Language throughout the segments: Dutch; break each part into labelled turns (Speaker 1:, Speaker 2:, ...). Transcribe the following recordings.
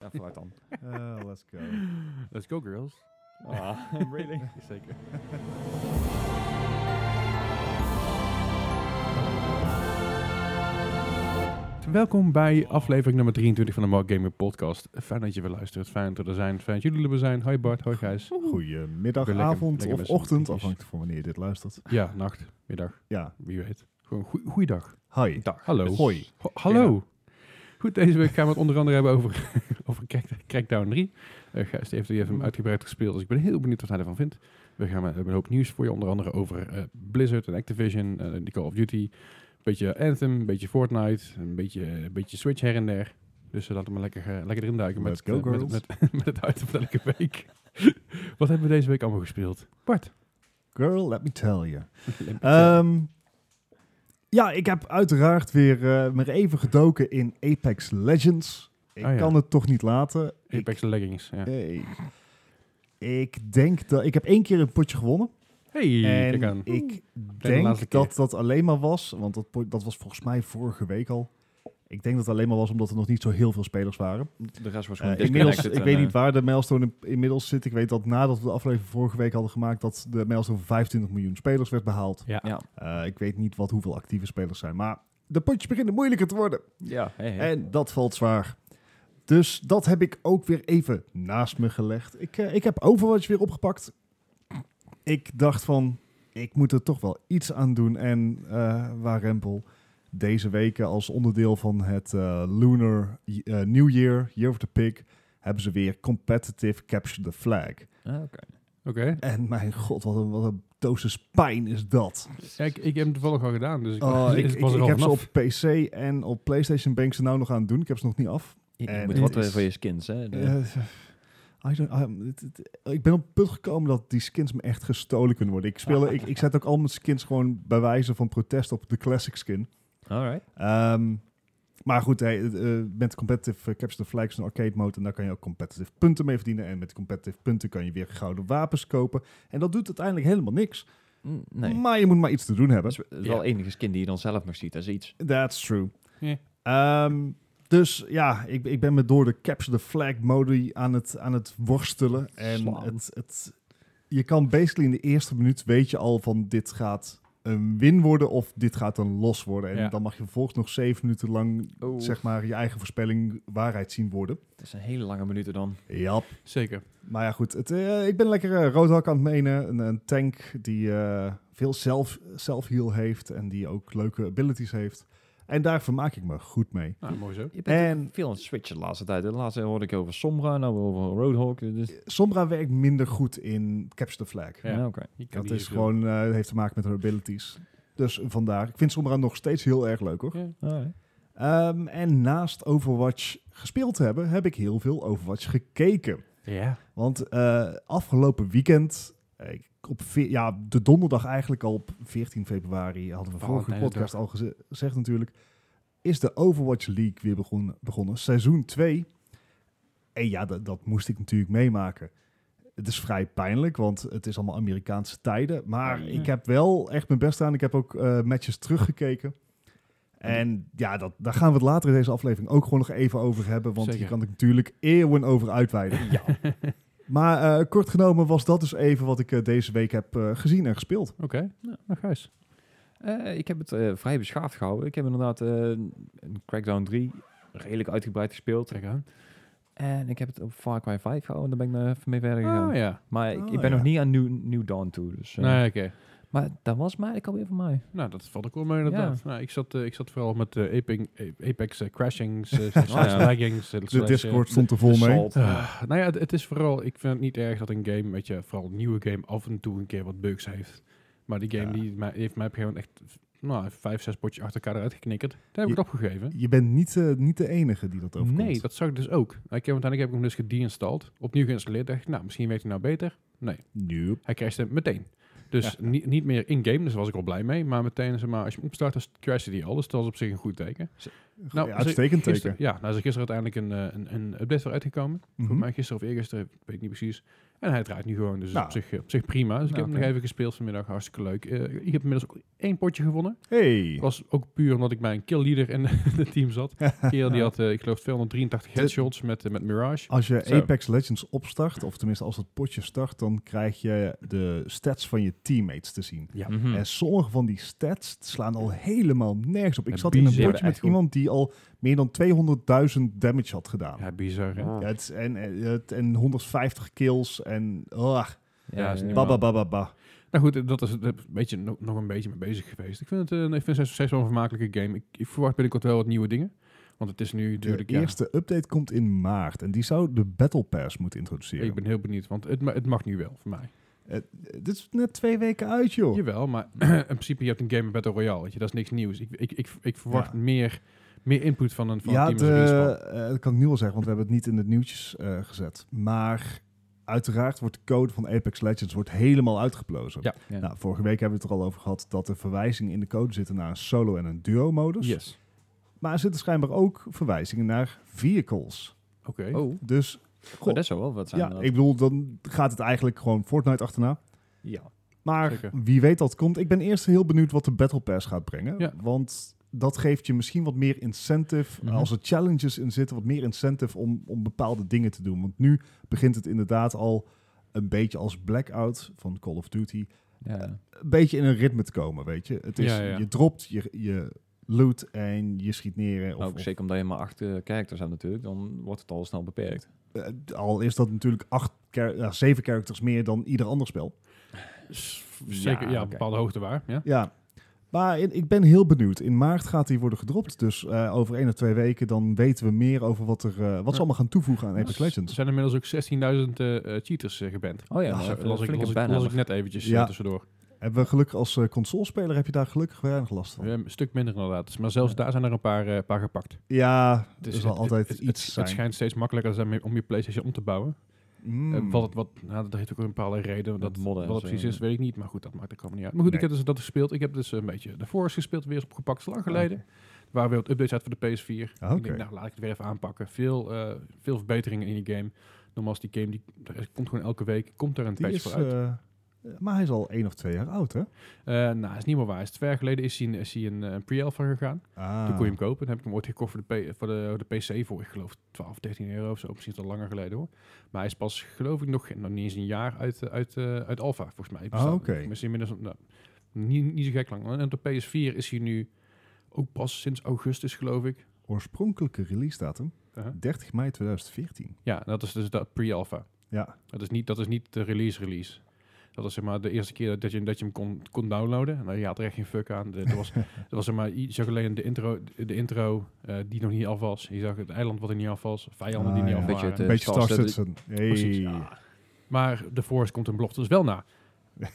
Speaker 1: Ja, vooruit dan.
Speaker 2: Eh, let's go.
Speaker 3: Let's go, girls.
Speaker 1: Ah, really?
Speaker 3: Zeker. Welkom bij aflevering nummer 23 van de Mark Gamer Podcast. Fijn dat je weer luistert, fijn dat we er zijn, fijn dat jullie er weer zijn. Hoi Bart, hoi Gijs.
Speaker 2: Goedemiddag,
Speaker 3: Lekker-
Speaker 2: avond
Speaker 3: lekker met
Speaker 2: of
Speaker 3: z'n
Speaker 2: ochtend,
Speaker 3: drietjes.
Speaker 2: afhankelijk van wanneer je dit luistert.
Speaker 3: Ja, nacht, middag,
Speaker 2: Ja,
Speaker 3: wie weet. Gewoon goe- goeiedag.
Speaker 2: hi.
Speaker 1: Dag.
Speaker 3: Hallo.
Speaker 1: Dus-
Speaker 2: Hoi.
Speaker 3: Ho- hallo. Goed, deze week gaan we het onder andere hebben over, over Crack- Crackdown 3. Eh Gijs die heeft, die
Speaker 2: Mhm.
Speaker 3: heeft hem uitgebreid gespeeld, dus ik ben heel benieuwd wat hij ervan vindt. We, gaan, eh, we hebben een hoop nieuws voor je, onder andere over eh, Blizzard en Activision, eh, de Call of Duty. Een beetje Anthem, een beetje Fortnite, een beetje, een beetje Switch her en der. Dus eh, laten we maar lekker, eh, lekker erin duiken met,
Speaker 2: Let's
Speaker 3: het,
Speaker 2: go,
Speaker 3: eh, met,
Speaker 2: girls.
Speaker 3: met, met het item van elke week. wat hebben we deze week allemaal gespeeld? Bart.
Speaker 2: Girl, let me tell you. Ehm, ja, ik heb uiteraard weer eh, maar even gedoken in Apex Legends. Ik
Speaker 3: Ah, ja.
Speaker 2: kan het toch niet laten.
Speaker 3: Apex Leggings. Ja.
Speaker 2: Ik, hey. ik denk dat... Ik heb één keer een potje gewonnen.
Speaker 3: Hey, kijk aan.
Speaker 2: En ik
Speaker 3: laatste
Speaker 2: denk
Speaker 3: keer.
Speaker 2: dat dat alleen maar was, want dat, po- dat was volgens mij vorige week al. Ik denk dat het alleen maar was omdat er nog niet zo heel veel spelers waren.
Speaker 1: De rest was
Speaker 2: Eh,
Speaker 1: gewoon
Speaker 2: inmiddels,
Speaker 1: disconnected
Speaker 2: ik
Speaker 1: en,
Speaker 2: weet
Speaker 1: eh,
Speaker 2: niet waar de milestone in- inmiddels zit. Ik weet dat nadat we de aflevering vorige week hadden gemaakt, dat de milestone van 25 miljoen spelers werd behaald.
Speaker 3: Ja.
Speaker 1: Ja.
Speaker 2: Eh, ik weet niet wat hoeveel actieve spelers zijn, maar de potjes beginnen moeilijker te worden.
Speaker 1: Ja, hey, hey.
Speaker 2: En dat valt zwaar. Dus dat heb ik ook weer even naast me gelegd. Ik, eh, ik heb Overwatch weer opgepakt. Ik dacht van, ik moet er toch wel iets aan doen. En eh waar rempel, deze weken als onderdeel van het eh, Lunar eh, New Year, Year of the Pig, hebben ze weer Competitive Capture the Flag.
Speaker 1: Ah, oké.
Speaker 3: Oké.
Speaker 2: En mijn god, wat een, wat een dosis pijn is dat.
Speaker 3: Ja, ik, ik heb hem toevallig al gedaan, dus ik,
Speaker 2: Oh, ik,
Speaker 3: dus
Speaker 2: ik,
Speaker 3: was er
Speaker 2: ik
Speaker 3: al
Speaker 2: heb ze
Speaker 3: vanaf.
Speaker 2: op PC en op PlayStation ben ik ze nou nog aan het doen. Ik heb ze nog niet af.
Speaker 1: Je, je
Speaker 2: En
Speaker 1: moet
Speaker 2: het
Speaker 1: wat eh,
Speaker 2: is-
Speaker 1: voor je skins, hè? De-
Speaker 2: Eh, I don't- I- het- het- ik ben op het punt gekomen dat die skins me echt gestolen kunnen worden. Ik, speel, ik, ik zet ook al mijn skins gewoon bij wijze van protest op de classic skin.
Speaker 1: Alright.
Speaker 2: Ehm, maar goed, hey, het, eh, met competitive eh, Capture the Flag is een arcade mode en daar kan je ook competitive punten mee verdienen. En met competitive punten kan je weer gouden wapens kopen. En dat doet uiteindelijk helemaal niks.
Speaker 1: Mm, Nee.
Speaker 2: Maar je moet maar iets te doen hebben.
Speaker 1: Dat is wel de enige skin die je dan zelf nog ziet. Dat is iets.
Speaker 2: That's true.
Speaker 3: Ja.
Speaker 2: Ehm, dus ja, ik, ik ben me door de capture the flag modi aan het, aan het worstelen. En
Speaker 3: Slaan.
Speaker 2: het, het, je kan basically in de eerste minuut weet je al van dit gaat een win worden of dit gaat een los worden. En
Speaker 3: Ja.
Speaker 2: dan mag je vervolgens nog zeven minuten lang
Speaker 1: Oh.
Speaker 2: zeg maar je eigen voorspelling waarheid zien worden.
Speaker 1: Dat zijn hele lange minuten dan.
Speaker 2: Ja.
Speaker 3: Zeker.
Speaker 2: Maar ja goed, het, eh, ik ben lekker eh, Roadhog aan het menen. Een, een tank die eh, veel zelf- self-heal heeft en die ook leuke abilities heeft. En daar vermaak ik me goed mee.
Speaker 3: Nou, mooi zo.
Speaker 1: Je bent
Speaker 2: En-
Speaker 1: ook veel aan het switchen de laatste tijd. De laatste hoorde ik over Sombra, nou over Roadhog. Dus,
Speaker 2: Sombra werkt minder goed in Capture the Flag.
Speaker 3: Ja.
Speaker 1: ja, oké.
Speaker 3: Je kan
Speaker 2: Dat
Speaker 3: niet
Speaker 2: is
Speaker 3: zoveel.
Speaker 2: gewoon, eh, heeft te maken met haar abilities. Dus vandaar. Ik vind Sombra nog steeds heel erg leuk hoor.
Speaker 3: Ja.
Speaker 1: Alright.
Speaker 2: Ehm, en naast Overwatch gespeeld te hebben, heb ik heel veel Overwatch gekeken.
Speaker 3: Ja.
Speaker 2: Want eh, afgelopen weekend, eh, ik- op veer- ja, de donderdag eigenlijk al op 14 februari, hadden we vorige
Speaker 3: Valentijnsdag.
Speaker 2: podcast al geze- gezegd natuurlijk, is de Overwatch League weer begonnen, begonnen. seizoen 2. En ja, dat, dat moest ik natuurlijk meemaken. Het is vrij pijnlijk, want het is allemaal Amerikaanse tijden. Maar
Speaker 3: Ja.
Speaker 2: ik heb wel echt mijn best gedaan. Ik heb ook eh, matches teruggekeken. En ja, dat, daar gaan we het later in deze aflevering ook gewoon nog even over hebben. Want
Speaker 3: Zeker.
Speaker 2: hier kan ik natuurlijk eeuwen over uitweiden.
Speaker 1: Ja.
Speaker 2: Maar eh, kort genomen was dat dus even wat ik eh, deze week heb eh, gezien en gespeeld.
Speaker 3: Oké. Nou, nou, Gijs.
Speaker 1: Eh, ik heb het eh, vrij beschaafd gehouden. Ik heb inderdaad eh, een Crackdown 3 redelijk uitgebreid gespeeld.
Speaker 3: Trek aan.
Speaker 1: En ik heb het op Far Cry 5 gehouden. Daar ben ik eh, mee verder gegaan.
Speaker 3: Oh ja.
Speaker 1: Maar ik,
Speaker 2: Oh,
Speaker 1: ik ben
Speaker 2: ja.
Speaker 1: nog niet aan New, New Dawn toe. Dus, eh,
Speaker 3: Nee, oké.
Speaker 1: Maar dat was ik alweer van mij.
Speaker 3: Nou, dat valt ook wel mee inderdaad. Nou, ik, zat, eh, ik zat vooral met eh, Apex, Apex eh, crashings, eh, slash
Speaker 1: ja.
Speaker 3: laggings. eh,
Speaker 2: De
Speaker 3: slash, eh,
Speaker 2: Discord stond er vol mee.
Speaker 1: Salt.
Speaker 3: ah, nou ja, het, het is vooral, ik vind het niet erg dat een game, weet je, vooral een nieuwe game af en toe een keer wat bugs heeft. Maar die game
Speaker 2: Ja.
Speaker 3: die, mij- heeft mij op een gegeven moment echt, nou, vijf, zes potjes achter elkaar eruit geknikkerd. Daar heb ik
Speaker 2: Je-
Speaker 3: het opgegeven.
Speaker 2: Je bent niet, eh, niet de enige die dat overkomt.
Speaker 3: Nee, dat zag ik dus ook. Ik heb, uiteindelijk heb ik hem dus gedeinstalled, opnieuw geïnstalleerd. Dacht, ik, nou, misschien weet hij nou beter.
Speaker 2: Nope.
Speaker 3: Hij crashte meteen. Dus niet, niet meer in-game, dus daar was ik al blij mee. Maar meteen, zeg maar, als je hem opstart, dan crashte die al. Dus dat was op zich een goed teken. Nou,
Speaker 2: Ja, uitstekend
Speaker 3: gister-
Speaker 2: teken.
Speaker 3: Ja, nou is er gisteren uiteindelijk een, eh, een, een update voor uitgekomen.
Speaker 2: Mhm.
Speaker 3: Voor mij gisteren of eergisteren, weet ik niet precies. En hij draait nu gewoon, dus
Speaker 2: Nou.
Speaker 3: op, zich, op zich prima. Dus ik
Speaker 1: Nou,
Speaker 3: heb hem
Speaker 1: oké.
Speaker 3: nog even gespeeld vanmiddag, hartstikke leuk. Eh, ik heb inmiddels ook één potje gewonnen.
Speaker 2: Hey.
Speaker 3: was ook puur omdat ik bij een kill leader in het team zat. Kerel die had, eh, ik geloof, 283 headshots met, eh, met Mirage.
Speaker 2: Als je
Speaker 1: Zo.
Speaker 2: Apex Legends opstart, of tenminste als het potje start, dan krijg je de stats van je teammates te zien.
Speaker 3: Ja.
Speaker 1: Mhm.
Speaker 2: En sommige van die stats slaan al helemaal nergens op. Ik
Speaker 1: En
Speaker 2: zat in een
Speaker 1: bizar,
Speaker 2: potje
Speaker 1: echt
Speaker 2: met
Speaker 1: goed.
Speaker 2: iemand die al meer dan 200.000 damage had gedaan. Ja.
Speaker 3: Ja, bizar. hè?
Speaker 1: Ah.
Speaker 2: het is- en, eh, het- en 150 kills en... ah,
Speaker 3: Ja, is niet
Speaker 2: ba, ba, ba, ba, ba.
Speaker 3: Nou goed, eh, dat is het beetje, nog, nog een beetje mee bezig geweest. Ik vind het eh, ik vind 6 wel een vermakelijke game. Ik, ik verwacht binnenkort wel wat nieuwe dingen. Want het is nu
Speaker 2: De
Speaker 3: natuurlijk... ja,
Speaker 2: eerste update komt in maart. En die zou de Battle Pass moeten introduceren.
Speaker 3: ik ben heel benieuwd, want het, ma- het mag nu wel voor mij.
Speaker 2: Eh, dit is net twee weken uit, joh.
Speaker 3: Jawel, maar in principe je hebt een game met Battle Royale. Weet je, dat is niks nieuws. Ik, ik, ik, ik verwacht
Speaker 2: Ja.
Speaker 3: meer, meer input van een van
Speaker 2: ja,
Speaker 3: het
Speaker 2: de,
Speaker 3: team. als release van.
Speaker 2: eh, dat kan ik nu al zeggen, want we hebben het niet in de nieuwtjes eh, gezet. Maar uiteraard wordt de code van Apex Legends wordt helemaal uitgeplozen.
Speaker 3: Ja.
Speaker 1: Ja.
Speaker 2: Nou, vorige week hebben we het er al over gehad dat er verwijzingen in de code zitten naar een solo- en een duo-modus.
Speaker 1: Yes.
Speaker 2: Maar er zitten schijnbaar ook verwijzingen naar vehicles.
Speaker 3: Oké.
Speaker 1: Oh,
Speaker 2: Dus
Speaker 1: goh, dat zou wel wat zijn.
Speaker 2: ja,
Speaker 1: dat.
Speaker 2: ik bedoel, dan gaat het eigenlijk gewoon Fortnite achterna.
Speaker 1: ja.
Speaker 2: Maar
Speaker 3: Zeker.
Speaker 2: wie weet dat komt. Ik ben eerst heel benieuwd wat de Battle Pass gaat brengen.
Speaker 3: Ja.
Speaker 2: Want dat geeft je misschien wat meer incentive.
Speaker 1: Mhm.
Speaker 2: Als er challenges in zitten, wat meer incentive om, om bepaalde dingen te doen. Want nu begint het inderdaad al een beetje als Blackout van Call of Duty.
Speaker 1: Ja.
Speaker 2: Een beetje in een ritme te komen, weet je. Het is,
Speaker 3: Ja, ja.
Speaker 2: je dropt, je, je loot en je schiet neer. eh, Of,
Speaker 1: ook
Speaker 2: of-
Speaker 1: Nou, zeker omdat je maar acht eh, characters hebt natuurlijk, dan wordt het al snel beperkt.
Speaker 2: eh, al is dat natuurlijk acht, char- ja, zeven characters meer dan ieder ander spel.
Speaker 3: S- Zeker, ja,
Speaker 1: oké.
Speaker 3: op bepaalde hoogte waar. Ja.
Speaker 2: Ja. Maar in- ik ben heel benieuwd. In maart gaat die worden gedropt. Dus eh, over één of twee weken dan weten we meer over wat, er, eh, wat ze
Speaker 3: Ja.
Speaker 2: allemaal gaan toevoegen aan Apex
Speaker 3: Er
Speaker 2: Legends.
Speaker 3: zijn inmiddels ook 16.000 eh, eh, cheaters eh, geband.
Speaker 1: Oh ja, dat
Speaker 3: Dat las,
Speaker 1: is
Speaker 3: ik-
Speaker 1: een
Speaker 3: las, ik,
Speaker 1: flinke
Speaker 3: las, ik,
Speaker 1: banhammer.
Speaker 3: net eventjes eh,
Speaker 2: Ja.
Speaker 3: tussendoor.
Speaker 2: Hebben we gelukkig als eh, consolespeler heb je daar gelukkig weinig last van.
Speaker 3: Eh, een stuk minder inderdaad. Dus- Maar zelfs
Speaker 1: Ja.
Speaker 3: daar zijn er een paar, eh, paar gepakt.
Speaker 2: Ja, er
Speaker 3: Dus
Speaker 2: zal
Speaker 3: het-
Speaker 2: altijd
Speaker 3: het- het-
Speaker 2: iets
Speaker 3: het,
Speaker 2: zijn.
Speaker 3: Het schijnt steeds makkelijker te zijn om- om je PlayStation om te bouwen.
Speaker 2: Mm.
Speaker 3: Eh, Wat, het- wat, nou, dat heeft ook een bepaalde reden. Dat,
Speaker 1: Met modden en
Speaker 3: wat het
Speaker 1: zo,
Speaker 3: precies is,
Speaker 1: ja.
Speaker 3: weet ik niet. Maar goed, dat maakt er allemaal niet uit. Maar goed, ik
Speaker 2: Nee.
Speaker 3: heb dus dat gespeeld. Ik heb dus een beetje de Forest gespeeld, weer eens opgepakt. Dat is lang geleden. Waar weer wat updates uit voor de PS4.
Speaker 2: Ah,
Speaker 3: Ik
Speaker 2: Oh, oké.
Speaker 3: denk, nou, laat ik het weer even aanpakken. Veel, eh, veel verbeteringen in die game. Normaal is die game, die, er komt gewoon elke week, komt er een
Speaker 2: Die
Speaker 3: patch
Speaker 2: is,
Speaker 3: voor uit.
Speaker 2: eh, maar hij is al één of twee jaar oud, hè?
Speaker 3: Eh, nou, is niet meer waar. Is twee jaar geleden is hij, een- is hij een, eh, pre-alpha gegaan.
Speaker 2: Ah.
Speaker 3: Toen kon je hem kopen. Dan heb ik hem ooit gekocht voor de, P- voor de, voor de PC voor, ik geloof, 12, 13 euro of zo. Misschien is het al langer geleden hoor. Maar hij is pas, geloof ik, nog, geen- nog niet eens een jaar uit, eh, uit, eh, uit alpha, volgens mij.
Speaker 2: Ah, oké.
Speaker 3: Misschien inmiddels, nou, niet, niet zo gek lang. En op de PS4 is hij nu ook pas sinds augustus, geloof ik.
Speaker 2: Oorspronkelijke release datum,
Speaker 3: Uh-huh.
Speaker 2: 30 mei 2014.
Speaker 3: Ja, dat is dus dat pre-alpha.
Speaker 2: Ja,
Speaker 3: Dat is niet, dat is niet de release-release. Dat was zeg maar de eerste keer dat je, dat je hem kon, kon downloaden. Nou, je had er echt geen fuck aan. Er was, er was zeg maar, je zag alleen de intro, de intro eh, die nog niet af was. Je zag het eiland wat er niet af was. Vijanden die
Speaker 2: Ah,
Speaker 3: niet
Speaker 2: ja.
Speaker 3: af
Speaker 1: Beetje
Speaker 3: waren.
Speaker 1: Eh,
Speaker 2: een beetje
Speaker 1: Star
Speaker 2: Star Citizen. Hey.
Speaker 3: Precies, Maar de Force komt een belofte dus wel na.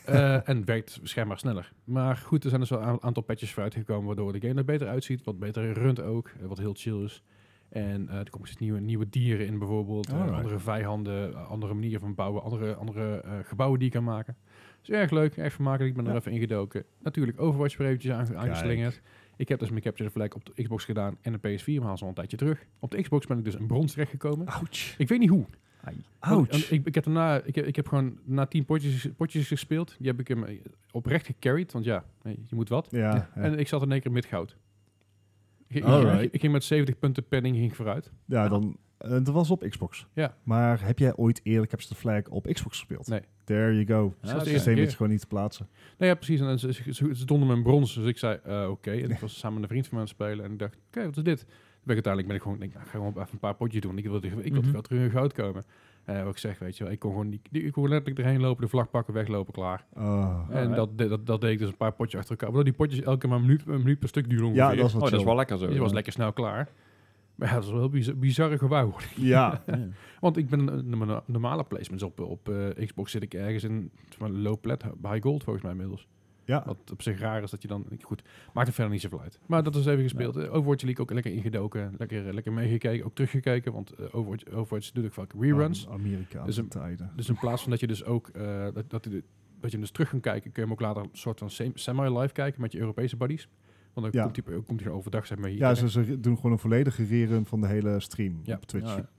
Speaker 3: Eh, en werkt schijnbaar sneller. Maar goed, er zijn dus wel een aantal patches voor uitgekomen... waardoor de game er beter uitziet, wat beter runt ook, eh, wat heel chill is. En eh er komen steeds nieuwe, nieuwe dieren in bijvoorbeeld. eh,
Speaker 2: Alright.
Speaker 3: andere vijanden, eh, andere manieren van bouwen, andere, andere eh, gebouwen die je kan maken. Dus erg leuk, erg vermakelijk. Ik ben er
Speaker 2: Ja.
Speaker 3: even ingedoken. Natuurlijk Overwatch weer eventjes aange- aangeslingerd. Ik heb dus mijn Capture the Flag op de Xbox gedaan en de PS4, maar dat is al een tijdje terug. Op de Xbox ben ik dus een brons terechtgekomen.
Speaker 2: Ouch.
Speaker 3: Ik weet niet hoe. Want-
Speaker 2: Ouch.
Speaker 3: want Ik, ik, heb daarna, ik, heb, ik heb gewoon na tien potjes, potjes gespeeld. Die heb ik hem eh, oprecht gecarried. Want ja, eh, je moet wat.
Speaker 2: Ja, ja.
Speaker 3: En ik zat in één keer met goud. Ik, ik-
Speaker 2: Alright.
Speaker 3: ik- ik ging met 70 punten penning ging ik vooruit.
Speaker 2: Ja, dan, eh, dat was op Xbox.
Speaker 3: Ja.
Speaker 2: Maar heb jij ooit eerlijk Capture the Flag op Xbox gespeeld?
Speaker 3: Nee.
Speaker 2: There you go.
Speaker 1: Ja,
Speaker 2: Het
Speaker 1: oké.
Speaker 2: systeem is gewoon niet te plaatsen.
Speaker 3: Nou ja, precies. En ze, ze, ze stonden met een brons. Dus ik zei, eh, oké. En ik was samen met een vriend van mij aan het spelen. En ik dacht, oké, wat is dit? Toen ben ik uiteindelijk ben ik gewoon, denk, nou, ik ga gewoon even een paar potjes doen. Ik wil, ik wil
Speaker 1: Mhm.
Speaker 3: wel terug in goud komen. En wat ik zeg, weet je wel, ik kon gewoon, die, die- ik kon letterlijk erheen lopen, de vlag pakken, weglopen, klaar.
Speaker 2: Ah.
Speaker 1: Alright.
Speaker 3: En dat, de- dat, dat deed ik dus een paar potjes achter elkaar. Waardoor die potjes elke maar een minuut, een minuut per stuk duren ongeveer.
Speaker 2: ja, dat
Speaker 1: Oh,
Speaker 2: is wat
Speaker 1: dat is
Speaker 2: chill.
Speaker 1: wel lekker zo.
Speaker 3: Dus je was lekker snel klaar. Maar ja, dat is wel een bizar, bizarre gewauw.
Speaker 2: Ja.
Speaker 1: Ja.
Speaker 3: Want ik ben een- mijn normale placements op, op eh, Xbox zit ik ergens in zeg maar, low plat, high gold volgens mij inmiddels.
Speaker 2: ja.
Speaker 3: Wat op zich raar is dat je dan... Goed, maakt het verder niet zoveel uit. Maar dat is even gespeeld. Eh, Overwatch League ook lekker ingedoken. Lekker, eh, lekker meegekeken, ook teruggekeken. Want eh, Overwatch, Overwatch doet ook vaak reruns.
Speaker 2: Am- Amerikaanse
Speaker 3: Dus een-
Speaker 2: tijden.
Speaker 3: Dus in plaats van dat je dus ook eh, dat, dat, dat je hem dus terug kan kijken, kun je hem ook later een soort van sem- semi-live kijken met je Europese buddies. Want dan
Speaker 2: Ja.
Speaker 3: komt hij komt hij overdag, zeg maar. hier.
Speaker 2: Ja, ze, ze doen gewoon een volledige rerun van de hele stream
Speaker 3: Ja.
Speaker 2: op Twitch.
Speaker 1: Ja.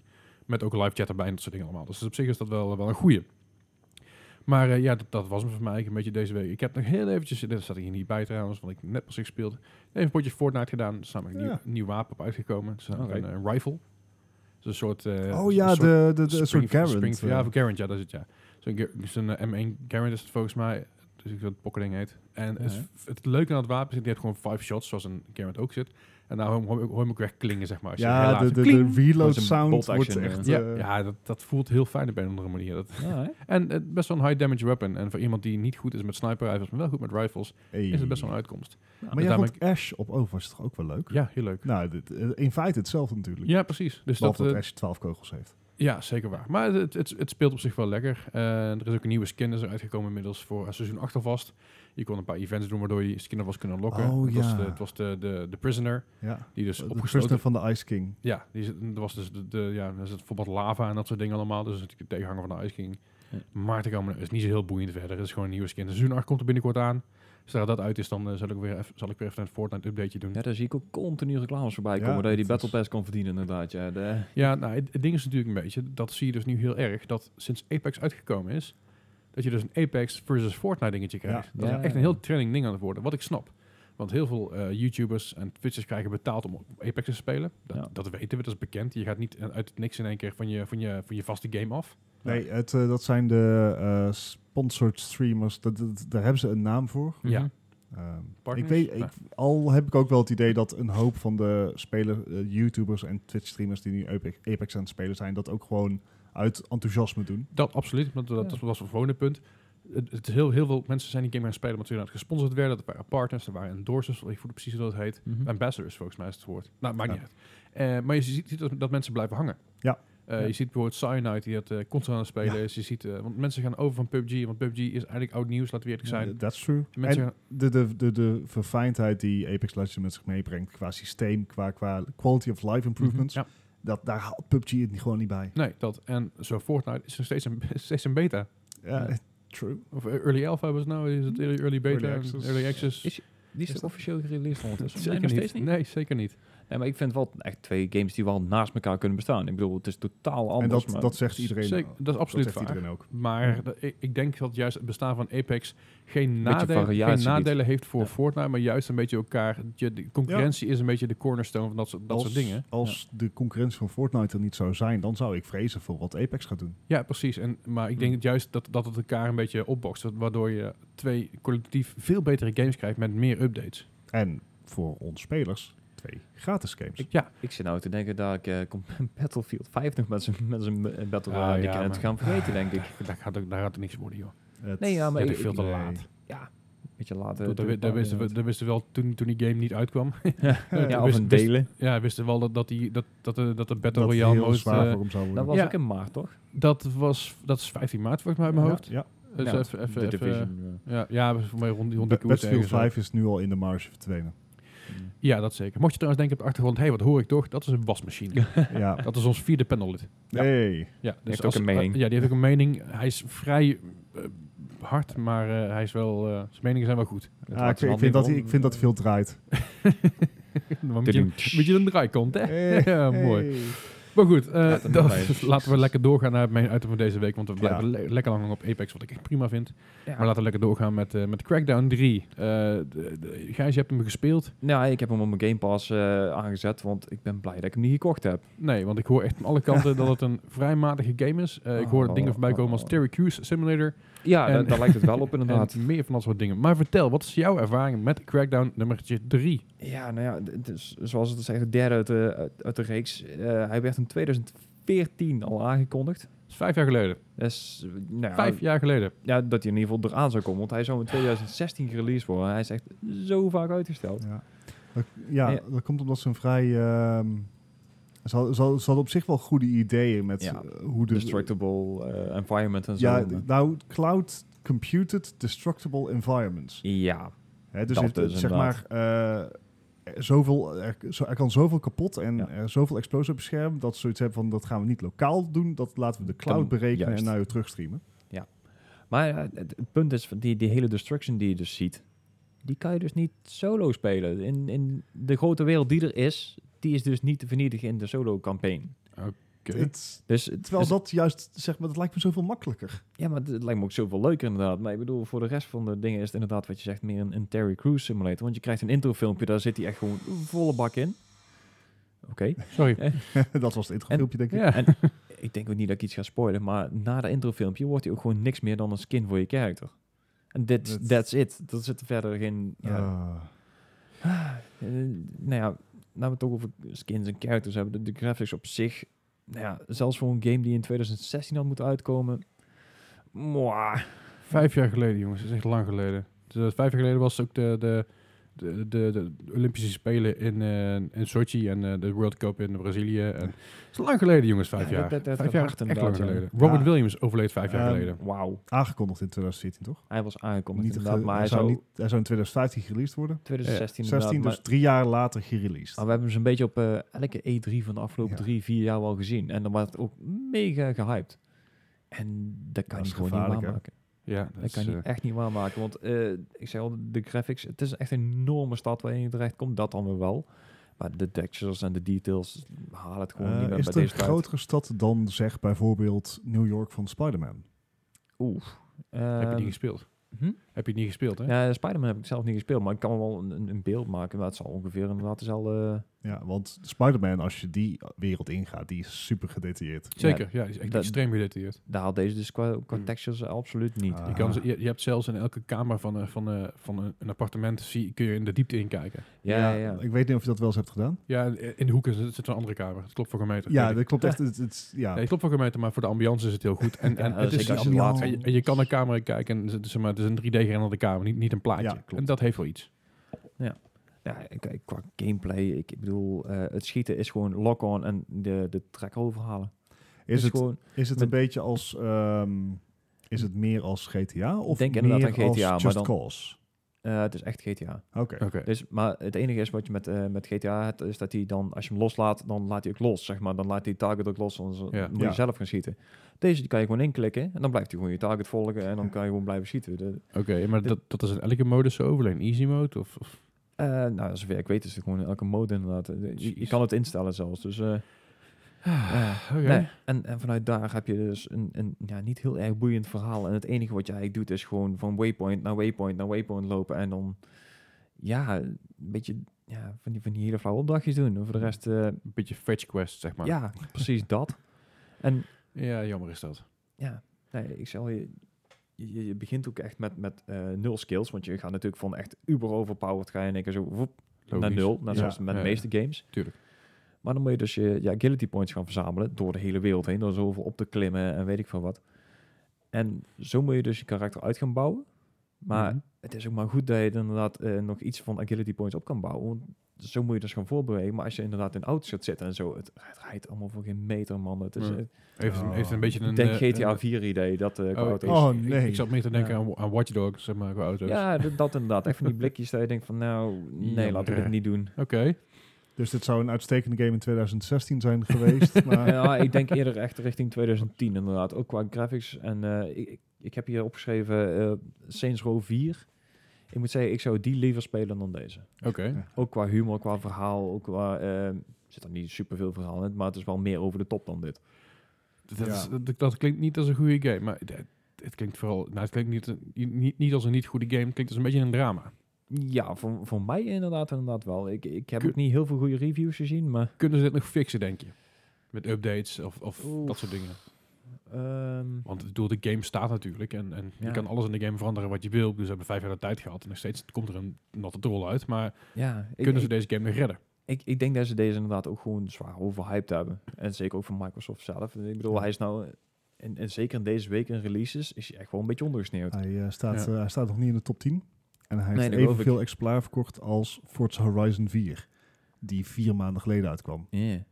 Speaker 3: Met ook live chat erbij en dat soort dingen allemaal. Dus op zich is dat wel, wel een goeie. Maar eh, ja, dat, dat was hem voor mij eigenlijk een beetje deze week. Ik heb nog heel eventjes, dat zat ik hier niet bij trouwens, want ik net pas ik speelde. Even een potje Fortnite gedaan. Er is namelijk een
Speaker 2: Ja.
Speaker 3: nieuw, nieuw wapen op uitgekomen. Het is namelijk
Speaker 1: Oké.
Speaker 3: een, eh, rifle. Dus een soort... eh,
Speaker 2: Oh
Speaker 3: een
Speaker 2: ja,
Speaker 3: soort
Speaker 2: de, de, de, een soort
Speaker 3: Springf-
Speaker 2: Garand.
Speaker 3: Springf- ja,
Speaker 2: eh,
Speaker 3: voor Garand, ja, dat is het, ja. Zo'n Gar- Zo'n eh, M1 Garand is het volgens mij. Dus ik weet het pokkerding heet. En het, is-
Speaker 1: Ja.
Speaker 3: het leuke aan het wapen is, die heeft gewoon five shots, zoals een Garand ook zit. En nou hoor hoor- hoor je hem ook echt klingen, zeg maar. Als je heel
Speaker 2: Ja,
Speaker 3: laat
Speaker 2: de,
Speaker 3: zo
Speaker 2: de,
Speaker 3: kling.
Speaker 2: de reload
Speaker 1: Dat is een
Speaker 2: sound
Speaker 1: bolt
Speaker 2: wordt
Speaker 1: action,
Speaker 2: echt...
Speaker 3: Ja,
Speaker 2: eh,
Speaker 3: ja dat, dat voelt heel fijn op een of andere manier. Dat,
Speaker 1: Ja, hè?
Speaker 3: en eh, best wel een high damage weapon. En voor iemand die niet goed is met sniper rifles, maar wel goed met rifles,
Speaker 2: hey.
Speaker 3: is het best wel een uitkomst.
Speaker 2: Maar jij
Speaker 3: daarom
Speaker 2: vond Ash op Overwatch toch ook wel leuk?
Speaker 3: Ja, heel leuk.
Speaker 2: Nou, dit, eh, in feite hetzelfde natuurlijk.
Speaker 3: Ja, precies. Dus dat,
Speaker 2: Behalve dat
Speaker 3: eh,
Speaker 2: Ash 12 kogels heeft.
Speaker 3: ja, zeker waar. Maar het, het, het speelt op zich wel lekker. Eh, er is ook een nieuwe skin is er uitgekomen inmiddels voor eh, seizoen 8 alvast. Je kon een paar events doen waardoor je skin alvast kunnen lokken.
Speaker 2: Oh,
Speaker 3: het, was
Speaker 2: ja.
Speaker 3: de, het was de, de, de Prisoner,
Speaker 2: Ja.
Speaker 3: die dus
Speaker 2: De
Speaker 3: opgesloten...
Speaker 2: prisoner van de Ice King.
Speaker 3: Ja, die zit, er was dus de, de- ja, er zit bijvoorbeeld lava en dat soort dingen allemaal. Dus natuurlijk de tegenhanger van de Ice King.
Speaker 1: Ja.
Speaker 3: Maar te komen is niet zo heel boeiend verder. Het is gewoon een nieuwe skin. Seizoen 8 komt er binnenkort aan. Zodra dat uit is, dan eh, zal, ik weer even, zal ik weer even een Fortnite updateje doen.
Speaker 1: Ja, daar zie ik ook continu reclames voorbij
Speaker 2: Ja,
Speaker 1: komen dat je die
Speaker 2: dat is-
Speaker 1: Battle Pass kan verdienen inderdaad. Ja, de,
Speaker 3: Ja, nou, het, het ding is natuurlijk een beetje, dat zie je dus nu heel erg, dat sinds Apex uitgekomen is, dat je dus een Apex versus Fortnite dingetje krijgt.
Speaker 2: Ja.
Speaker 3: dat
Speaker 1: Ja.
Speaker 3: is echt een heel trending ding aan het worden, wat ik snap. Want heel veel eh, YouTubers en Twitchers krijgen betaald om op Apex te spelen. Dat,
Speaker 1: Ja.
Speaker 3: dat weten we, dat is bekend. Je gaat niet eh, uit het niks in één keer van je, van je, van je vaste game af.
Speaker 2: Nee, het, eh, dat zijn de eh, sponsored streamers. Dat, dat- daar hebben ze een naam voor.
Speaker 3: Ja.
Speaker 2: Ehm, ik
Speaker 3: Partners? Nou,
Speaker 2: weet,
Speaker 3: Ja.
Speaker 2: ik, al heb ik ook wel het idee dat een hoop van de speler, eh, YouTubers en Twitch-streamers die nu Apex, Apex aan het spelen zijn, dat ook gewoon uit enthousiasme doen.
Speaker 3: Dat absoluut, want dat
Speaker 1: Ja.
Speaker 3: was een volgende punt. Het, het is heel, heel veel mensen zijn die game gaan spelen omdat ze inderdaad gesponsord werden. Dat waren partners, er waren endorsers, ik voel precies hoe dat heet.
Speaker 1: Mhm.
Speaker 3: Ambassadors volgens mij is het woord. Nou, maakt niet uit. Eh, maar je ziet, ziet dat, dat mensen blijven hangen.
Speaker 2: Ja.
Speaker 3: Eh,
Speaker 1: Ja.
Speaker 3: Je ziet bijvoorbeeld Cyanide die dat eh, constant aan het spelen
Speaker 2: Ja.
Speaker 3: is. Je ziet, eh, want mensen gaan over van PUBG, want PUBG is eigenlijk oud nieuws, laten we eerlijk zijn.
Speaker 2: Eh, That's true.
Speaker 3: En mensen
Speaker 2: En
Speaker 3: gaan-
Speaker 2: de, de, de, de verfijndheid die Apex Legends met zich meebrengt qua systeem, qua, qua quality of life improvements,
Speaker 3: Ja,
Speaker 2: dat, daar haalt PUBG het niet- gewoon niet bij.
Speaker 3: nee, dat. En zo Fortnite is nog steeds een, is steeds een beta.
Speaker 2: Ja,
Speaker 1: Ja.
Speaker 2: true.
Speaker 3: Of eh, early alpha was het nou, is het early, early beta,
Speaker 2: Early
Speaker 3: en
Speaker 2: access.
Speaker 3: early access.
Speaker 1: Is- Die is toch officieel gereleased ondertussen?
Speaker 3: Zeker
Speaker 1: nog
Speaker 3: niet.
Speaker 1: steeds niet.
Speaker 3: Nee, zeker niet.
Speaker 1: Nee, maar ik vind wel echt twee games die wel naast elkaar kunnen bestaan. Ik bedoel, het is totaal anders.
Speaker 2: En dat,
Speaker 1: maar-
Speaker 2: dat zegt iedereen.
Speaker 3: Zeker,
Speaker 2: ook.
Speaker 3: dat is
Speaker 2: dat
Speaker 3: absoluut
Speaker 2: zegt
Speaker 3: waar.
Speaker 2: iedereen ook.
Speaker 3: Maar dat- ik, ik denk dat juist het bestaan van Apex geen,
Speaker 1: Beetje
Speaker 3: nadeel, geen
Speaker 1: variatie
Speaker 3: nadelen heeft voor
Speaker 1: Ja.
Speaker 3: Fortnite, maar juist een beetje elkaar. je- De concurrentie is een beetje de cornerstone van dat soort, dat
Speaker 2: als
Speaker 3: soort dingen.
Speaker 2: als de concurrentie van Fortnite er niet zou zijn, dan zou ik vrezen voor wat Apex gaat doen.
Speaker 3: Ja, precies. En, maar ik denk
Speaker 1: Hmm.
Speaker 3: juist dat, dat het elkaar een beetje opbokst, wa- waardoor je twee collectief veel betere games krijgt met meer updates.
Speaker 2: En voor ons spelers twee gratis games.
Speaker 3: Ik- ja,
Speaker 1: Ik zit nou te denken dat ik eh, kom- Battlefield 5 nog met zijn met zijn eh, Battle
Speaker 3: Ah,
Speaker 1: Royale
Speaker 3: ja,
Speaker 1: kan het
Speaker 3: maar-
Speaker 1: gaan vergeten, denk ik.
Speaker 3: daar, daar gaat, ook- daar gaat er niks worden, joh.
Speaker 2: Het-
Speaker 1: Nee, ja, maar
Speaker 3: Dat
Speaker 1: ik,
Speaker 3: is veel te
Speaker 2: nee.
Speaker 3: laat.
Speaker 1: beetje later.
Speaker 3: Dat- dat we- Dat wisten we- dat wisten we wel toen, toen die game niet uitkwam. dat
Speaker 1: ja, of
Speaker 3: wist-
Speaker 1: een
Speaker 3: wist-
Speaker 1: delen.
Speaker 3: ja, wisten we wel dat, dat, die, dat, dat, de, dat de Battle
Speaker 2: dat
Speaker 3: Royale
Speaker 2: heel
Speaker 3: mode,
Speaker 2: zwaar
Speaker 3: eh,
Speaker 2: voor hem zou worden.
Speaker 1: Nou, Dat was
Speaker 3: Ja.
Speaker 1: ook in maart, toch?
Speaker 3: dat was dat is 15 maart volgens mij in mijn
Speaker 1: Ja.
Speaker 3: hoofd.
Speaker 2: ja,
Speaker 3: Dus
Speaker 1: Ja,
Speaker 3: even, even,
Speaker 1: de
Speaker 3: even-
Speaker 1: Division. ja.
Speaker 3: Ja, ja, we zijn voor mij rond die, rond die
Speaker 2: Ba-
Speaker 3: koers
Speaker 2: Battlefield
Speaker 3: ergens, hè.
Speaker 2: 5 is nu al in de marge verdwenen.
Speaker 3: Ja, dat zeker. Mocht je trouwens denken op de achtergrond, hé, hey, wat hoor ik toch? Dat is een wasmachine.
Speaker 2: ja.
Speaker 3: dat is ons vierde panellid.
Speaker 2: Nee.
Speaker 3: Ja, dus
Speaker 1: heeft ook een mening.
Speaker 3: ja, die heeft ook een mening. Hij is vrij eh, hard, maar eh, hij is wel, eh, zijn meningen zijn wel goed.
Speaker 1: Dat
Speaker 2: Ah,
Speaker 1: laat
Speaker 2: ik,
Speaker 1: ze wel
Speaker 2: ik vind
Speaker 1: niet
Speaker 2: dat,
Speaker 1: om.
Speaker 2: hij-
Speaker 1: eh,
Speaker 2: ik vind dat hij veel draait.
Speaker 3: Maar Een beetje, een
Speaker 1: Tudum.
Speaker 3: beetje een draai komt, hè?
Speaker 2: Hey,
Speaker 3: ja,
Speaker 2: hey.
Speaker 3: mooi. Maar goed, eh,
Speaker 1: Laat het
Speaker 3: dat-
Speaker 1: erbij.
Speaker 3: laten we lekker doorgaan naar het main item van deze week. Want we
Speaker 2: Ja.
Speaker 3: blijven le- lekker lang hangen op Apex, wat ik echt prima vind.
Speaker 1: Ja.
Speaker 3: Maar laten we lekker doorgaan met, eh, met Crackdown 3. Eh de- de- Gijs, je hebt hem gespeeld.
Speaker 1: Nou, ik heb hem op mijn Game Pass eh, aangezet, want ik ben blij dat ik hem niet gekocht heb.
Speaker 3: Nee, want ik hoor echt van alle kanten dat het een vrij matige game is. Eh, ik hoor
Speaker 1: Oh,
Speaker 3: dingen voorbij komen als
Speaker 1: oh.
Speaker 3: Terry Crews Simulator
Speaker 1: Ja,
Speaker 3: En-
Speaker 1: daar, daar lijkt het wel op inderdaad.
Speaker 3: en meer van dat soort dingen. Maar vertel, wat is jouw ervaring met Crackdown nummertje 3?
Speaker 1: Ja, nou ja, d- dus, zoals het is echt de derde uit de, uit- uit de reeks. Eh, hij werd in 2014 al aangekondigd.
Speaker 3: Dat is vijf jaar geleden.
Speaker 1: Dus, eh, nou ja,
Speaker 3: Vijf jaar geleden.
Speaker 1: ja, dat hij in ieder geval eraan zou komen. Want hij zou in 2016 gereleased worden. Hij is echt zo vaak uitgesteld.
Speaker 2: Ja. Dat, ja,
Speaker 1: Ja.
Speaker 2: dat komt omdat ze een vrij... ehm ze, hadden, ze hadden- ze hadden op zich wel goede ideeën met
Speaker 1: Ja.
Speaker 2: eh, hoe de...
Speaker 1: Destructible eh, environment en zo.
Speaker 2: ja, d- nou, cloud computed destructible environments.
Speaker 1: ja.
Speaker 2: Hè, dus
Speaker 1: Dat
Speaker 2: het, het-
Speaker 1: dus
Speaker 2: zeg maar, eh, er zoveel, er, zo- er kan zoveel kapot en
Speaker 1: Ja.
Speaker 2: er zoveel explosie op het scherm dat ze zoiets hebben van dat gaan we niet lokaal doen, dat laten we de cloud
Speaker 1: Dan-
Speaker 2: berekenen
Speaker 1: juist.
Speaker 2: en naar je terugstreamen.
Speaker 1: Maar eh, het, het punt is, van die, die hele destruction die je dus ziet. Die kan je dus niet solo spelen. In, in de grote wereld die er is, die is dus niet te vernietigen in de solo-campaign.
Speaker 3: Oké.
Speaker 2: Het-
Speaker 1: Dus,
Speaker 2: terwijl
Speaker 1: dus-
Speaker 2: dat juist, zeg maar, dat lijkt me zoveel makkelijker.
Speaker 1: Ja, maar het lijkt me ook zoveel leuker inderdaad. Maar ik bedoel, voor de rest van de dingen is het inderdaad wat je zegt meer een, een Terry Crews simulator. Want je krijgt een introfilmpje, daar zit hij echt gewoon volle bak in. Oké.
Speaker 3: Sorry.
Speaker 2: dat was het introfilmpje, denk ik.
Speaker 3: Ja.
Speaker 1: En ik denk ook niet dat ik iets ga spoilen, maar na dat introfilmpje wordt hij ook gewoon niks meer dan een skin voor je character. En that's,
Speaker 2: Dat-
Speaker 1: that's it. Er zit verder geen... Ja,
Speaker 2: Ah.
Speaker 1: eh, nou ja, laten we het toch over skins en characters hebben. De, de graphics op zich, nou ja, zelfs voor een game die in 2016 had moeten uitkomen... Mwah.
Speaker 3: Vijf jaar geleden, jongens. Dat is echt lang geleden. Dus, dat vijf jaar geleden was ook de, de, de, de, de Olympische Spelen in, eh, in Sochi en eh, de World Cup in Brazilië. En, het is lang geleden, jongens. Vijf
Speaker 1: Ja,
Speaker 3: jaar.
Speaker 1: dat- dat- dat
Speaker 3: vijf
Speaker 1: gaat
Speaker 3: jaar is
Speaker 1: hard
Speaker 3: echt lang
Speaker 1: inderdaad, ja.
Speaker 3: geleden. Robert
Speaker 2: Ja.
Speaker 3: Williams overleed vijf jaar
Speaker 2: Ehm,
Speaker 3: geleden.
Speaker 1: Wauw.
Speaker 2: Aangekondigd in 2014, toch?
Speaker 1: Hij was aangekondigd
Speaker 2: Niet
Speaker 1: inderdaad,
Speaker 2: ge-
Speaker 1: maar hij
Speaker 2: hij, zou
Speaker 1: zou
Speaker 2: niet, hij zou in 2015 gereleased worden.
Speaker 1: 2016 inderdaad.
Speaker 2: 16,
Speaker 1: maar- Ah,
Speaker 2: dus drie jaar later gereleased.
Speaker 1: maar we hebben ze een beetje op eh, elke E3 van de afgelopen
Speaker 2: Ja.
Speaker 1: drie, vier jaar al gezien. En dan wordt het ook mega gehyped. En dat kan
Speaker 2: Dat
Speaker 1: je
Speaker 2: is
Speaker 1: gewoon niet
Speaker 2: gevaarlijk, hè?
Speaker 1: waarmaken.
Speaker 3: Ja, dat
Speaker 1: Dat
Speaker 3: is,
Speaker 1: kan je
Speaker 3: eh,
Speaker 1: echt niet waarmaken. Want eh, ik zei al, de graphics, het is echt een enorme stad waarin je terecht komt. Dat dan weer wel. Maar de textures en de details halen het gewoon
Speaker 2: Eh,
Speaker 1: niet meer
Speaker 2: is
Speaker 1: bij
Speaker 2: het een
Speaker 1: deze tijd.
Speaker 2: grotere stad dan, zeg, bijvoorbeeld New York van Spider-Man?
Speaker 3: heb je
Speaker 1: Ehm,
Speaker 3: niet gespeeld?
Speaker 1: hm?
Speaker 3: Heb je het niet gespeeld, hè?
Speaker 1: Ja, Spider-Man heb ik zelf niet gespeeld, maar ik kan wel een- een, een beeld maken. Maar het zal eh, ongeveer inderdaad dezelfde...
Speaker 2: Ja, want Spider-Man, als je die wereld ingaat, die is super gedetailleerd.
Speaker 3: Zeker, ja. die is echt
Speaker 1: dat-
Speaker 3: extreem gedetailleerd.
Speaker 1: Daar haalt deze dus qua, qua
Speaker 3: Hmm.
Speaker 1: textures absoluut niet.
Speaker 2: Ah.
Speaker 3: Je, kan, ze- je, je hebt zelfs in elke kamer van, eh, van, eh, van een- een appartement zie, kun je in de diepte inkijken.
Speaker 1: Ja, ja, ja.
Speaker 2: Ik weet niet of je dat wel eens hebt gedaan.
Speaker 3: Ja, in in de hoeken zit, zit een andere kamer. Dat klopt voor een meter.
Speaker 2: Ja,
Speaker 3: Weet
Speaker 2: dat
Speaker 3: ik.
Speaker 2: klopt echt. Het, het- ja.
Speaker 3: Nee, klopt voor een meter, maar voor de ambiance is het heel goed. En, en
Speaker 1: Ja,
Speaker 3: het is
Speaker 1: zeker
Speaker 3: dus-
Speaker 2: die
Speaker 1: als je het
Speaker 2: ambiance.
Speaker 1: laat.
Speaker 3: En je, en je kan naar camera kijken en het is, zeg maar, het is een 3D-gerenderde kamer, niet, niet een
Speaker 2: Ja,
Speaker 3: plaatje.
Speaker 2: klopt.
Speaker 3: en dat heeft wel iets.
Speaker 1: Ja, ik- ik- qua gameplay, ik ik bedoel, eh, het schieten is gewoon lock-on en de, de track overhalen.
Speaker 2: Is, het,
Speaker 1: gewoon,
Speaker 2: is het
Speaker 1: met-
Speaker 2: een beetje als... ehm, is het meer als GTA of
Speaker 1: Denk
Speaker 2: meer
Speaker 1: inderdaad aan
Speaker 2: als
Speaker 1: GTA, maar
Speaker 2: Just
Speaker 1: dan-
Speaker 2: Cause?
Speaker 1: eh, het is echt GTA.
Speaker 2: Oké.
Speaker 3: Oké.
Speaker 1: Dus, maar het enige is wat je met, eh, met GTA hebt, is dat hij dan, als je hem loslaat, dan laat hij ook los, zeg maar. Dan laat hij je target ook los, anders eh,
Speaker 3: Ja.
Speaker 1: moet je
Speaker 2: Ja.
Speaker 1: zelf gaan schieten. Deze die kan je gewoon inklikken en dan blijft hij gewoon je target volgen en dan kan je gewoon blijven schieten. De-
Speaker 3: Oké, maar dat, dat is in elke mode zo over, alleen easy mode of... of
Speaker 1: eh, nou, zover ik weet is het gewoon in elke mode inderdaad. Je- Je,
Speaker 3: Jeez.
Speaker 1: kan het instellen zelfs, dus... eh,
Speaker 2: Ah.
Speaker 1: eh,
Speaker 3: Oké.
Speaker 1: Nee, en, en vanuit daar heb je dus een, een ja, niet heel erg boeiend verhaal. En het enige wat je eigenlijk doet is gewoon van waypoint naar waypoint naar waypoint lopen. En dan, ja, een beetje ja, van, die, van die hele flauwe opdrachtjes doen. En voor de rest, eh,
Speaker 3: Een beetje fetch quest, zeg maar.
Speaker 1: ja, precies dat. En
Speaker 3: Ja, jammer is dat.
Speaker 1: ja, nee, ik zal je... Je, je begint ook echt met, met eh, nul skills, want je gaat natuurlijk van echt uber overpowered ga je in één keer zo woep, naar
Speaker 3: Logisch.
Speaker 1: nul, net
Speaker 2: Ja,
Speaker 1: zoals met de
Speaker 3: ja,
Speaker 1: meeste games.
Speaker 3: Tuurlijk.
Speaker 1: Maar dan moet je dus je, je agility points gaan verzamelen door de hele wereld heen. Door zoveel op te klimmen en weet ik veel wat. En zo moet je dus je karakter uit gaan bouwen. Maar
Speaker 3: Mhm.
Speaker 1: het is ook maar goed dat je er inderdaad eh, nog iets van agility points op kan bouwen. Want zo moet je dus gaan voorbewegen. Maar als je inderdaad in auto's gaat zitten en zo, het, het rijdt allemaal voor geen meter, man. Het is,
Speaker 3: Ja.
Speaker 1: eh,
Speaker 3: Heeft,
Speaker 2: Oh.
Speaker 3: heeft een beetje een...
Speaker 1: ik denk
Speaker 3: eh,
Speaker 1: GTA
Speaker 3: een-
Speaker 1: 4 idee, dat eh qua
Speaker 3: Oh,
Speaker 1: auto's.
Speaker 3: dus. ik-
Speaker 2: Oh,
Speaker 3: ik- Ik,
Speaker 2: nee.
Speaker 3: zat meer te denken
Speaker 1: Ja.
Speaker 3: aan, aan Watch Dogs, zeg maar, qua auto's.
Speaker 1: Ja, d- dat inderdaad. Echt van die blikjes dat je denkt van, nou, nee, laten we
Speaker 3: Jammer.
Speaker 1: dit niet doen.
Speaker 3: Oké.
Speaker 2: Dus dit zou een uitstekende game in 2016 zijn geweest. maar
Speaker 1: Ja, ik denk eerder echt richting 2010 inderdaad. Ook qua graphics. En eh, ik, ik heb hier opgeschreven eh, Saints Row 4. Ik moet zeggen, ik zou die liever spelen dan deze.
Speaker 3: Oké.
Speaker 1: Ook qua humor, qua verhaal, ook qua... eh, zit er niet superveel verhaal in, maar het is wel meer over de top dan dit.
Speaker 3: Dat,
Speaker 2: Ja.
Speaker 3: is- dat, dat klinkt niet als een goede game, maar het, het klinkt vooral... Nou, het klinkt niet, niet, niet als een niet goede game, het klinkt als een beetje een drama.
Speaker 1: Ja, voor, voor mij inderdaad inderdaad wel. Ik, ik heb
Speaker 3: Kun-
Speaker 1: ook niet heel veel goede reviews gezien, maar...
Speaker 3: Kunnen ze dit nog fixen, denk je? Met updates of, of
Speaker 1: Oeh.
Speaker 3: dat soort dingen.
Speaker 1: ehm,
Speaker 3: Want ik bedoel, de game staat natuurlijk. En, en
Speaker 1: Ja.
Speaker 3: je kan alles in de game veranderen wat je wil. Dus we hebben vijf jaar de tijd gehad. En nog steeds komt er een natte drol uit. Maar
Speaker 1: ja, ik,
Speaker 3: kunnen ze
Speaker 1: ik,
Speaker 3: deze game nog redden?
Speaker 1: ik, ik denk dat ze deze inderdaad ook gewoon zwaar overhyped hebben. En zeker ook van Microsoft zelf. Ik bedoel, hij is nou... En, en zeker in deze week in releases is hij echt wel een beetje ondergesneeuwd.
Speaker 2: hij, eh, staat,
Speaker 3: Ja.
Speaker 2: eh, hij staat nog niet in de top 10. En hij
Speaker 1: Nee,
Speaker 2: heeft
Speaker 1: dat geloof
Speaker 2: evenveel exemplaar verkocht als Forza Horizon 4. Die vier maanden geleden uitkwam.
Speaker 1: Ja.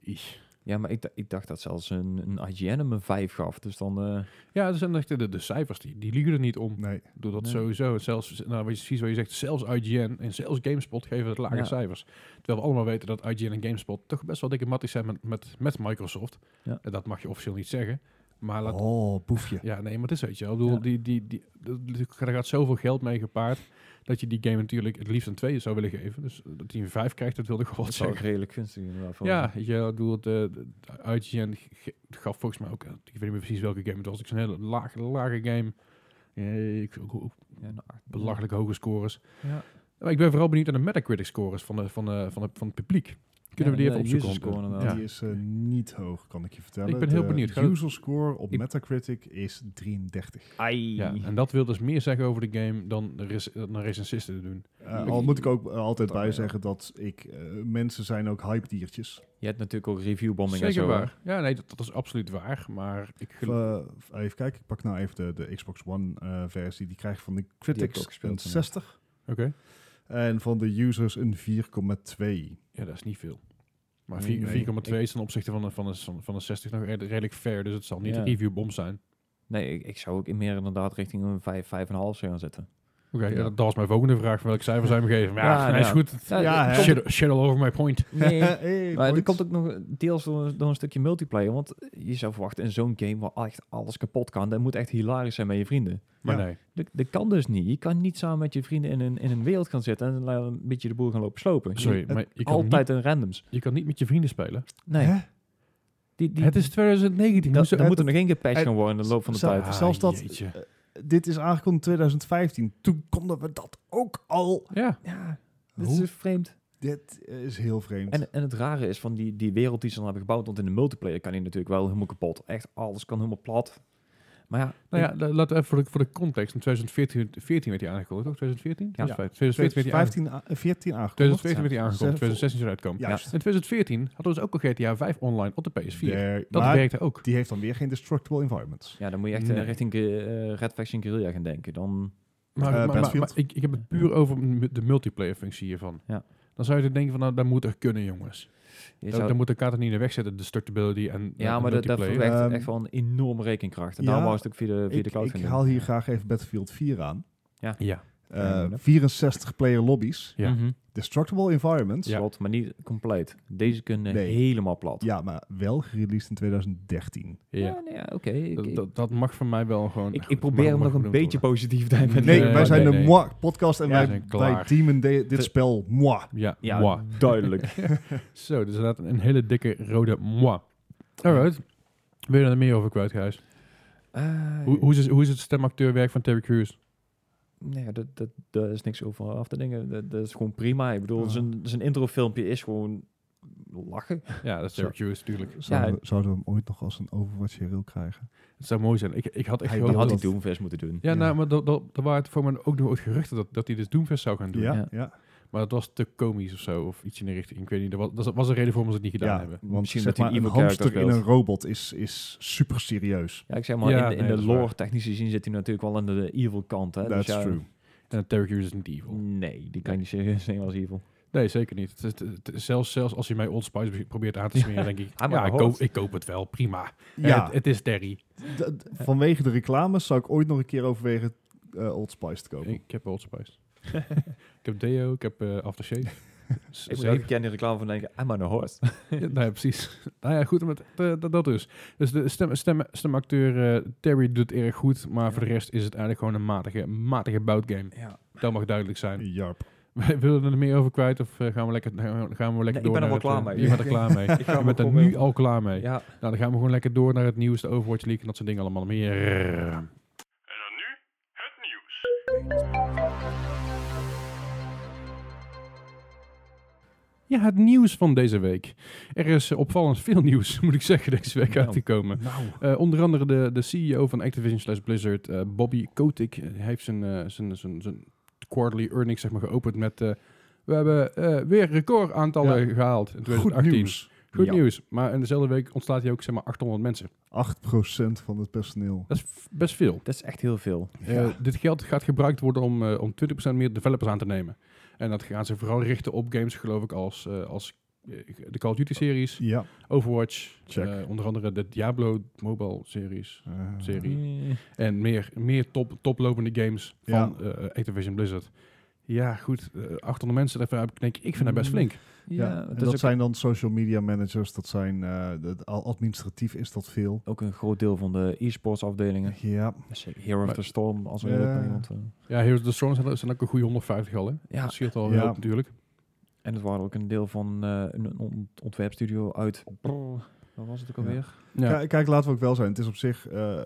Speaker 3: Iech.
Speaker 1: Ja, maar ik, da- ik dacht dat zelfs een, een IGN hem een 5 gaf. Dus dan... eh,
Speaker 3: Ja, dat zijn echt de, de cijfers. Die, die liegen er niet om.
Speaker 2: Nee.
Speaker 3: Doe dat
Speaker 1: Nee.
Speaker 3: sowieso. Zelfs, nou, wat je- precies wat je zegt. Zelfs IGN en zelfs GameSpot geven het lage
Speaker 1: Ja.
Speaker 3: cijfers. Terwijl we allemaal weten dat IGN en GameSpot toch best wel dikke matties zijn met, met, met Microsoft.
Speaker 1: Ja.
Speaker 3: En dat mag je officieel niet zeggen. Maar laat,
Speaker 2: Oh, boefje.
Speaker 3: ja, nee, maar het is weet je wel. Ik bedoel,
Speaker 1: Ja.
Speaker 3: die, die, die, die- daar gaat zoveel geld mee gepaard. Dat je die game natuurlijk het liefst een 2 zou willen geven. Dus dat hij een 5 krijgt, dat wilde ik wel
Speaker 1: Dat
Speaker 3: wat
Speaker 1: zou ik
Speaker 3: zeggen.
Speaker 1: redelijk gunstig inderdaad. voor
Speaker 3: Ja,
Speaker 1: me.
Speaker 3: weet je wel, ik bedoel, de, de IGN ge- gaf volgens mij ook, eh, ik weet niet meer precies welke game het was. Ik zo'n hele lage, lage game. Eh, ik, ook, ook
Speaker 1: Ja, nou, acht.
Speaker 3: belachelijk hoge scores.
Speaker 1: Ja.
Speaker 3: Maar ik ben vooral benieuwd naar de Metacritic scores van, de, van, de, van, de, van het publiek. Kunnen
Speaker 1: Ja,
Speaker 3: we
Speaker 1: en
Speaker 3: die
Speaker 1: de
Speaker 3: even opzoeken?
Speaker 1: user score
Speaker 3: want, eh,
Speaker 1: inderdaad.
Speaker 2: Die is eh, niet hoog, kan ik je vertellen.
Speaker 3: Ik ben heel
Speaker 2: de
Speaker 3: benieuwd. Gaat het-
Speaker 2: user score op
Speaker 3: Ik-
Speaker 2: Metacritic is 33.
Speaker 1: Ai.
Speaker 3: ja. ja, en dat wil dus meer zeggen over de game dan de, rec- dan de recensisten te doen.
Speaker 2: Eh, al moet ik ook eh, altijd
Speaker 1: Oh, ja.
Speaker 2: bij zeggen dat ik... eh, mensen zijn ook hype diertjes.
Speaker 1: Je hebt natuurlijk ook reviewbombing en
Speaker 3: Zeker
Speaker 1: zo. hè?
Speaker 3: waar. Ja, nee, dat, dat is absoluut waar. Maar ik geloof...
Speaker 2: Eh, even kijken, ik pak nou even de, de Xbox One eh, versie. Die krijg ik van de
Speaker 1: heb ik ook
Speaker 2: critics
Speaker 1: gespeeld,
Speaker 2: een
Speaker 1: ja.
Speaker 2: 60.
Speaker 3: Oké.
Speaker 2: En van de users een 4,2.
Speaker 3: Ja, dat is niet veel. Maar
Speaker 1: Nee,
Speaker 3: vier-
Speaker 1: nee.
Speaker 3: 4,2 is ten opzichte van, een- van, een, van, een- van een 60 nog red- redelijk fair. Dus het zal niet
Speaker 1: Ja.
Speaker 3: een reviewbom zijn.
Speaker 1: Nee, ik, ik zou ook meer inderdaad richting een 5, 5,5 zou gaan zetten.
Speaker 3: Oké, ja,
Speaker 2: Ja.
Speaker 3: dat, dat was mijn volgende vraag. Welk cijfer zijn we gegeven? Ja,
Speaker 1: Ja, nou.
Speaker 3: nee, is
Speaker 1: ja.
Speaker 3: goed.
Speaker 2: Ja, hè.
Speaker 3: Shit, shit all over my point.
Speaker 1: Nee,
Speaker 2: Hey,
Speaker 1: maar er
Speaker 2: boys.
Speaker 1: komt ook nog deels door, door een stukje multiplayer. Want je zou verwachten in zo'n game waar echt alles kapot kan, dat moet echt hilarisch zijn met je vrienden.
Speaker 3: Maar
Speaker 2: Ja.
Speaker 3: nee.
Speaker 1: Dat, dat kan dus niet. Je kan niet samen met je vrienden in een, in een wereld gaan zitten en la- een beetje de boel gaan lopen slopen.
Speaker 3: Sorry,
Speaker 1: Je-
Speaker 3: maar je kan,
Speaker 1: Altijd een randoms.
Speaker 3: niet, je kan niet met je vrienden spelen.
Speaker 1: Nee,
Speaker 2: Hè?
Speaker 1: die, die,
Speaker 3: het is 2019.
Speaker 1: dan,
Speaker 3: hoezo-
Speaker 1: dan moet er
Speaker 2: het-
Speaker 1: nog één gepatcht
Speaker 2: het-
Speaker 1: gaan worden in de loop van de
Speaker 2: zou-
Speaker 1: tijd.
Speaker 2: Ah, zelfs dat-
Speaker 3: jeetje.
Speaker 1: eh,
Speaker 2: Dit is aangekondigd in 2015. Toen konden we dat ook al.
Speaker 3: Ja,
Speaker 1: Ja, dat
Speaker 2: Hoe?
Speaker 1: is vreemd.
Speaker 2: Dit is heel vreemd.
Speaker 3: eh,
Speaker 1: En, en het rare is van die, die wereld die ze dan hebben gebouwd, want in de multiplayer kan hij natuurlijk wel helemaal kapot. Echt, alles kan helemaal plat. Maar ja,
Speaker 3: nou ja, la- laten we even voor de, voor de context. In 2014 14 werd hij aangekondigd, toch? 2014?
Speaker 1: Ja.
Speaker 3: 2014 werd hij aangekondigd.
Speaker 2: 2015, a- 14 aangekomen.
Speaker 3: 2014 werd hij aangekondigd, 2016 zou hij uitkomen.
Speaker 2: Juist.
Speaker 3: In 2014 hadden we dus ook al GTA 5 online op de PS4.
Speaker 2: Daar-
Speaker 3: Dat
Speaker 2: maar
Speaker 3: werkte
Speaker 1: eh,
Speaker 3: ook.
Speaker 2: die heeft dan weer geen destructible environments.
Speaker 1: ja dan moet je echt eh,
Speaker 3: Nee.
Speaker 1: richting eh, Red Faction Guerrilla gaan denken. Dan,
Speaker 3: Maar, maar- maar,
Speaker 2: Battlefield.
Speaker 3: maar ik, ik heb het puur over m- de multiplayer functie hiervan.
Speaker 1: Ja.
Speaker 3: Dan zou je denken van, nou, dat moet er kunnen, jongens.
Speaker 1: je
Speaker 3: Dan,
Speaker 1: zou-
Speaker 3: dan moet elkaar er niet in de weg zetten, destructibility en en
Speaker 1: ja, maar dat, dat
Speaker 3: multiplayer.
Speaker 1: verwerkt
Speaker 2: Ehm,
Speaker 1: echt wel een enorme rekenkracht. En
Speaker 2: ja,
Speaker 1: daarom was het ook via de, via
Speaker 2: Ik,
Speaker 1: de cloud
Speaker 2: ik
Speaker 1: gaan doen.
Speaker 2: haal hier graag even Battlefield 4 aan.
Speaker 3: Ja,
Speaker 2: Eh,
Speaker 1: Ja, inderdaad.
Speaker 2: 64 player lobbies.
Speaker 3: ja.
Speaker 1: Mhm.
Speaker 2: Destructible environments. Ja,
Speaker 3: Ja.
Speaker 1: Slot, maar niet compleet. Deze kunnen
Speaker 2: Nee.
Speaker 1: helemaal plat.
Speaker 2: maar wel gereleased in 2013.
Speaker 3: ja.
Speaker 1: nee, oké. ik-
Speaker 3: Dat,
Speaker 1: ik-
Speaker 3: dat, dat mag van mij wel gewoon...
Speaker 1: ik,
Speaker 3: goed,
Speaker 1: ik probeer hem
Speaker 3: mag-
Speaker 1: nog
Speaker 3: mag
Speaker 1: een
Speaker 3: benoemd
Speaker 1: beetje
Speaker 3: worden.
Speaker 1: positief te hebben.
Speaker 2: Nee,
Speaker 3: Nee,
Speaker 2: wij zijn
Speaker 3: nee,
Speaker 2: de
Speaker 3: nee.
Speaker 2: moi podcast en
Speaker 3: Ja, we
Speaker 2: wij,
Speaker 3: zijn klaar.
Speaker 2: wij teamen de- dit
Speaker 1: Te-
Speaker 2: spel moi.
Speaker 3: Ja,
Speaker 1: Ja,
Speaker 3: moi.
Speaker 1: duidelijk.
Speaker 3: Zo, dus inderdaad een hele dikke rode moi. Alright. Wil je er meer over kwijt, Gijs?
Speaker 1: Eh,
Speaker 3: Hoe, hoe, is, het- hoe is het stemacteurwerk van Terry Crews?
Speaker 1: Nee, dat, dat, daar is niks over af te dingen. Dat, dat is gewoon prima. Ik bedoel,
Speaker 2: Ah.
Speaker 1: zijn, zijn introfilmpje is gewoon lachen.
Speaker 3: Ja, dat is Terry Crews, natuurlijk.
Speaker 2: Zouden, we, zouden we hem ooit nog als een Overwatch hero krijgen?
Speaker 3: Het zou mooi zijn. Ik, ik had echt
Speaker 2: Hij
Speaker 1: Die
Speaker 3: gehoopt
Speaker 2: Oh,
Speaker 1: had hij
Speaker 2: dat-
Speaker 1: Doomfest moeten doen.
Speaker 3: Ja,
Speaker 2: Ja.
Speaker 3: nou, maar dat, dat, er waren voor mij ook nog ooit geruchten dat, dat hij dus Doomfest zou gaan doen.
Speaker 2: Ja,
Speaker 1: Ja.
Speaker 2: ja.
Speaker 3: Maar dat was te komisch of zo, of iets in de richting. Ik weet niet, er was, dat was een reden waarom ze het niet gedaan
Speaker 2: Ja,
Speaker 3: hebben.
Speaker 2: want
Speaker 1: Misschien
Speaker 2: zeg
Speaker 1: dat hij
Speaker 2: maar,
Speaker 1: een
Speaker 2: een
Speaker 1: evil character
Speaker 2: hamster in een
Speaker 1: speelt.
Speaker 2: robot is, is super serieus.
Speaker 1: Ja, ik zeg maar,
Speaker 3: Ja,
Speaker 1: in de, in
Speaker 3: nee,
Speaker 1: de
Speaker 3: dat is
Speaker 1: lore
Speaker 3: waar.
Speaker 1: technisch gezien zit hij natuurlijk wel aan de evil kant. Hè? Dus
Speaker 2: That's
Speaker 1: ja,
Speaker 2: true.
Speaker 3: En Terry Crews is niet evil.
Speaker 1: Nee, die kan je niet serieus nemen als evil.
Speaker 3: Nee, zeker niet. Het, het- het- het- zelfs, zelfs als hij mij Old Spice be- probeert aan te smeren, denk ik,
Speaker 1: Ah, maar
Speaker 3: ja, ik
Speaker 1: hoort.
Speaker 3: koop, ik koop het wel, prima.
Speaker 2: Ja,
Speaker 3: Het, het is Terry.
Speaker 2: d- d- vanwege de reclames zou ik ooit nog een keer overwegen eh, Old Spice te kopen.
Speaker 3: Ik heb Old Spice. ik heb Deo, ik heb eh Aftershave. Z-
Speaker 1: Ik moet
Speaker 3: zeep.
Speaker 1: elke keer in de reclame van denken, I'm on a horse.
Speaker 3: Ja, nou ja, precies. Nou ja, goed, maar het- eh, dat, dat dus. Dus de stem, stem, stemacteur eh, Terry doet het erg goed, maar
Speaker 1: Ja.
Speaker 3: voor de rest is het eigenlijk gewoon een matige, matige boutgame.
Speaker 1: Ja.
Speaker 3: Dat mag duidelijk zijn.
Speaker 2: Jarp.
Speaker 3: Wij willen er meer over kwijt of eh, gaan we lekker, gaan we lekker
Speaker 1: ik ben
Speaker 3: door?
Speaker 1: er
Speaker 3: naar
Speaker 1: wel
Speaker 3: het,
Speaker 1: klaar
Speaker 3: eh,
Speaker 1: mee.
Speaker 3: Je bent er klaar mee.
Speaker 1: Ik ga
Speaker 3: Je
Speaker 1: hem
Speaker 3: bent er
Speaker 1: gewoon
Speaker 3: nu
Speaker 1: weer-
Speaker 3: al klaar mee.
Speaker 1: Ja,
Speaker 3: Nou, dan gaan we gewoon lekker door naar het nieuws, de Overwatch League en dat soort dingen allemaal meer.
Speaker 4: En dan nu het nieuws.
Speaker 3: Ja, het nieuws van deze week. Er is eh, opvallend veel nieuws, moet ik zeggen, deze week
Speaker 1: Nou.
Speaker 3: uit te komen.
Speaker 2: Nou,
Speaker 3: Eh, onder andere de, de CEO van Activision slash Blizzard, eh, Bobby Kotick, eh, heeft zijn, eh, zijn, zijn, zijn quarterly earnings zeg maar, geopend met... eh, we hebben eh, weer record aantallen gehaald in 2018.
Speaker 2: goed nieuws.
Speaker 3: Goed
Speaker 1: Ja.
Speaker 3: nieuws. Maar in dezelfde week ontslaat hij ook zeg maar 800 mensen.
Speaker 2: 8% van het personeel.
Speaker 3: Dat is f- best veel.
Speaker 1: dat is echt heel veel.
Speaker 2: Ja.
Speaker 3: Eh, dit geld gaat gebruikt worden om, eh, om 20% meer developers aan te nemen. En dat gaan ze vooral richten op games, geloof ik, als, eh, als eh, de Call of Duty-series,
Speaker 2: Ja.
Speaker 3: Overwatch,
Speaker 2: Check.
Speaker 3: eh, onder andere de Diablo Mobile-series
Speaker 2: eh,
Speaker 3: Serie.
Speaker 1: Eh,
Speaker 3: en meer, meer top, toplopende games van eh, Activision Blizzard. Ja, goed. eh, 800 mensen daarvoor heb ik denk ik vind dat best
Speaker 1: Mm.
Speaker 3: flink.
Speaker 2: Ja,
Speaker 1: Ja,
Speaker 2: en
Speaker 1: het is
Speaker 2: dat
Speaker 1: ook,
Speaker 2: zijn dan social media managers, dat zijn, eh, dat- al administratief is dat veel.
Speaker 1: ook een groot deel van de e-sports afdelingen.
Speaker 2: Ja,
Speaker 1: Here of
Speaker 3: Maar-
Speaker 1: the Storm, als we
Speaker 2: Ja.
Speaker 1: dat bij iemand... eh,
Speaker 3: Ja, Heroes of the Storm zijn, zijn ook een goede 150 al, hè?
Speaker 1: ja,
Speaker 3: Dat scheelt al
Speaker 2: Ja.
Speaker 3: heel natuurlijk.
Speaker 1: en het waren ook een deel van eh, een ont- ontwerpstudio uit... Brrr, wat was het ook
Speaker 2: Ja.
Speaker 1: alweer?
Speaker 3: Ja.
Speaker 2: Kijk, kijk, laten we ook wel zijn. Het is op zich, eh,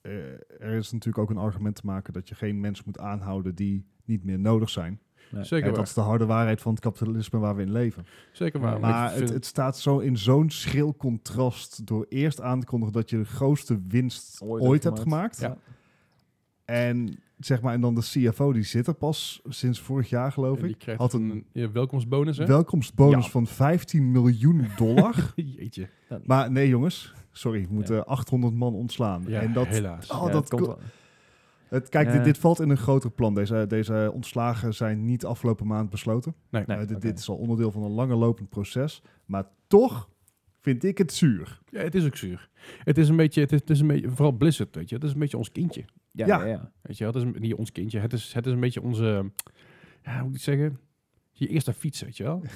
Speaker 2: eh, er is natuurlijk ook een argument te maken dat je geen mensen moet aanhouden die niet meer nodig zijn.
Speaker 1: Nee.
Speaker 3: Zeker
Speaker 2: Hè,
Speaker 3: waar.
Speaker 2: dat is de harde waarheid van het kapitalisme waar we in leven.
Speaker 3: Zeker waar.
Speaker 2: Maar
Speaker 3: ik
Speaker 2: het,
Speaker 3: vind-
Speaker 2: het staat zo in zo'n schril contrast door eerst aan te kondigen dat je de grootste winst ooit,
Speaker 1: Ooit hebt
Speaker 2: hebt gemaakt.
Speaker 3: Ja.
Speaker 2: En zeg maar, en dan de CFO, die zit er pas sinds vorig jaar, geloof
Speaker 3: en die
Speaker 2: ik.
Speaker 3: krijgt
Speaker 2: had
Speaker 3: had
Speaker 2: een-
Speaker 3: een, ja, welkomstbonus, hè?
Speaker 2: Welkomstbonus
Speaker 1: Ja.
Speaker 2: van 15 miljoen dollar.
Speaker 3: Jeetje.
Speaker 2: maar nee, jongens, sorry, we moeten 800 man ontslaan.
Speaker 3: Ja,
Speaker 2: en dat,
Speaker 3: helaas.
Speaker 2: Oh,
Speaker 1: Ja,
Speaker 2: dat
Speaker 1: het komt
Speaker 2: ko-
Speaker 1: wel-
Speaker 2: het, kijk,
Speaker 1: Ja.
Speaker 2: dit, dit valt in een groter plan. Deze, deze ontslagen zijn niet afgelopen maand besloten.
Speaker 3: Nee.
Speaker 1: Nee.
Speaker 2: Eh, dit,
Speaker 1: oké.
Speaker 2: dit is al onderdeel van een langer lopend proces. Maar toch vind ik het zuur.
Speaker 3: Ja, het is ook zuur. Het is een beetje, het is, het is een beetje, vooral Blizzard, weet je. Het is een beetje ons kindje.
Speaker 1: Ja,
Speaker 2: Ja.
Speaker 1: ja. ja.
Speaker 3: Weet je, wel? het is een- niet ons kindje. Het is, het is een beetje onze, ja, hoe moet ik het zeggen? Je eerste fiets, weet je wel. Je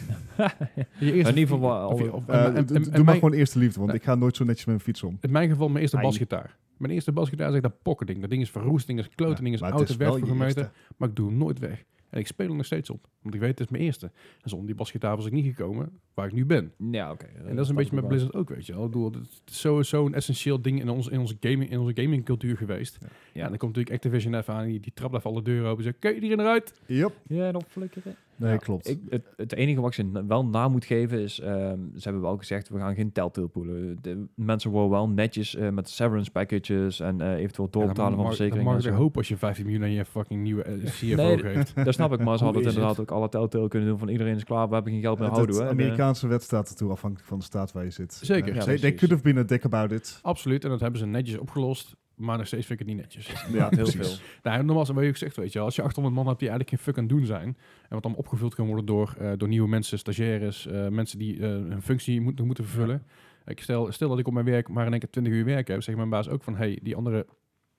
Speaker 3: eerste
Speaker 1: In ieder geval
Speaker 3: fiets-
Speaker 1: wel-
Speaker 3: of je- of-
Speaker 2: Eh,
Speaker 3: en- en-
Speaker 2: d- d-
Speaker 3: en-
Speaker 2: doe
Speaker 3: en
Speaker 2: maar
Speaker 3: mijn-
Speaker 2: gewoon eerste liefde, want
Speaker 3: Nee.
Speaker 2: ik ga nooit zo netjes met mijn fiets om.
Speaker 3: In mijn geval mijn eerste
Speaker 1: Fijn.
Speaker 3: basgitaar. Mijn eerste basgitaar is echt een pocketding. Dat ding is verroest, ding is kloot, ding is
Speaker 2: maar
Speaker 3: oud,
Speaker 2: het
Speaker 3: het werkt
Speaker 2: wel
Speaker 3: voor
Speaker 2: je
Speaker 3: gemeten.
Speaker 2: eerste.
Speaker 3: Maar ik doe hem nooit weg. En ik speel er nog steeds op. Want ik weet, het is mijn eerste. En zonder die basgitaar was ik niet gekomen waar ik nu ben.
Speaker 1: Ja, oké.
Speaker 3: En dat is een beetje met
Speaker 1: wel.
Speaker 3: Blizzard ook, weet je wel. Ik bedoel, het is zo- zo'n essentieel ding in, ons, in, onze gaming, in onze gamingcultuur geweest. Ja. en dan komt natuurlijk Activision even aan. en Die, die trapt even alle deuren open. en Zegt, kun je erin eruit?
Speaker 2: Yep.
Speaker 1: Ja, dan flikkeren.
Speaker 2: Nee,
Speaker 1: Ja,
Speaker 2: klopt.
Speaker 1: Ik, het, het enige wat ik ze na- wel na moet geven is, ehm, ze hebben wel gezegd, we gaan geen telltale poelen. De mensen worden wel netjes eh, met severance packages en eh, eventueel doorbetalen van
Speaker 3: verzekering.
Speaker 1: verzekeringen.
Speaker 3: Dan mag
Speaker 1: en
Speaker 3: ik
Speaker 1: zo.
Speaker 3: hoop als je 15 miljoen aan je fucking nieuwe eh, CFO
Speaker 1: Nee,
Speaker 3: geeft.
Speaker 1: Dat snap ik, maar ze
Speaker 3: Hoe
Speaker 1: hadden het
Speaker 3: is
Speaker 1: inderdaad
Speaker 3: het?
Speaker 1: ook alle telltale kunnen doen van iedereen is klaar, we hebben geen geld meer,
Speaker 2: Het-
Speaker 1: houden
Speaker 2: het
Speaker 1: we. En, eh,
Speaker 2: Amerikaanse wet staat ertoe afhankelijk van de staat waar je zit.
Speaker 3: Zeker.
Speaker 2: Eh,
Speaker 1: Ja,
Speaker 2: they, they
Speaker 1: precies.
Speaker 2: could have been a dick about it.
Speaker 3: Absoluut. En dat hebben ze netjes opgelost. Maar nog steeds vind ik het niet netjes.
Speaker 1: ja, heel
Speaker 2: precies.
Speaker 1: veel.
Speaker 3: Nou, normaal is het wat je ook zegt, weet je wel. Als je 800 man hebt die eigenlijk geen fuck aan het doen zijn. En wat dan opgevuld kan worden door, eh, door nieuwe mensen, stagiaires. eh, mensen die eh, hun functie moet- moeten vervullen. Ik stel, stel dat ik op mijn werk maar in één keer 20 uur werk heb. Zeg mijn baas ook van, hey, die andere,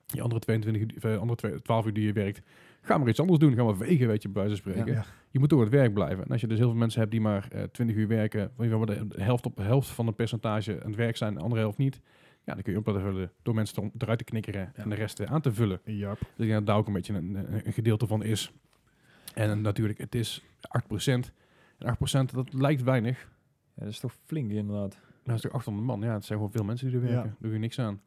Speaker 3: die andere, 22, uur die- of, eh, andere twee- 12 uur die je werkt. Ga maar iets anders doen. Ga maar vegen, weet je, bij wijze van spreken.
Speaker 2: Ja.
Speaker 3: Je moet door het werk blijven. En als je dus heel veel mensen hebt die maar eh 20 uur werken. Van je de helft op de helft van een percentage aan het werk zijn. De andere helft niet. Ja, dan kun je ook dat vullen door mensen er- eruit te knikkeren. En de rest eh, aan te vullen.
Speaker 2: Yep.
Speaker 3: Dus ik denk dat daar ook een beetje een, een- een gedeelte van is. En natuurlijk, het is 8%. En 8% dat lijkt weinig.
Speaker 1: Ja, dat is toch flink inderdaad.
Speaker 3: Maar dat is toch 800 man. Ja, het zijn gewoon veel mensen die er
Speaker 2: Ja.
Speaker 3: werken. Daar doe je niks aan.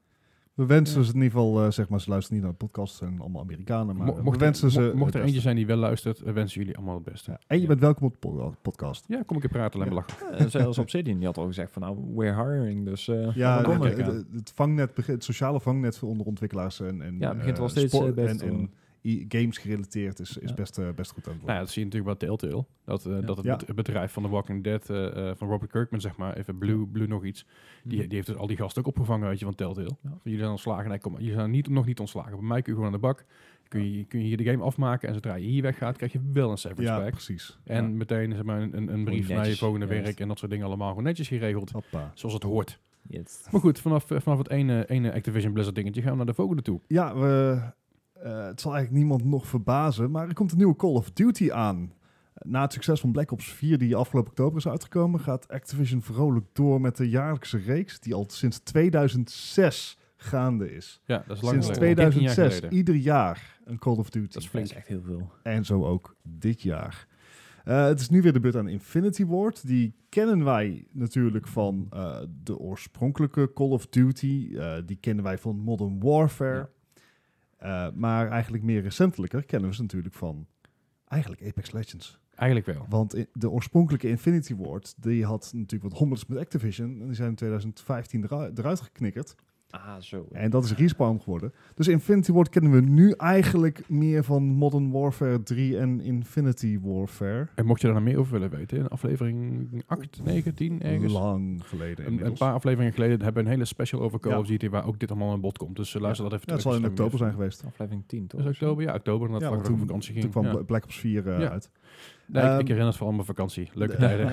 Speaker 2: We wensen
Speaker 1: Ja.
Speaker 2: ze in ieder geval, eh, zeg maar, ze luisteren niet naar de podcast, ze zijn allemaal Amerikanen, maar
Speaker 3: Mo-
Speaker 2: eh, we
Speaker 3: mocht,
Speaker 2: wensen
Speaker 3: er,
Speaker 2: ze...
Speaker 3: mo- mocht er
Speaker 2: het
Speaker 3: eentje
Speaker 2: beste.
Speaker 3: zijn die wel luistert, eh, wensen jullie allemaal het beste.
Speaker 2: Ja, En je
Speaker 3: Ja.
Speaker 2: bent welkom op de pod- podcast.
Speaker 3: Ja, kom ik keer praten en
Speaker 2: Ja.
Speaker 3: belachen.
Speaker 1: Eh, zelfs Obsidian, die had al gezegd van nou, we're hiring, dus eh, laat maar
Speaker 2: Ja, het,
Speaker 1: komen.
Speaker 3: kijk
Speaker 2: het,
Speaker 3: aan.
Speaker 2: het- het vangnet, begint- het sociale vangnet voor onder ontwikkelaars en, en
Speaker 1: Ja, het begint
Speaker 2: eh,
Speaker 1: wel steeds,
Speaker 2: sport-
Speaker 1: eh, beter
Speaker 2: en,
Speaker 1: te
Speaker 2: en
Speaker 1: worden.
Speaker 2: i- games gerelateerd is, is
Speaker 1: Ja.
Speaker 2: best, eh, best goed aan
Speaker 3: Nou
Speaker 2: het
Speaker 3: ja,
Speaker 2: worden.
Speaker 3: dat zie je natuurlijk bij Telltale. Dat, eh,
Speaker 1: Ja.
Speaker 3: dat het
Speaker 2: Ja.
Speaker 3: bet- het bedrijf van The Walking Dead, eh, eh, van Robert Kirkman, zeg maar, even Blue, Blue nog iets. Die, die heeft dus al die gasten ook opgevangen, weet je, van Telltale.
Speaker 1: Ja.
Speaker 3: Jullie zijn ontslagen. Nee, kom, maar, jullie zijn niet, nog niet ontslagen. Bij mij kun je gewoon aan de bak. Kun je, kun je hier de game afmaken. En zodra je hier weggaat, krijg je wel een severance
Speaker 2: Ja,
Speaker 3: pack.
Speaker 2: precies.
Speaker 3: En
Speaker 1: Ja.
Speaker 3: meteen zeg maar, een- een, een brief naar je
Speaker 1: netjes,
Speaker 3: volgende
Speaker 1: juist.
Speaker 3: werk en dat soort dingen allemaal gewoon netjes geregeld.
Speaker 2: Hoppa.
Speaker 3: Zoals het hoort.
Speaker 1: Yes.
Speaker 3: Maar goed, vanaf, eh, vanaf het ene, ene Activision Blizzard dingetje gaan we naar de volgende toe.
Speaker 2: Ja, we, eh, het zal eigenlijk niemand nog verbazen, maar er komt een nieuwe Call of Duty aan. Na het succes van Black Ops 4, die afgelopen oktober is uitgekomen, gaat Activision vrolijk door met de jaarlijkse reeks die al sinds 2006 gaande is.
Speaker 3: Ja, dat is lang
Speaker 2: Sinds
Speaker 3: geleden.
Speaker 2: 2006,
Speaker 3: 13 jaar geleden.
Speaker 2: ieder jaar een Call of Duty.
Speaker 3: Dat is
Speaker 1: Dat
Speaker 3: flink.
Speaker 1: is echt heel veel.
Speaker 2: En zo ook dit jaar. Eh, het is nu weer de beurt aan Infinity Ward. Die kennen wij natuurlijk van eh, de oorspronkelijke Call of Duty. Eh, die kennen wij van Modern Warfare. Eh, maar eigenlijk meer recentelijker kennen we ze natuurlijk van eigenlijk Apex Legends.
Speaker 3: Eigenlijk wel.
Speaker 2: Want i- de oorspronkelijke Infinity Ward, die had natuurlijk wat hommels met Activision. En die zijn in 2015 eru- eruit geknikkerd.
Speaker 1: Ah, zo.
Speaker 2: En dat is Respawn geworden. Dus Infinity Ward kennen we nu eigenlijk meer van Modern Warfare 3 en Infinity Warfare.
Speaker 3: En mocht je daar nog meer over willen weten, in aflevering 8, 9, 10 ergens.
Speaker 2: Lang geleden
Speaker 3: Een, een
Speaker 2: inmiddels.
Speaker 3: paar afleveringen geleden hebben we een hele special over Call
Speaker 2: Ja.
Speaker 3: of Duty waar ook dit allemaal aan bod komt. Dus eh, luister dat even
Speaker 2: Ja, het zal in
Speaker 3: terug.
Speaker 2: oktober zijn geweest.
Speaker 1: Aflevering 10, toch?
Speaker 3: Is het oktober? Ja, oktober. En dat
Speaker 2: Ja,
Speaker 3: vlak
Speaker 2: want
Speaker 3: voor
Speaker 2: toen-
Speaker 3: vakantie ging.
Speaker 2: Toen kwam
Speaker 3: Ja.
Speaker 2: Bla- Black Ops 4 eh,
Speaker 3: Ja.
Speaker 2: uit.
Speaker 3: Nee, ik-
Speaker 2: Ehm,
Speaker 3: ik herinner het vooral mijn vakantie. Leuke
Speaker 2: De-
Speaker 3: tijden.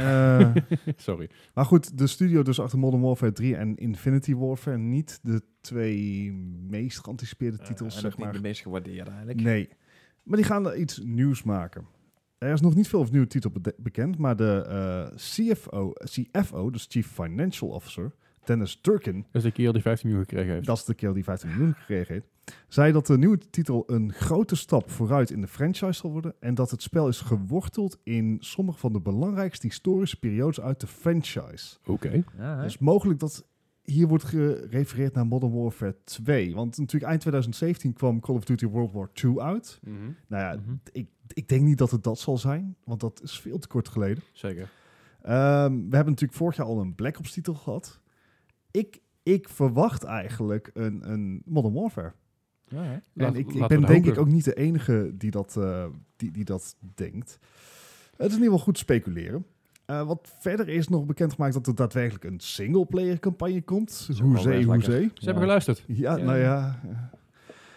Speaker 2: eh,
Speaker 3: Sorry.
Speaker 2: maar goed, de studio dus achter Modern Warfare 3 en Infinity Warfare. Niet de twee meest geanticipeerde
Speaker 1: Eh,
Speaker 2: titels,
Speaker 1: en ook
Speaker 2: zeg
Speaker 1: niet
Speaker 2: maar.
Speaker 1: de meest gewaardeerde eigenlijk.
Speaker 2: Nee. Maar die gaan er iets nieuws maken. Er is nog niet veel nieuwe titel bede- bekend, maar de eh, CFO, CFO, dus Chief Financial Officer, Dennis Durkin,
Speaker 3: Dat is de kerel die 15 miljoen gekregen heeft.
Speaker 2: dat is de kerel die 15 miljoen gekregen heeft, zei dat de nieuwe titel een grote stap vooruit in de franchise zal worden en dat het spel is geworteld in sommige van de belangrijkste historische periodes uit de franchise.
Speaker 3: Oké.
Speaker 1: Ja, hè?
Speaker 2: Het is mogelijk dat hier wordt gerefereerd naar Modern Warfare 2, want natuurlijk eind 2017 kwam Call of Duty World War II uit. Nou ja,
Speaker 3: Dus-
Speaker 1: Mhm.
Speaker 2: ik, ik denk niet dat het dat zal zijn, want dat is veel te kort geleden.
Speaker 3: Zeker.
Speaker 2: Ehm, we hebben natuurlijk vorig jaar al een Black Ops titel gehad. Ik, ik verwacht eigenlijk een, een Modern Warfare.
Speaker 1: Ja, hè?
Speaker 3: Laat-
Speaker 2: en ik, ik
Speaker 3: laten
Speaker 2: ben
Speaker 3: we het
Speaker 2: denk ik
Speaker 3: hopen.
Speaker 2: ook niet de enige die dat, eh, die, die dat denkt. Het is in ieder geval goed speculeren. Eh, wat verder is nog bekendgemaakt dat er daadwerkelijk een singleplayer campagne komt.
Speaker 1: is ook wel
Speaker 2: Hoezee,
Speaker 1: weer lekker.
Speaker 2: hoezee.
Speaker 3: Ze hebben geluisterd.
Speaker 2: Ja,
Speaker 1: Ja.
Speaker 2: nou ja.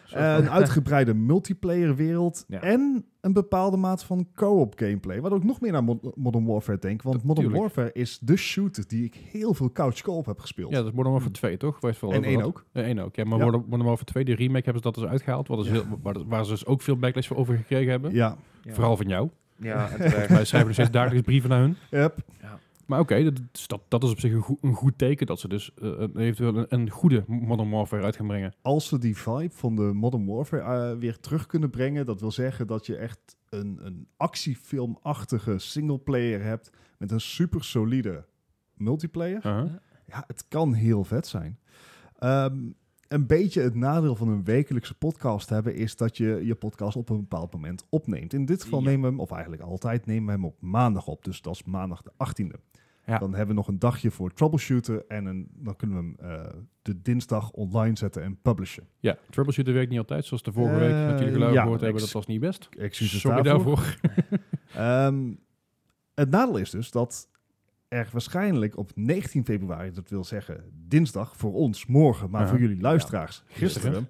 Speaker 2: Eh,
Speaker 1: van-
Speaker 2: een uitgebreide multiplayer wereld
Speaker 1: Ja.
Speaker 2: en een bepaalde maat van co-op gameplay. Wat ook nog meer naar Mod- Modern Warfare denk, want Modern
Speaker 3: Tuurlijk.
Speaker 2: Warfare is de shooter die ik heel veel couch co-op heb gespeeld.
Speaker 3: Ja, dat is Modern Warfare 2, toch? Waar je het vooral
Speaker 2: en
Speaker 3: over
Speaker 2: één
Speaker 3: had.
Speaker 2: ook.
Speaker 3: Eh, één ook, ja. Maar
Speaker 2: Ja.
Speaker 3: Modern Modern Warfare 2, die remake, hebben ze dat dus uitgehaald. Wat is
Speaker 2: Ja.
Speaker 3: heel, waar, waar ze dus ook veel backlash voor over gekregen hebben.
Speaker 2: Ja,
Speaker 1: Ja.
Speaker 3: Vooral van jou.
Speaker 1: Ja, en
Speaker 3: Wij
Speaker 1: terecht.
Speaker 3: schrijven nog steeds dagelijks brieven naar hun.
Speaker 2: yep.
Speaker 3: Maar oké, dat, is- dat, dat is op zich een, goe- een goed teken dat ze dus eh, een- eventueel een, een goede Modern Warfare uit gaan brengen.
Speaker 2: als ze die vibe van de Modern Warfare eh, weer terug kunnen brengen, dat wil zeggen dat je echt een, een actiefilmachtige singleplayer hebt met een super solide multiplayer.
Speaker 3: Uh-huh.
Speaker 2: Ja, het kan heel vet zijn. Ehm, een beetje het nadeel van een wekelijkse podcast hebben is dat je je podcast op een bepaald moment opneemt. In dit geval
Speaker 1: Ja.
Speaker 2: nemen we hem, of eigenlijk altijd, nemen we hem op maandag op. Dus dat is maandag de 18e.
Speaker 3: Ja.
Speaker 2: Dan hebben we nog een dagje voor troubleshooten en een, dan kunnen we hem eh, de dinsdag online zetten en publishen.
Speaker 3: Ja, troubleshooter werkt niet altijd, zoals de vorige
Speaker 2: Eh,
Speaker 3: week natuurlijk al
Speaker 2: ja,
Speaker 3: gehoord hebben.
Speaker 2: ex-
Speaker 3: Dat was niet best.
Speaker 2: Excuses
Speaker 3: Sorry
Speaker 2: daarvoor.
Speaker 3: daarvoor.
Speaker 2: Ehm, het nadeel is dus dat er waarschijnlijk op 19 februari, dat wil zeggen dinsdag voor ons, morgen, maar
Speaker 3: Ja.
Speaker 2: voor jullie luisteraars, gisteren,
Speaker 3: Gisteren.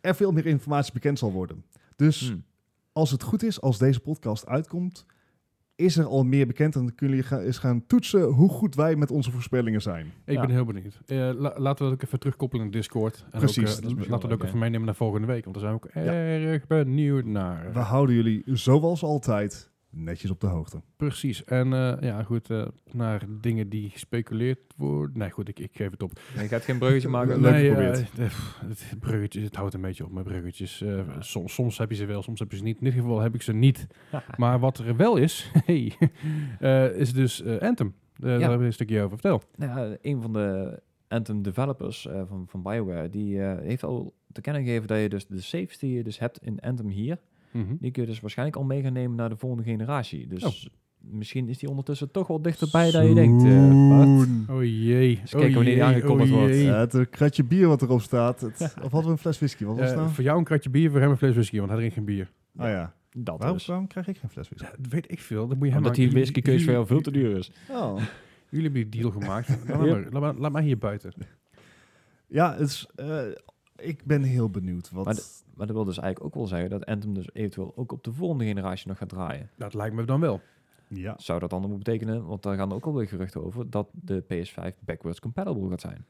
Speaker 2: er veel meer informatie bekend zal worden. Dus
Speaker 3: Hmm.
Speaker 1: Hm.
Speaker 2: als het goed is, als deze podcast uitkomt, is er al meer bekend en dan kunnen jullie ga- eens gaan toetsen hoe goed wij met onze voorspellingen zijn.
Speaker 3: Ik
Speaker 1: Ja.
Speaker 3: ben heel benieuwd. Eh, la- laten we dat ook even terugkoppelen in Discord. En
Speaker 2: Precies,
Speaker 3: ook, eh,
Speaker 2: dat is misschien
Speaker 3: laten we
Speaker 1: wel
Speaker 3: dat ook
Speaker 1: leuk,
Speaker 3: even meenemen naar volgende week, want daar zijn we ook
Speaker 2: Ja.
Speaker 3: erg benieuwd naar.
Speaker 2: We houden jullie, zoals altijd, netjes op de hoogte.
Speaker 3: Precies. En eh, ja, goed, eh, naar dingen die gespeculeerd worden. Nee, goed, ik, ik geef het op.
Speaker 1: Je gaat geen bruggetje maken.
Speaker 2: Leuk
Speaker 3: nee,
Speaker 2: geprobeerd.
Speaker 3: eh, de- pff, het, bruggetje, het houdt een beetje op met bruggetjes. Eh, soms, soms heb je ze wel, soms heb je ze niet. In dit geval heb ik ze niet. maar wat er wel is, hey, eh, is dus eh, Anthem. Eh, Daar hebben we een stukje over verteld.
Speaker 1: Nou, ja, een van de Anthem developers eh, van, van Bioware, die eh, heeft al te kennen gegeven dat je dus de saves die je dus hebt in Anthem hier, die kun je dus waarschijnlijk al mee gaan nemen naar de volgende generatie. Dus misschien is die ondertussen toch wel dichterbij dan je denkt. eh, Bart.
Speaker 2: Zoen.
Speaker 3: Oh jee. oh
Speaker 1: Eens kijken wanneer die aangekondigd wordt.
Speaker 2: Ja, het eh, kratje bier wat erop staat. Het, Of hadden we een fles whisky? Wat was het nou?
Speaker 3: Eh, voor jou een kratje bier, voor hem een fles whisky, want hij drinkt geen bier.
Speaker 2: Ah ja.
Speaker 1: Dat
Speaker 3: dus-
Speaker 2: Waarom,
Speaker 1: is.
Speaker 2: waarom krijg ik geen fles whisky?
Speaker 3: Dat weet ik veel. Dat moet je
Speaker 1: Omdat die whiskykeuze voor jou veel te duur is.
Speaker 2: Oh.
Speaker 3: Jullie hebben die deal gemaakt. laat, mij
Speaker 1: Ja.
Speaker 3: maar, laat, mij- laat mij hier buiten.
Speaker 2: Ja, het is, eh, ik ben heel benieuwd. Wat,
Speaker 1: Maar Maar dat wil dus eigenlijk ook wel zeggen dat Anthem dus eventueel ook op de volgende generatie nog gaat draaien.
Speaker 3: Dat lijkt me dan wel.
Speaker 2: ja.
Speaker 1: Zou dat dan moeten betekenen, want daar gaan er ook alweer geruchten over, dat de PS5 backwards compatible gaat zijn.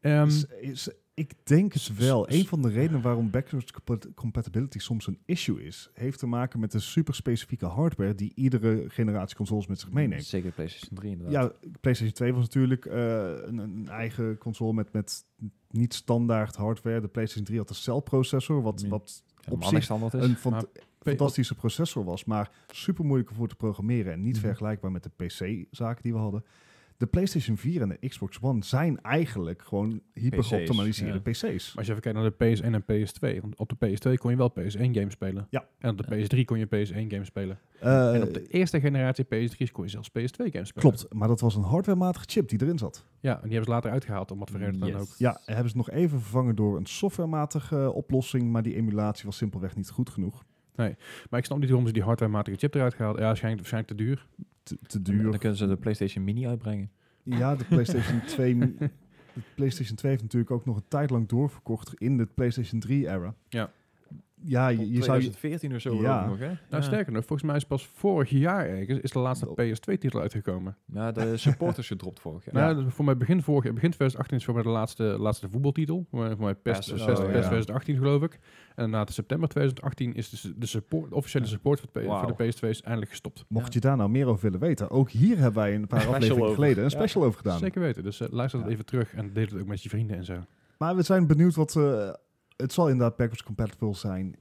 Speaker 3: Ehm,
Speaker 2: Is- is- ik denk het wel.
Speaker 3: s-
Speaker 2: Een van de redenen waarom backwards compat- compatibility soms een issue is, heeft te maken met de super specifieke hardware die iedere generatie consoles met zich meeneemt.
Speaker 1: Zeker PlayStation 3
Speaker 3: Mm,
Speaker 1: inderdaad.
Speaker 2: Ja, PlayStation 2 was natuurlijk eh, een, een eigen console met, met niet standaard hardware. De PlayStation 3 had een cell processor, wat,
Speaker 1: Ja.
Speaker 2: wat op
Speaker 1: Helemaal
Speaker 2: zich
Speaker 1: niks standaard is.
Speaker 2: een fant-
Speaker 3: Dus- maar
Speaker 2: fantastische processor was, maar super moeilijk voor te programmeren en niet
Speaker 1: Mhm.
Speaker 2: vergelijkbaar met de PC-zaken die we hadden. De PlayStation 4 en de Xbox One zijn eigenlijk gewoon hyper geoptimaliseerde PC's.
Speaker 3: Maar als je even kijkt naar de PS1 en PS2. Want op de PS2 kon je wel PS1-games spelen.
Speaker 2: Ja.
Speaker 3: En op de PS3 kon je PS1-games spelen.
Speaker 2: Eh,
Speaker 3: en op de eerste generatie PS3's kon je zelfs PS2-games spelen.
Speaker 2: Klopt, maar dat was een hardwarematige chip die erin zat.
Speaker 3: Ja, en die hebben ze later uitgehaald, om wat voor reden dan ook.
Speaker 2: Ja, hebben ze nog even vervangen door een softwarematige eh, oplossing, maar die emulatie was simpelweg niet goed genoeg.
Speaker 3: Maar ik snap niet waarom ze die hardwarematige chip eruit gehaald. Ja, waarschijnlijk, waarschijnlijk te duur.
Speaker 2: Te, te
Speaker 1: En Dan
Speaker 2: duur.
Speaker 1: kunnen ze de PlayStation Mini uitbrengen.
Speaker 2: Ja, de PlayStation 2, mi- de PlayStation 2 heeft natuurlijk ook nog een tijd lang doorverkocht in de PlayStation 3-era.
Speaker 3: Ja.
Speaker 2: ja, je, je zou...
Speaker 1: 2014 of zo
Speaker 2: Ja.
Speaker 1: geloof ik nog, hè?
Speaker 3: Nou,
Speaker 1: ja.
Speaker 3: sterker nog, volgens mij is pas vorig jaar ergens is de laatste PS2-titel uitgekomen.
Speaker 1: Ja, de supporters gedropt vorig jaar.
Speaker 3: Nou, dat is voor mij begin vorig jaar, begin 2018 is voor mij de laatste, laatste voetbaltitel. Voor mij- voor mij PES,
Speaker 1: PES,
Speaker 3: PES,
Speaker 1: oh,
Speaker 3: PES
Speaker 1: ja.
Speaker 3: 2018 geloof ik. En na de september 2018 is dus de, support, de officiële support voor, de P-
Speaker 1: Wauw.
Speaker 3: voor de PS2 is eindelijk gestopt.
Speaker 2: Mocht je daar nou meer over willen weten, ook hier hebben wij een paar
Speaker 1: Special
Speaker 2: afleveringen
Speaker 1: over.
Speaker 2: geleden een
Speaker 1: Ja.
Speaker 2: special over gedaan.
Speaker 3: Zeker weten. Dus eh, luister dat
Speaker 2: Ja.
Speaker 3: even terug en deel het ook met je vrienden en zo.
Speaker 2: Maar we zijn benieuwd wat... eh, het zal inderdaad backwards compatible zijn.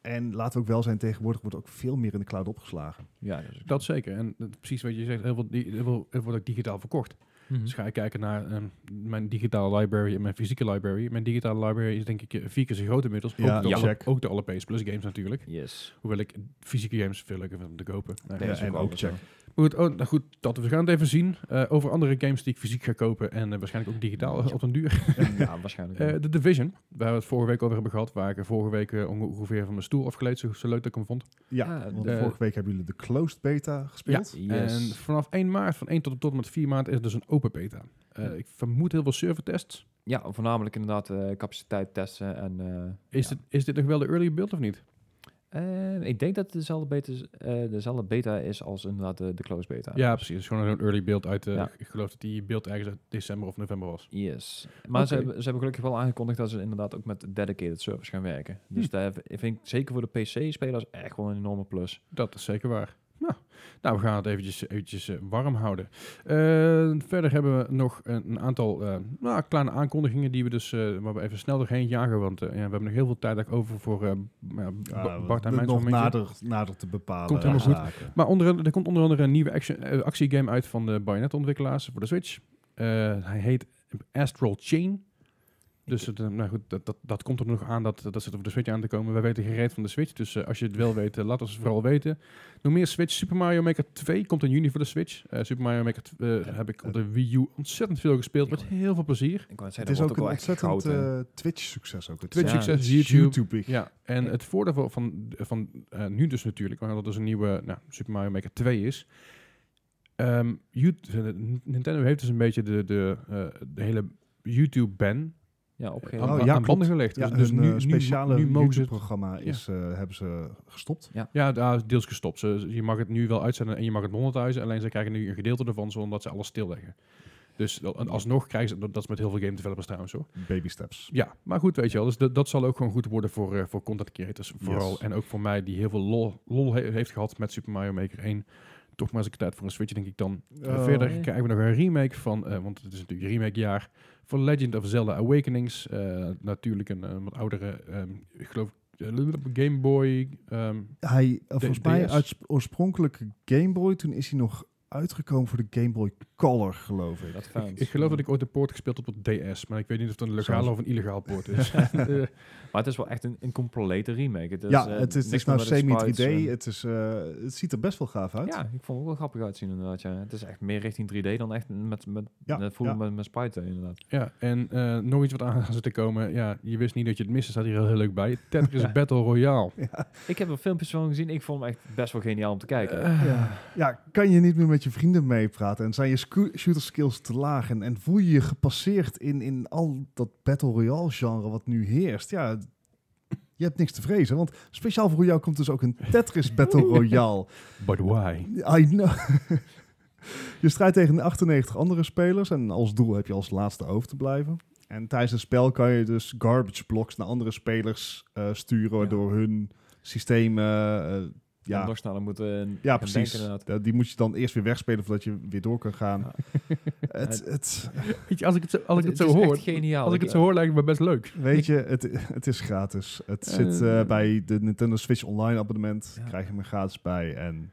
Speaker 2: En laten we ook wel zijn, tegenwoordig wordt ook veel meer in de cloud opgeslagen.
Speaker 1: ja, dat is
Speaker 3: Dat zeker. En dat- precies wat je zegt, heel veel, di- heel veel, heel veel wordt ook digitaal verkocht.
Speaker 2: Hm.
Speaker 1: Mhm.
Speaker 3: Dus ga ik kijken naar ehm, mijn digitale library en mijn fysieke library. Mijn digitale library is denk ik eh, vier keer zo groot inmiddels.
Speaker 2: Ja,
Speaker 3: ook, de
Speaker 2: ja.
Speaker 3: alle,
Speaker 2: check.
Speaker 3: ook de alle PS Plus games natuurlijk.
Speaker 1: Yes.
Speaker 3: Hoewel ik fysieke games veel leuker vind om te kopen. Nou,
Speaker 2: Ja,
Speaker 1: dat is
Speaker 2: en ook
Speaker 1: wel
Speaker 2: check.
Speaker 1: zo.
Speaker 3: Maar goed, oh, nou goed dat, we gaan het even zien. eh, over andere games die ik fysiek ga kopen en eh, waarschijnlijk ook digitaal op een duur.
Speaker 1: ja, waarschijnlijk.
Speaker 3: Eh, The Division, waar we het vorige week over hebben gehad. Waar ik eh, vorige week eh, onge- ongeveer van mijn stoel afgeleid, zo, zo leuk dat ik hem vond.
Speaker 2: Ja,
Speaker 1: Ja,
Speaker 2: want
Speaker 3: de-
Speaker 2: vorige week hebben jullie de closed beta gespeeld.
Speaker 1: Yes.
Speaker 3: En vanaf 1 maart, van 1 tot, tot en met 4 maart, is het dus een open beta. Eh, ik vermoed heel veel servertests.
Speaker 1: ja, voornamelijk inderdaad eh, capaciteit testen en... eh,
Speaker 3: Is,
Speaker 1: Ja.
Speaker 3: dit, is dit nog wel de early build of niet?
Speaker 1: Eh, ik denk dat het dezelfde beta, is- eh, dezelfde beta is als inderdaad de, de closed beta.
Speaker 3: Ja, precies. Het is gewoon een early build uit, eh,
Speaker 1: Ja.
Speaker 3: ik geloof dat die build ergens uit december of november was.
Speaker 1: Yes. Maar ze,
Speaker 3: Oké.
Speaker 1: hebben, ze hebben gelukkig wel aangekondigd dat ze inderdaad ook met dedicated servers gaan werken. Dus
Speaker 3: Hm.
Speaker 1: daar v- vind ik zeker voor de PC-spelers echt wel een enorme plus.
Speaker 3: Dat is zeker waar. Nou, nou we gaan het eventjes, eventjes eh, warm houden. Eh, verder hebben we nog een, een aantal eh, nou, kleine aankondigingen die we dus eh, waar we even snel doorheen jagen. Want eh, ja, we hebben nog heel veel tijd eigenlijk over voor eh, b- ja,
Speaker 2: Ja,
Speaker 3: Ba- Bart en
Speaker 2: om
Speaker 3: mijn
Speaker 2: het nog nader, nader te bepalen.
Speaker 3: Komt helemaal goed.
Speaker 2: zaken.
Speaker 3: Maar onder, andere- er komt onder andere een nieuwe action, eh, actiegame uit van de Bayonetta-ontwikkelaars voor de Switch. Eh, hij heet Astral Chain. Dus het, eh, nou goed, dat, dat, dat komt er nog aan, dat, dat zit op de Switch aan te komen. Wij weten gereed van de Switch, dus eh, als je het wel weet, eh, laat ons het vooral weten. Nog meer Switch, Super Mario Maker 2 komt in juni voor de Switch. Eh, Super Mario Maker 2 eh, heb ik op de Wii U ontzettend veel gespeeld, met heel veel plezier.
Speaker 1: Ik wou
Speaker 2: Het
Speaker 1: zeggen,
Speaker 2: is
Speaker 1: dat
Speaker 2: ook
Speaker 1: wordt
Speaker 2: een
Speaker 1: wel echt goud
Speaker 2: ontzettend
Speaker 1: in.
Speaker 2: eh, Twitch-succes ook. Het is
Speaker 1: Ja.
Speaker 3: Twitch-succes,
Speaker 2: echt
Speaker 3: YouTube,
Speaker 2: YouTube-ig.
Speaker 3: Ja, en het voordeel van, van, van eh, nu dus natuurlijk, omdat er dus een nieuwe nou, Super Mario Maker 2 is. Ehm, YouTube, Nintendo heeft dus een beetje de, de, eh, de hele YouTube-ban
Speaker 1: Ja,
Speaker 3: aan,
Speaker 1: opgegeven.
Speaker 2: Oh,
Speaker 3: aan-
Speaker 2: ja,
Speaker 3: aan banden
Speaker 2: klopt.
Speaker 3: gelegd.
Speaker 2: Ja,
Speaker 3: dus
Speaker 2: dus
Speaker 3: dus
Speaker 2: een
Speaker 3: nu,
Speaker 2: eh,
Speaker 3: nu-
Speaker 2: speciale
Speaker 3: nu, mogen ze het-
Speaker 2: YouTube-programma is, eh, hebben ze gestopt.
Speaker 3: Ja, daar is deels gestopt. Ze, je mag het nu wel uitzenden en je mag het monetizen. Alleen ze krijgen nu een gedeelte ervan, zodat ze alles stilleggen. Dus al- en alsnog krijgen ze, dat dat is met heel veel game developers trouwens hoor.
Speaker 2: Baby steps.
Speaker 3: Ja, maar goed, weet je wel. Dus dat, dat zal ook gewoon goed worden voor, eh, voor content creators vooral.
Speaker 2: Yes.
Speaker 3: En ook voor mij, die heel veel lol, lol he- heeft gehad met Super Mario Maker 1. Toch maar eens een tijd voor een Switch, denk ik dan. Eh,
Speaker 2: Oh.
Speaker 3: Verder
Speaker 1: Ja.
Speaker 3: krijgen we nog een remake van, eh, want het is natuurlijk remake-jaar, van Legend of Zelda Awakenings. Eh, natuurlijk een eh, wat oudere, ehm, ik geloof, eh, Game Boy. ehm,
Speaker 2: Hij, eh, volgens mij
Speaker 3: DS.
Speaker 2: uit sp- oorspronkelijke Game Boy, toen is hij nog uitgekomen voor de Game Boy Color, geloof ik.
Speaker 1: Dat fijn.
Speaker 3: ik geloof dat ik ooit een poort gespeeld heb op DS, maar ik weet niet of het een legale of
Speaker 2: Zoals-
Speaker 3: een illegaal poort is. Eh,
Speaker 1: Maar het is wel echt een, een complete remake. Het is,
Speaker 2: ja,
Speaker 1: eh,
Speaker 2: het is, het
Speaker 1: niks
Speaker 2: is nou
Speaker 1: meer met de
Speaker 2: semi-3D.
Speaker 1: sprites en-
Speaker 2: Het, is, eh, het ziet er best wel gaaf uit.
Speaker 1: Ja, ik vond het wel grappig uitzien inderdaad. Ja. Het is echt meer richting 3D dan echt met, met,
Speaker 2: Ja,
Speaker 1: met, voelen
Speaker 2: ja.
Speaker 1: met, met sprite inderdaad.
Speaker 3: Ja, en eh, nog iets wat aan zit te komen. Ja, je wist niet dat je het miste, staat hier heel, heel leuk bij. Tetris
Speaker 1: Ja.
Speaker 3: Battle Royale.
Speaker 1: Ik heb er filmpjes van gezien. Ik vond hem echt best wel geniaal om te kijken.
Speaker 2: Eh, Ja. Ja, kan je niet meer met je vrienden meepraten en zijn je sco- shooter skills te laag en, en voel je je gepasseerd in, in al dat battle royale genre wat nu heerst? Ja, je hebt niks te vrezen, want speciaal voor jou komt dus ook een Tetris battle royale.
Speaker 3: But why?
Speaker 2: I know. Je strijdt tegen 98 andere spelers en als doel heb je als laatste over te blijven. En tijdens het spel kan je dus garbage blocks naar andere spelers eh, sturen, waardoor hun systemen eh,
Speaker 1: Ja.
Speaker 2: ja,
Speaker 1: Nog sneller moeten eh,
Speaker 2: ja,
Speaker 1: gaan
Speaker 2: precies.
Speaker 1: denken inderdaad.
Speaker 2: Ja, die moet je dan eerst weer wegspelen voordat je weer door kan gaan.
Speaker 1: Ja.
Speaker 2: het, het,
Speaker 3: Weet je, als ik het zo, als ik het, zo
Speaker 1: is
Speaker 3: hoor,
Speaker 1: echt geniaal.
Speaker 3: als ik het zo hoor, lijkt het me best leuk.
Speaker 2: weet je, het, het is gratis. Het
Speaker 3: Eh.
Speaker 2: zit eh, bij de Nintendo Switch Online abonnement.
Speaker 1: Ja.
Speaker 2: Krijg je hem er gratis bij. En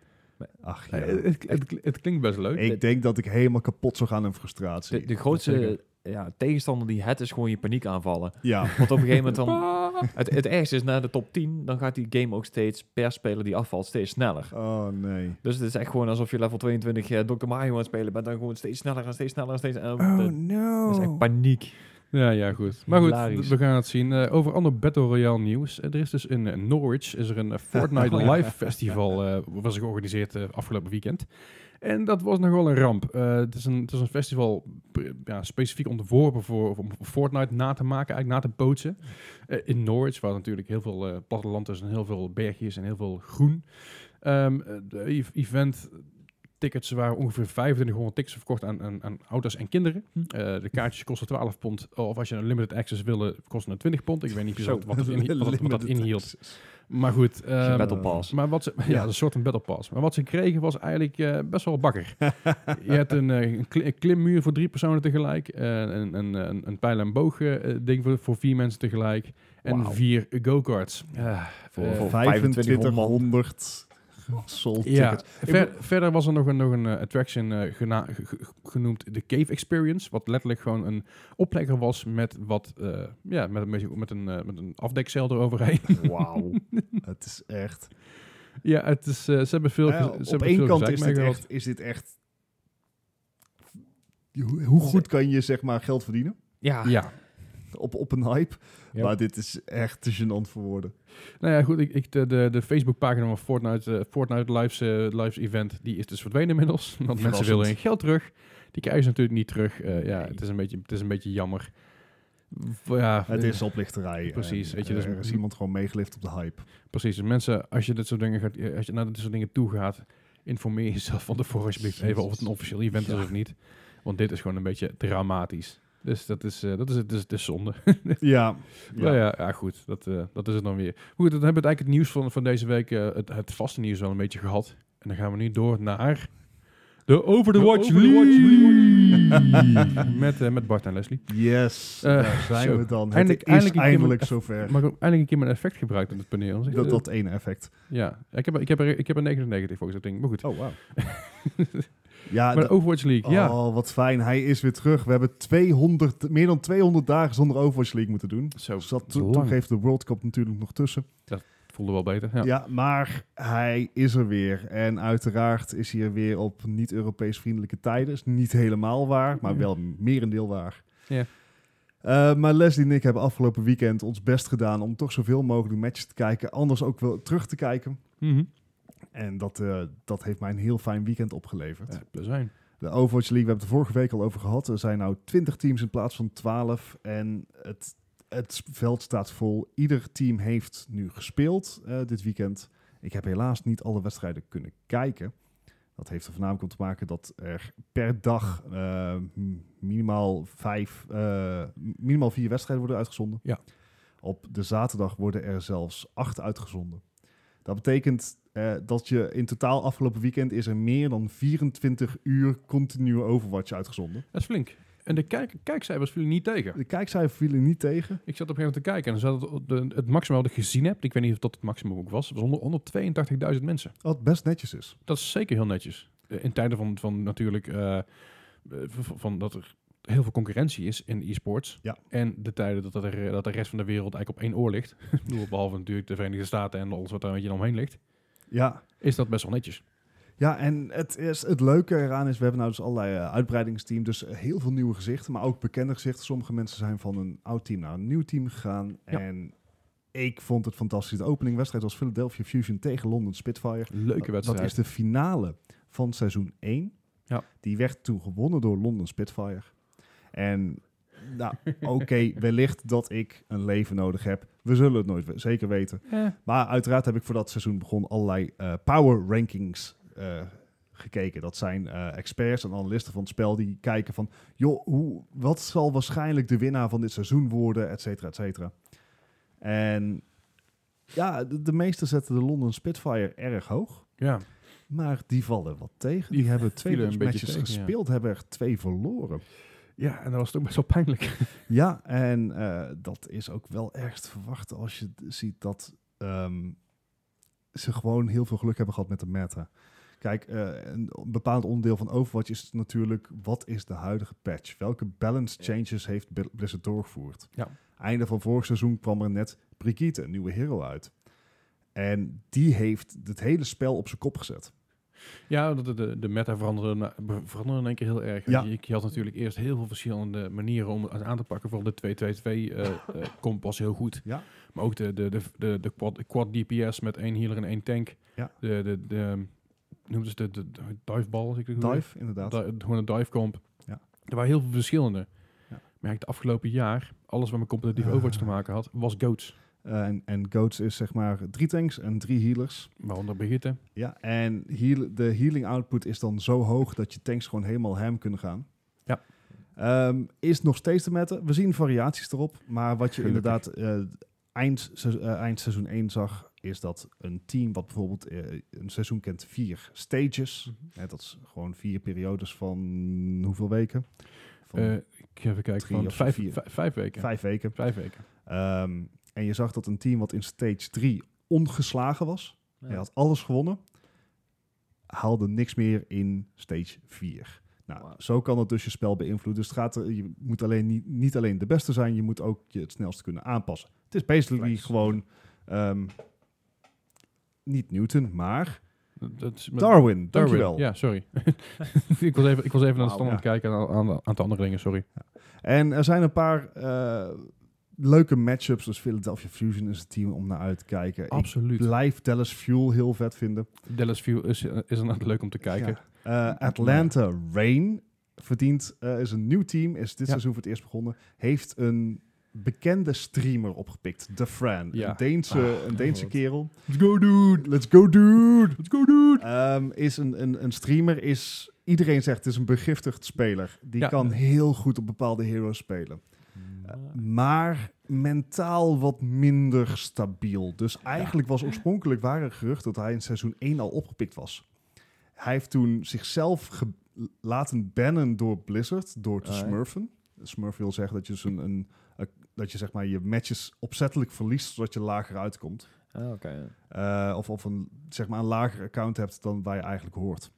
Speaker 2: ach ja,
Speaker 3: Eh, Het, het, het klinkt best leuk.
Speaker 2: ik denk dat ik helemaal kapot zou gaan in frustratie.
Speaker 1: De, de
Speaker 3: Zeker.
Speaker 1: grootste ja, tegenstander die het is gewoon je paniek aanvallen.
Speaker 2: ja,
Speaker 1: Want op een gegeven moment dan...
Speaker 3: Ah.
Speaker 1: Het, het ergste is, na de top 10, dan gaat die game ook steeds per speler die afvalt steeds sneller.
Speaker 2: oh nee.
Speaker 1: Dus het is echt gewoon alsof je level 22 eh, Dr. Mario aan het spelen bent. Dan gewoon steeds sneller en steeds sneller en steeds... En
Speaker 2: Oh
Speaker 1: dat-
Speaker 2: no.
Speaker 1: dat is echt
Speaker 3: Ehm,
Speaker 1: paniek.
Speaker 3: Ja, ja, goed. Maar goed,
Speaker 1: Hilarisch.
Speaker 3: we gaan het zien. Eh, over ander Battle Royale nieuws. Eh, er is dus in eh, Oh, Norwich is er een eh, Fortnite Live Festival eh was er georganiseerd eh, afgelopen weekend. En dat was nogal een ramp. Eh, het, is een, het is een festival eh, ja, specifiek ontworpen voor, om Fortnite na te maken, eigenlijk na te bootsen. Eh, in Norwich, waar natuurlijk heel veel eh, platteland is en heel veel bergjes en heel veel groen. Ehm, eh, de e- event tickets waren ongeveer 2500 tickets verkocht aan, aan, aan ouders en kinderen.
Speaker 1: Hm.
Speaker 3: Eh, de kaartjes kosten 12 pond. Of als je een limited access wilde, kosten het 20 pond. Ik weet niet precies wat, dat in- wat, dat- wat dat
Speaker 2: Limited
Speaker 3: inhield.
Speaker 2: access.
Speaker 3: Maar goed. ehm,
Speaker 1: Battle Pass.
Speaker 3: maar wat ze, ja,
Speaker 2: Ja.
Speaker 3: een soort een battle pass. Maar wat ze kregen was eigenlijk eh, best wel bakker. je hebt een, eh, een kli- een klimmuur voor drie personen tegelijk. eh, een, een, een, een pijl en boog eh, ding voor, voor vier mensen tegelijk. En
Speaker 1: Wauw.
Speaker 3: vier go-karts. Ah,
Speaker 1: Voor,
Speaker 3: Eh,
Speaker 1: voor 2500 man.
Speaker 2: 2500 sold
Speaker 3: ja,
Speaker 2: tickets.
Speaker 3: ver- verder was er nog een, nog een eh, attraction eh, gena- ge- ge- genoemd de Cave Experience. Wat letterlijk gewoon een oplegger was met, wat, eh, ja, met, een beetje- met, een, eh, met een afdekcel eroverheen.
Speaker 2: Wauw. het is echt...
Speaker 3: ja, het is, eh, ze hebben veel
Speaker 2: Nou
Speaker 3: ge- ze
Speaker 2: ja, op
Speaker 3: hebben
Speaker 2: één
Speaker 3: veel
Speaker 2: kant
Speaker 3: gezeik
Speaker 2: is dit,
Speaker 3: meegehad.
Speaker 2: echt, is dit echt... Hoe hoe goed kan je zeg maar geld verdienen
Speaker 1: Ja,
Speaker 3: Ja,
Speaker 2: op, op een hype?
Speaker 1: Ja.
Speaker 2: Maar dit is echt te gênant voor woorden.
Speaker 3: Nou ja, goed. Ik, ik, de, de, de Facebookpagina van Fortnite, eh, Fortnite Lives, eh, Lives Event, die is dus verdwenen inmiddels. Want mensen
Speaker 2: Verrassend.
Speaker 3: willen hun geld terug. Die krijgen ze natuurlijk niet terug. Eh, ja,
Speaker 1: Nee.
Speaker 3: het, is een beetje, het is een beetje jammer. V- Ja, eh,
Speaker 2: Het is oplichterij.
Speaker 3: Precies,
Speaker 2: en,
Speaker 3: weet je, dus
Speaker 2: eh, er is iemand gewoon meegelift op de hype.
Speaker 3: Precies. Dus Mensen, als je, dit soort dingen gaat, eh, als je naar dit soort dingen toe gaat, informeer jezelf van tevoren alsjeblieft even of het een officieel event is of niet. Want dit is gewoon een beetje dramatisch. Dus dat is, eh, dat is, het is, het is zonde.
Speaker 2: Ja.
Speaker 3: Nou Ja, ja, ja goed. Dat, eh, dat is het dan weer. Goed, dan hebben we het eigenlijk het nieuws van, van deze week, eh, het, het vaste nieuws wel een beetje gehad. En dan gaan we nu door naar de Over the
Speaker 2: De
Speaker 3: Watch
Speaker 2: Over the Watch
Speaker 3: League. met, eh, met Bart en Leslie.
Speaker 2: Yes,
Speaker 3: Eh,
Speaker 2: daar zijn
Speaker 3: zo.
Speaker 2: we dan. Het
Speaker 3: Eindelijk-
Speaker 2: is
Speaker 3: eindelijk
Speaker 2: eindelijk,
Speaker 3: een keer met-
Speaker 2: zover.
Speaker 3: Mag ik ook eindelijk een keer mijn effect gebruikt op het paneel? Zeg,
Speaker 2: Dat,
Speaker 3: eh,
Speaker 2: dat ene effect.
Speaker 3: Ja, ik heb, er- ik heb, er, ik heb een 99 volgens dat ding. Maar goed.
Speaker 2: Oh, wow. ja,
Speaker 3: maar
Speaker 2: d-
Speaker 3: de Overwatch League, ja.
Speaker 2: Ah, oh, wat fijn. Hij is weer terug. We hebben 200, meer dan 200 dagen zonder Overwatch League moeten doen.
Speaker 3: Zo,
Speaker 2: Dus dat
Speaker 3: lang.
Speaker 2: toen heeft de World Cup natuurlijk nog tussen.
Speaker 3: voelde wel beter. Ja.
Speaker 2: Ja. maar hij is er weer. En uiteraard is hij er weer op niet-Europees vriendelijke tijden. Is niet helemaal waar, maar wel merendeel waar.
Speaker 3: Ja.
Speaker 2: Eh, maar Leslie en ik hebben afgelopen weekend ons best gedaan om toch zoveel mogelijk matches te kijken. Anders ook wel terug te kijken.
Speaker 3: Mhm.
Speaker 2: En dat, eh, dat heeft mij een heel fijn weekend opgeleverd.
Speaker 3: Ja, plus één.
Speaker 2: De Overwatch League, we hebben het er vorige week al over gehad. Er zijn nou 20 teams in plaats van 12. En het, het veld staat vol. Ieder team heeft nu gespeeld eh, dit weekend. Ik heb helaas niet alle wedstrijden kunnen kijken. Dat heeft er voornamelijk om te maken dat er per dag eh, m- minimaal, vijf, eh, m- minimaal vier wedstrijden worden uitgezonden.
Speaker 3: Ja.
Speaker 2: Op de zaterdag worden er zelfs acht uitgezonden. Dat betekent eh, dat je in totaal afgelopen weekend is er meer dan 24 uur continue Overwatch uitgezonden.
Speaker 3: Dat is flink. En de kijk, kijkcijfers vielen niet tegen.
Speaker 2: De kijkcijfer viel er niet tegen.
Speaker 3: Ik zat op een gegeven moment te kijken en dan zat het, op de, het maximum wat ik gezien heb. Ik weet niet of dat het maximum ook was. Het was onder- 182.000 mensen.
Speaker 2: Wat best netjes is.
Speaker 3: Dat is zeker heel netjes. Eh, In tijden van, van natuurlijk eh, eh, v- van dat er heel veel concurrentie is in e-sports.
Speaker 2: Ja.
Speaker 3: En de tijden dat, dat, er, eh, dat de rest van de wereld eigenlijk op één oor ligt. Ik bedoel, Behalve natuurlijk de Verenigde Staten en alles wat daar een beetje omheen ligt.
Speaker 2: Ja,
Speaker 3: Is dat best wel netjes.
Speaker 2: Ja, en het, is, het leuke eraan is, we hebben nou dus allerlei eh, uitbreidingsteams, dus heel veel nieuwe gezichten, maar ook bekende gezichten. Sommige mensen zijn van een oud team naar een nieuw team gegaan.
Speaker 3: Ja.
Speaker 2: En ik vond het fantastisch. De openingwedstrijd was Philadelphia Fusion tegen London Spitfire.
Speaker 3: Leuke
Speaker 2: Dat-
Speaker 3: wedstrijd.
Speaker 2: Dat is de finale van seizoen 1.
Speaker 3: Ja.
Speaker 2: Die werd toen gewonnen door London Spitfire. En nou, oké, wellicht dat ik een leven nodig heb. We zullen het nooit we- zeker weten.
Speaker 3: Eh,
Speaker 2: Maar uiteraard heb ik voor dat seizoen begon allerlei eh, power rankings eh, gekeken. Dat zijn eh, experts en analisten van het spel die kijken van... joh, hoe, wat zal waarschijnlijk de winnaar van dit seizoen worden, et cetera, et cetera. En ja, de, de meesten zetten de London Spitfire erg hoog.
Speaker 3: ja.
Speaker 2: Maar die vallen wat tegen. Die,
Speaker 3: Die
Speaker 2: hebben twee
Speaker 3: vielen een beetje
Speaker 2: matches
Speaker 3: tegen, ja.
Speaker 2: gespeeld, hebben er twee verloren.
Speaker 3: ja, en dat was toch best wel pijnlijk.
Speaker 2: Ja, en eh, dat is ook wel erg te verwachten als je d- ziet dat ehm, ze gewoon heel veel geluk hebben gehad met de meta. Kijk, eh, een bepaald onderdeel van Overwatch is natuurlijk, wat is de huidige patch? Welke balance changes heeft Bl- Blizzard doorgevoerd?
Speaker 3: Ja.
Speaker 2: Einde van vorig seizoen kwam er net Brigitte, een nieuwe hero uit. En die heeft het hele spel op zijn kop gezet.
Speaker 3: Ja, dat de- de, de meta veranderde, na- be- veranderde in één keer heel erg.
Speaker 2: Ja.
Speaker 3: Je, je had natuurlijk eerst heel veel verschillende manieren om het aan te pakken. Vooral de 2-2-2 eh, eh, comp was heel goed.
Speaker 2: Ja.
Speaker 3: Maar ook de, de, de, de, de quad, quad DPS met één healer en één tank.
Speaker 2: Ja.
Speaker 3: De, de, de, ehm, noemden ze de, de, de divebal, als ik het goed heb.
Speaker 2: Dive, inderdaad.
Speaker 3: Di- gewoon een divecomp.
Speaker 2: Ja.
Speaker 3: Er waren heel veel verschillende.
Speaker 2: Ja.
Speaker 3: Maar ik het afgelopen jaar, alles wat met competitieve
Speaker 2: Ah.
Speaker 3: Overwatch te maken had, was goats.
Speaker 2: Eh, en, en Goats is zeg maar drie tanks en drie healers.
Speaker 3: Waaronder Brigitte.
Speaker 2: Ja, en heal, de healing output is dan zo hoog dat je tanks gewoon helemaal ham kunnen gaan.
Speaker 3: Ja.
Speaker 2: Ehm, is nog steeds te metten. We zien variaties erop. Maar wat je
Speaker 3: Gelukkig.
Speaker 2: inderdaad eh, eind, se- eh, eind seizoen 1 zag, is dat een team wat bijvoorbeeld eh, een seizoen kent vier stages.
Speaker 3: Mhm.
Speaker 2: Hè, dat is gewoon vier periodes van hoeveel weken? Van
Speaker 3: Eh, ik ga even kijken,
Speaker 2: drie
Speaker 3: van
Speaker 2: of
Speaker 3: vijf,
Speaker 2: vier.
Speaker 3: vij- vijf weken.
Speaker 2: vijf weken.
Speaker 3: Vijf weken.
Speaker 2: Ehm, en je zag dat een team wat in stage 3 ongeslagen was,
Speaker 1: Ja.
Speaker 2: hij had alles gewonnen, haalde niks meer in stage 4. Nou,
Speaker 1: Wauw.
Speaker 2: zo kan het dus je spel beïnvloeden. Dus het gaat, er- je moet alleen niet, niet alleen de beste zijn, je moet ook je het snelst kunnen aanpassen. Het is basically
Speaker 1: Flex.
Speaker 2: gewoon ehm, niet Newton, maar
Speaker 3: Dat- Dat is met-
Speaker 2: Darwin.
Speaker 3: Darwin.
Speaker 2: Dankjewel.
Speaker 3: Ja, sorry. ik, was even, ik was even naar de
Speaker 1: Wauw,
Speaker 3: stand aan het kijken aan, aan, aan het andere dingen, sorry.
Speaker 2: En er zijn een paar eh, leuke matchups. Dus Philadelphia Fusion is een team om naar uit te kijken. Ik
Speaker 3: Absoluut.
Speaker 2: blijf Dallas Fuel heel vet vinden.
Speaker 3: Dallas View is, eh, is inderdaad leuk om te kijken.
Speaker 2: Ja. Eh, Atlanta Rain verdient, eh, is een nieuw team, is dit
Speaker 3: Ja.
Speaker 2: seizoen voor het eerst begonnen. Heeft een bekende streamer opgepikt, The Fran.
Speaker 3: Ja.
Speaker 2: Een Deense,
Speaker 3: Ah,
Speaker 2: een Deense
Speaker 1: God.
Speaker 2: kerel.
Speaker 3: Let's go dude!
Speaker 2: Let's go dude!
Speaker 3: Let's go dude!
Speaker 2: Ehm, is een, een, een streamer, is, iedereen zegt het is een begiftigd speler. Die
Speaker 3: Ja.
Speaker 2: kan heel goed op bepaalde heroes spelen. Mm. Maar mentaal wat minder stabiel. Dus eigenlijk was oorspronkelijk waar een gerucht dat hij in seizoen 1 al opgepikt was. Hij heeft toen zichzelf ge- laten bannen door Blizzard, door te
Speaker 1: Ah, ja.
Speaker 2: smurfen. Smurf wil zeggen dat je, dus een, een, eh, dat je zeg maar je matches opzettelijk verliest, zodat je lager uitkomt.
Speaker 1: Ah, oké. ja.
Speaker 2: Eh, of of een, zeg maar een lager account hebt dan waar je eigenlijk hoort.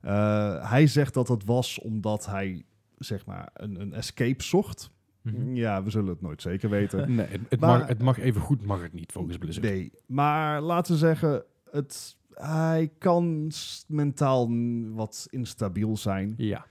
Speaker 2: Eh, hij zegt dat dat was omdat hij zeg maar, een, een escape zocht.
Speaker 1: Mhm.
Speaker 2: Ja, we zullen het nooit zeker weten.
Speaker 3: Nee, het, het
Speaker 2: Maar-
Speaker 3: mag, het mag even goed, mag Dus het niet volgens Blizzard.
Speaker 2: nee, maar laten we zeggen, het, hij kan s- mentaal n- wat instabiel zijn.
Speaker 3: Ja,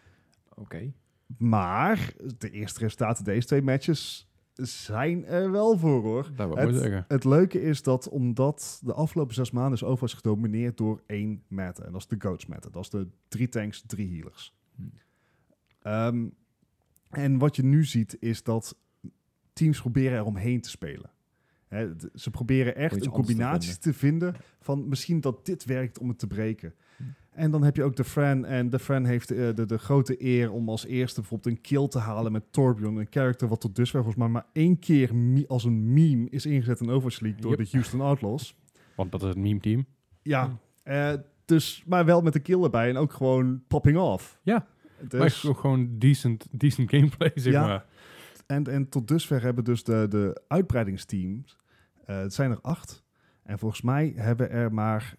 Speaker 1: Oké.
Speaker 2: Maar de eerste resultaten deze twee matches zijn er wel voor hoor.
Speaker 3: dat wou ik maar zeggen.
Speaker 2: Het leuke is dat omdat de afgelopen zes maanden is Overwatch gedomineerd door één meta. En dat is de Goats meta. Dat is de drie tanks, drie healers.
Speaker 1: Hmm.
Speaker 2: Ehm, en wat je nu ziet is dat teams proberen er omheen te spelen. Hè, d- ze proberen
Speaker 1: Om
Speaker 2: echt
Speaker 1: iets
Speaker 2: een
Speaker 1: anders te
Speaker 2: combinatie te vinden van misschien dat dit werkt om het te breken.
Speaker 1: Hmm.
Speaker 2: En dan heb je ook de Fran. En de Fran heeft eh, de, de grote eer om als eerste bijvoorbeeld een kill te halen met Torbjorn. Een character wat tot dusver volgens mij maar één keer me- als een meme is ingezet in Overwatch League door
Speaker 3: Yep.
Speaker 2: de Houston Outlaws.
Speaker 3: Want dat is het meme team.
Speaker 2: Ja,
Speaker 3: Hmm.
Speaker 2: eh, dus, maar wel met de kill erbij en ook gewoon popping off.
Speaker 3: Ja. Maar
Speaker 2: Dus,
Speaker 3: gewoon- gewoon decent, decent gameplay, zeg
Speaker 2: Ja.
Speaker 3: maar.
Speaker 2: en, en tot dusver hebben dus de, de uitbreidingsteams, eh, het zijn er acht. En volgens mij hebben er maar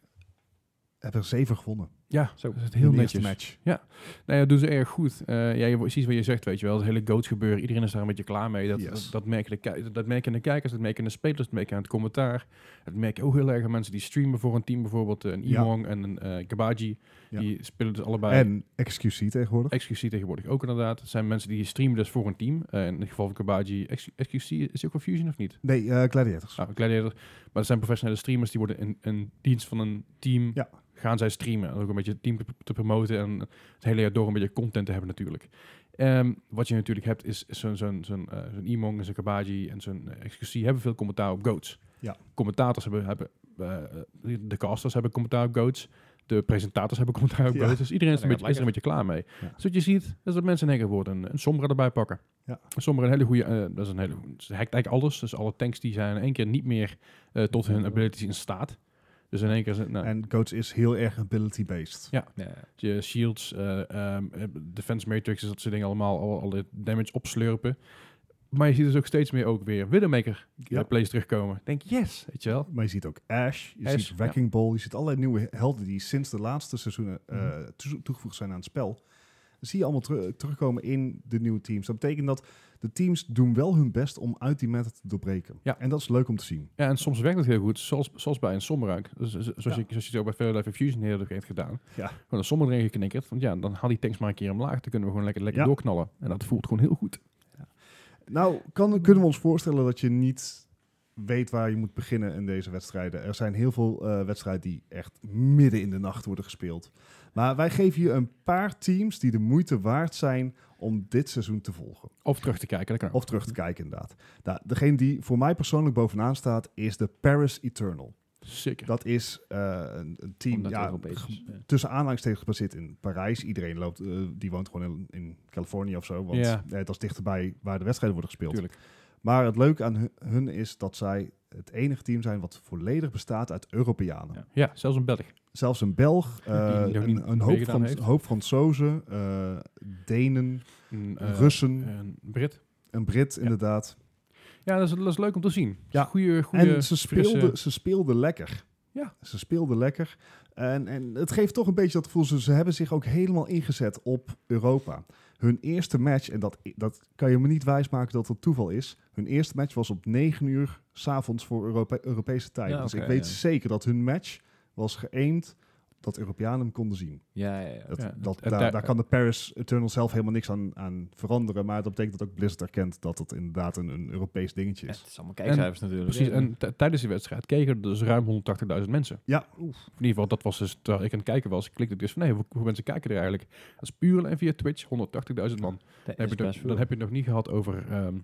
Speaker 2: hebben er zeven gewonnen.
Speaker 3: Ja,
Speaker 1: Zo,
Speaker 3: dat is het
Speaker 2: in
Speaker 3: heel
Speaker 2: de eerste
Speaker 3: netjes.
Speaker 2: match.
Speaker 3: Nou ja, doen ze erg goed. Eh, ja, je- precies wat je zegt, weet je wel. Het hele goat gebeuren. Iedereen is daar een beetje klaar mee. Dat,
Speaker 2: Yes.
Speaker 3: dat, dat merken de ki- dat merken de kijkers, dat merken de spelers, dat merken aan het commentaar. Dat merken ook heel erg aan mensen die streamen voor een team. Bijvoorbeeld eh, een
Speaker 2: Ja.
Speaker 3: Imong en een eh Kabaji.
Speaker 2: Ja.
Speaker 3: Die spelen dus allebei...
Speaker 2: En XQC tegenwoordig.
Speaker 3: XQC tegenwoordig ook inderdaad. Het zijn mensen die streamen dus voor een team. Eh, in het geval van Kabaji, X- XQC is ook wel Fusion of niet?
Speaker 2: Nee, eh Gladiators.
Speaker 3: Nou, Gladiator. Maar het zijn professionele streamers die worden in, in dienst van een team.
Speaker 2: Ja.
Speaker 3: Gaan zij streamen. En ook een beetje het team te, te promoten en het hele jaar door een beetje content te hebben natuurlijk. Ehm, wat je natuurlijk hebt is is zo'n zo'n zo'n eh, zo'n Imong en zo'n Kabaji en zo'n eh, XQC hebben veel commentaar op goats.
Speaker 2: Ja.
Speaker 3: Commentators hebben, hebben eh, eh, de casters hebben commentaar op goats. De presentators hebben commentaar op
Speaker 2: Ja.
Speaker 3: goats. Dus iedereen is,
Speaker 1: Ja,
Speaker 3: er een
Speaker 1: dat
Speaker 3: beetje, is er een beetje klaar mee.
Speaker 2: Ja.
Speaker 3: Dus wat je ziet, is dat mensen in één keer worden een, een Sombra erbij pakken.
Speaker 2: Ja.
Speaker 3: Een Sombra een hele goede, eh, dat is een hele, ze hackt eigenlijk alles. Dus alle tanks die zijn in één keer niet meer eh, tot hun abilities in staat. Dus in één keer, zijn- nou,
Speaker 2: En Goats is heel erg ability-based.
Speaker 1: Ja.
Speaker 3: je shields, eh, ehm, eh, defense matrix, dat soort dingen allemaal, alle, alle damage opslurpen. Maar je ziet dus ook steeds meer ook weer Widowmaker
Speaker 2: Ja.
Speaker 3: eh, plays terugkomen. Denk yes, weet je wel.
Speaker 2: Maar je ziet ook Ash, je
Speaker 3: Ash,
Speaker 2: ziet Wrecking Ball, je ziet allerlei nieuwe helden die sinds de laatste seizoenen eh, toe- toegevoegd zijn aan het spel. Dat zie je allemaal teru- terugkomen in de nieuwe teams. Dat betekent dat de teams doen wel hun best om uit die meta te doorbreken.
Speaker 3: Ja.
Speaker 2: En dat is leuk om te zien.
Speaker 3: Ja, en soms werkt het heel goed, zoals, zoals bij een somruik. Dus, dus- zoals,
Speaker 2: Ja.
Speaker 3: je, zoals je het ook bij Fairlife Fusion heel erg heeft gedaan.
Speaker 2: Ja.
Speaker 3: Gewoon een sommer erin geknikkerd. Want ja, dan haal die tanks maar een keer omlaag. Dan kunnen we gewoon lekker, lekker
Speaker 2: Ja.
Speaker 3: doorknallen. En dat voelt gewoon heel goed.
Speaker 2: Nou, kan, kunnen we ons voorstellen dat je niet weet waar je moet beginnen in deze wedstrijden. Er zijn heel veel eh, wedstrijden die echt midden in de nacht worden gespeeld. Maar wij geven je een paar teams die de moeite waard zijn om dit seizoen te volgen.
Speaker 3: Of terug te kijken, dat kan ook.
Speaker 2: Of terug te kijken, inderdaad. Nou, degene die voor mij persoonlijk bovenaan staat, is de Paris Eternal.
Speaker 3: Zeker.
Speaker 2: Dat is eh, een, een team
Speaker 1: Omdat het
Speaker 2: ja,
Speaker 1: Europees
Speaker 2: ge-
Speaker 1: is. Ja.
Speaker 2: tussen aanhalingstekens gebaseerd in Parijs. Iedereen loopt, eh, die woont gewoon in, in Californië of zo. Want
Speaker 3: Ja.
Speaker 2: eh, dat is dichterbij waar de wedstrijden worden gespeeld.
Speaker 3: Tuurlijk.
Speaker 2: Maar het leuke aan hu- hun is dat zij het enige team zijn wat volledig bestaat uit Europeanen.
Speaker 1: Ja.
Speaker 3: Ja, zelfs een Belg.
Speaker 2: Zelfs een Belg, eh,
Speaker 3: nog niet
Speaker 2: een, een hoop,
Speaker 3: meegedaan
Speaker 2: Frans,
Speaker 3: heeft.
Speaker 2: hoop Fransozen, eh, Denen,
Speaker 3: Een, eh,
Speaker 2: Russen,
Speaker 3: Een Brit.
Speaker 2: een Brit inderdaad.
Speaker 3: Ja, dat is, dat is leuk om te zien.
Speaker 2: Ja.
Speaker 3: Goede, goede,
Speaker 2: en ze
Speaker 3: frisse-
Speaker 2: speelden, ze speelden lekker.
Speaker 3: Ja.
Speaker 2: Ze speelden lekker. En, en het geeft toch een beetje dat gevoel, ze, ze hebben zich ook helemaal ingezet op Europa. Hun eerste match, en dat, dat kan je me niet wijsmaken dat dat toeval is. Hun eerste match was op 9 uur s'avonds voor Europe- Europese tijd.
Speaker 1: Ja,
Speaker 2: dus
Speaker 1: oké,
Speaker 2: ik weet
Speaker 1: ja.
Speaker 2: zeker dat hun match was geëimd dat Europeanen hem konden zien.
Speaker 1: Ja, ja, ja.
Speaker 2: Dat,
Speaker 3: Ja,
Speaker 2: dat,
Speaker 3: het-
Speaker 2: daar,
Speaker 3: het-
Speaker 2: daar kan de Paris Eternal zelf helemaal niks aan, aan veranderen. Maar dat betekent dat ook Blizzard erkent dat het inderdaad een, een Europees dingetje
Speaker 1: Ja,
Speaker 2: is.
Speaker 1: Het is allemaal kijkcijfers natuurlijk.
Speaker 3: Precies,
Speaker 1: Ja.
Speaker 3: en t- tijdens die wedstrijd keken er dus ruim 180.000 mensen.
Speaker 2: Ja.
Speaker 3: In ieder geval, dat was dus, terwijl ik aan het kijken was, klikte ik dus van, nee, hoe, hoe mensen kijken er eigenlijk? Dat is puur en via Twitch, 180.000 man.
Speaker 1: dat
Speaker 3: Dan
Speaker 1: is
Speaker 3: heb, je
Speaker 1: best
Speaker 3: het,
Speaker 1: veel.
Speaker 3: dan heb je het nog niet gehad over, ehm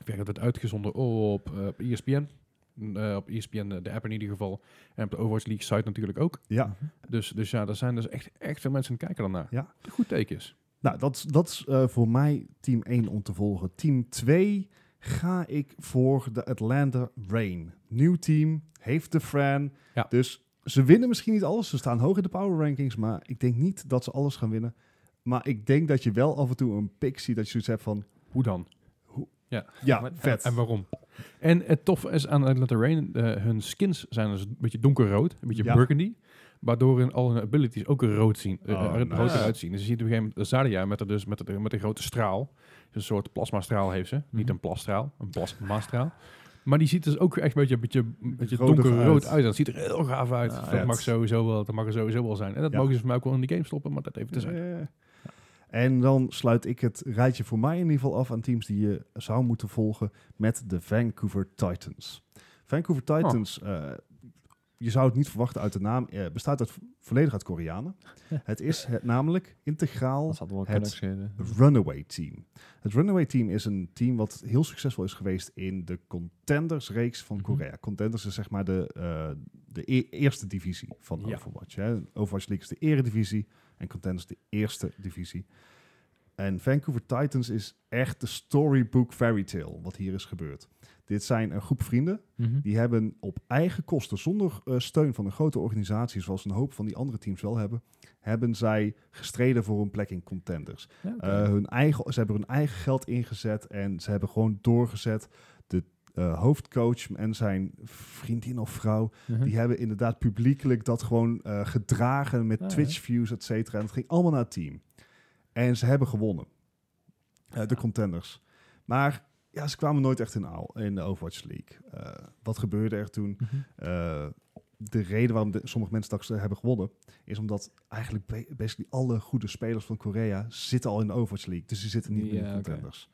Speaker 3: ik weet dat het uitgezonden op eh ESPN. Eh, op ESPN, eh, de app in ieder geval. En op de Overwatch League site natuurlijk ook.
Speaker 2: Ja,
Speaker 3: Dus, dus ja, daar zijn dus echt, echt veel mensen aan het kijken daarnaar.
Speaker 2: Ja.
Speaker 3: Een Goed teken is.
Speaker 2: nou dat, is- dat is eh, voor mij team 1 om te volgen. Team 2 ga ik voor de Atlanta Rain. Nieuw team, heeft de Fran.
Speaker 3: Ja.
Speaker 2: Dus ze winnen misschien niet alles. Ze staan hoog in de power rankings, maar ik denk niet dat ze alles gaan winnen. Maar ik denk dat je wel af en toe een pick ziet dat je zoiets hebt van...
Speaker 3: Hoe dan?
Speaker 2: Ja,
Speaker 1: Maar-
Speaker 2: vet.
Speaker 3: En waarom? En het toffe is aan Atlanta Rain, eh, hun skins zijn dus een beetje donkerrood, een beetje
Speaker 2: Ja.
Speaker 3: burgundy. Waardoor hun, al hun abilities ook er rood, zien, eh,
Speaker 2: Oh,
Speaker 3: er-
Speaker 2: nice.
Speaker 3: rood eruit zien. Dus je ziet op een gegeven moment Zarya met, de, dus met, de, met een grote straal. Dus een soort plasmastraal heeft ze. Niet
Speaker 2: Mhm.
Speaker 3: een plasstraal, een plasmastraal. Maar die ziet dus ook echt een beetje, een beetje, een beetje
Speaker 2: rodig
Speaker 3: donkerrood
Speaker 2: uit.
Speaker 3: uit. Dat ziet er heel gaaf uit.
Speaker 1: Ah,
Speaker 3: dat,
Speaker 2: vet.
Speaker 3: mag sowieso wel, dat mag er sowieso wel zijn. En dat
Speaker 2: Ja.
Speaker 3: mogen ze voor mij ook wel in de game stoppen, maar dat even te zijn.
Speaker 2: Eh. En dan sluit ik het rijtje voor mij in ieder geval af aan teams die je zou moeten volgen met de Vancouver Titans. Vancouver Titans, eh, je zou het niet verwachten uit de naam, eh, bestaat uit, volledig uit Koreanen. het is het, namelijk integraal
Speaker 1: Dat had wel
Speaker 2: het-
Speaker 1: kunnen schelen.
Speaker 2: Runaway Team. Het Runaway Team is een team wat heel succesvol is geweest in de Contenders-reeks van
Speaker 1: Mhm.
Speaker 2: Korea. Contenders is zeg maar de, eh, de e- eerste divisie van
Speaker 3: Ja.
Speaker 2: Overwatch. Hè. Overwatch League is de eredivisie en Contenders de eerste divisie. En Vancouver Titans is echt de storybook fairy tale wat hier is gebeurd. Dit zijn een groep vrienden
Speaker 1: Mhm.
Speaker 2: die hebben op eigen kosten, zonder eh, steun van een grote organisatie, zoals een hoop van die andere teams wel hebben, hebben zij gestreden voor een plek in contenders.
Speaker 1: Ja, oké.
Speaker 2: Eh, hun eigen, ze hebben hun eigen geld ingezet en ze hebben gewoon doorgezet. De eh, hoofdcoach en zijn vriendin of vrouw,
Speaker 1: Mhm.
Speaker 2: die hebben inderdaad publiekelijk dat gewoon eh, gedragen met
Speaker 1: Ah, ja.
Speaker 2: Twitch-views, et cetera. En het ging allemaal naar het team. En ze hebben gewonnen. Eh, de contenders. Maar ja, ze kwamen nooit echt in aal in de Overwatch League. Eh, wat gebeurde er toen?
Speaker 1: Mhm.
Speaker 2: Eh, de reden waarom de- sommige mensen straks eh, hebben gewonnen, is omdat eigenlijk ba- basically alle goede spelers van Korea zitten al in de Overwatch League. Dus die zitten niet meer in de
Speaker 1: Ja, oké.
Speaker 2: contenders.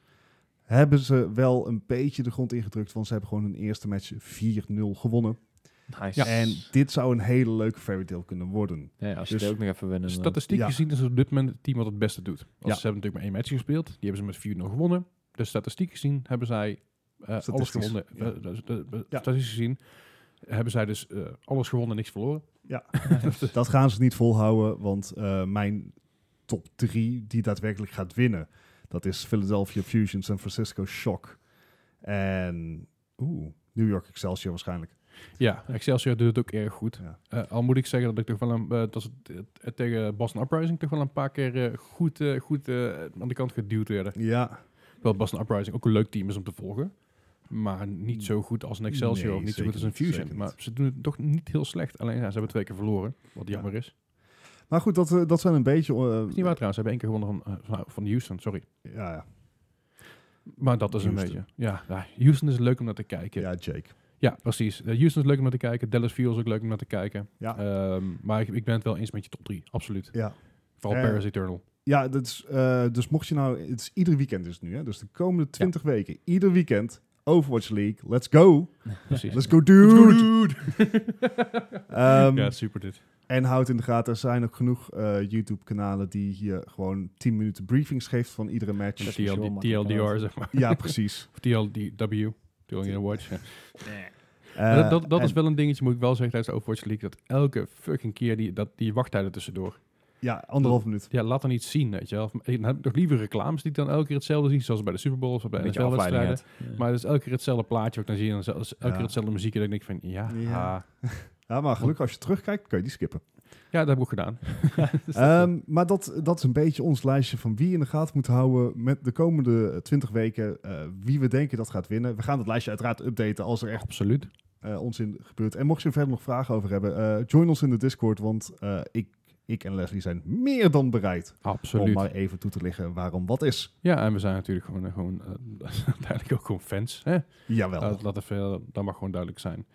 Speaker 2: Hebben ze wel een beetje de grond ingedrukt, want ze hebben gewoon hun eerste match 4-0 gewonnen.
Speaker 1: Nice. Ja.
Speaker 2: En dit zou een hele leuke fairy tale kunnen worden.
Speaker 1: ja, als je
Speaker 2: dus-
Speaker 1: het ook nog even winnen. dan-
Speaker 3: Statistiek
Speaker 2: Ja.
Speaker 3: gezien is het op dit moment het team wat het beste doet. Want
Speaker 2: Ja.
Speaker 3: Ze hebben natuurlijk maar één match gespeeld. Die hebben ze met 4-0 gewonnen. Dus statistiek gezien hebben zij eh, alles
Speaker 2: Statistisch,
Speaker 3: gewonnen.
Speaker 2: ja.
Speaker 3: Eh, dus, eh, eh,
Speaker 2: Ja.
Speaker 3: Statistisch gezien hebben zij dus eh, alles gewonnen en niks verloren.
Speaker 2: Dat gaan ze niet volhouden, want eh, mijn top 3 die daadwerkelijk gaat winnen, dat is Philadelphia Fusion, San Francisco Shock en oeh, New York Excelsior waarschijnlijk.
Speaker 3: Ja, Excelsior doet het ook erg goed.
Speaker 2: Ja.
Speaker 3: Eh, al moet ik zeggen dat ik toch wel een, eh, dat ze t- eh, tegen Boston Uprising toch wel een paar keer eh, goed, eh, goed eh, aan de kant geduwd werden.
Speaker 2: Ja,
Speaker 3: Terwijl Boston Uprising ook een leuk team is om te volgen. Maar niet zo goed als een Excelsior
Speaker 2: Nee,
Speaker 3: of niet zo
Speaker 2: zeker
Speaker 3: goed als een
Speaker 2: niet, zeker
Speaker 3: Fusion.
Speaker 2: niet.
Speaker 3: Maar ze doen het toch niet heel slecht. Alleen ja, ze hebben twee keer verloren, wat
Speaker 2: Ja.
Speaker 3: jammer is.
Speaker 2: maar goed, dat, eh, dat zijn een beetje...
Speaker 3: Is
Speaker 2: eh,
Speaker 3: niet waar trouwens, ze hebben één keer gewonnen van, eh, van, van Houston, sorry.
Speaker 2: ja, ja.
Speaker 3: Maar dat is
Speaker 2: Houston.
Speaker 3: een beetje... Ja, ja, Houston is leuk om naar te kijken. Ja,
Speaker 2: ja, Jake.
Speaker 3: precies. Eh, Houston is leuk om naar te kijken. Dallas Fuel is ook leuk om naar te kijken.
Speaker 2: Ja.
Speaker 3: Ehm, maar ik, ik ben het wel eens met je top 3, absoluut.
Speaker 2: Ja.
Speaker 3: Vooral
Speaker 2: Eh,
Speaker 3: Paris Eternal.
Speaker 2: Ja, dat is, eh, dus mocht je nou, het is ieder weekend is het nu, hè? dus de komende 20 weken, ieder weekend, Overwatch League, let's go.
Speaker 3: Precies.
Speaker 2: Let's go dude. Ehm,
Speaker 3: ja, super dit.
Speaker 2: En houd in de gaten, er zijn ook genoeg eh, YouTube-kanalen die je gewoon 10 minuten briefings geeft van iedere match.
Speaker 1: Dat is
Speaker 3: TLD,
Speaker 1: wel makkelijk,
Speaker 3: TLDR, zeg maar.
Speaker 2: Ja, precies.
Speaker 3: Of TLDW. TLDR Watch. ja.
Speaker 2: Eh,
Speaker 3: dat dat, dat
Speaker 2: en-
Speaker 3: is wel een dingetje, moet ik wel zeggen, tijdens de Overwatch League. Dat elke fucking keer die, dat, die wachttijden tussendoor.
Speaker 2: Ja, anderhalf minuut.
Speaker 3: Ja, laat dan iets zien, weet je wel. Of- Dan heb ik toch liever reclames die dan elke keer hetzelfde zien. Zoals bij de Super Bowl of bij
Speaker 1: Een
Speaker 3: de
Speaker 1: beetje afleiding.
Speaker 3: NFL-wedstrijden.
Speaker 1: hebt. Ja.
Speaker 3: Maar het is elke keer hetzelfde plaatje. Ook dan zie je dan zelfs elke
Speaker 2: Ja.
Speaker 3: keer hetzelfde muziek. En dan denk ik van, ja,
Speaker 2: Ja.
Speaker 3: ja.
Speaker 2: Ja, maar gelukkig als je terugkijkt, kun je die skippen.
Speaker 3: dat heb ik ook gedaan.
Speaker 2: Ehm, maar dat, dat is een beetje ons lijstje van wie je in de gaten moet houden met de komende 20 weken. eh, wie we denken dat gaat winnen. We gaan dat lijstje uiteraard updaten als er echt
Speaker 3: Absoluut.
Speaker 2: eh, onzin gebeurt. En mocht je er verder nog vragen over hebben, eh, join ons in de Discord. Want eh, ik, ik en Leslie zijn meer dan bereid om
Speaker 3: Absoluut.
Speaker 2: maar even toe te liggen waarom wat is.
Speaker 3: Ja, en we zijn natuurlijk gewoon, eh, gewoon eh, uiteindelijk ook gewoon fans. Hè?
Speaker 2: Jawel.
Speaker 3: Laat, laat even, eh, dat mag gewoon duidelijk zijn.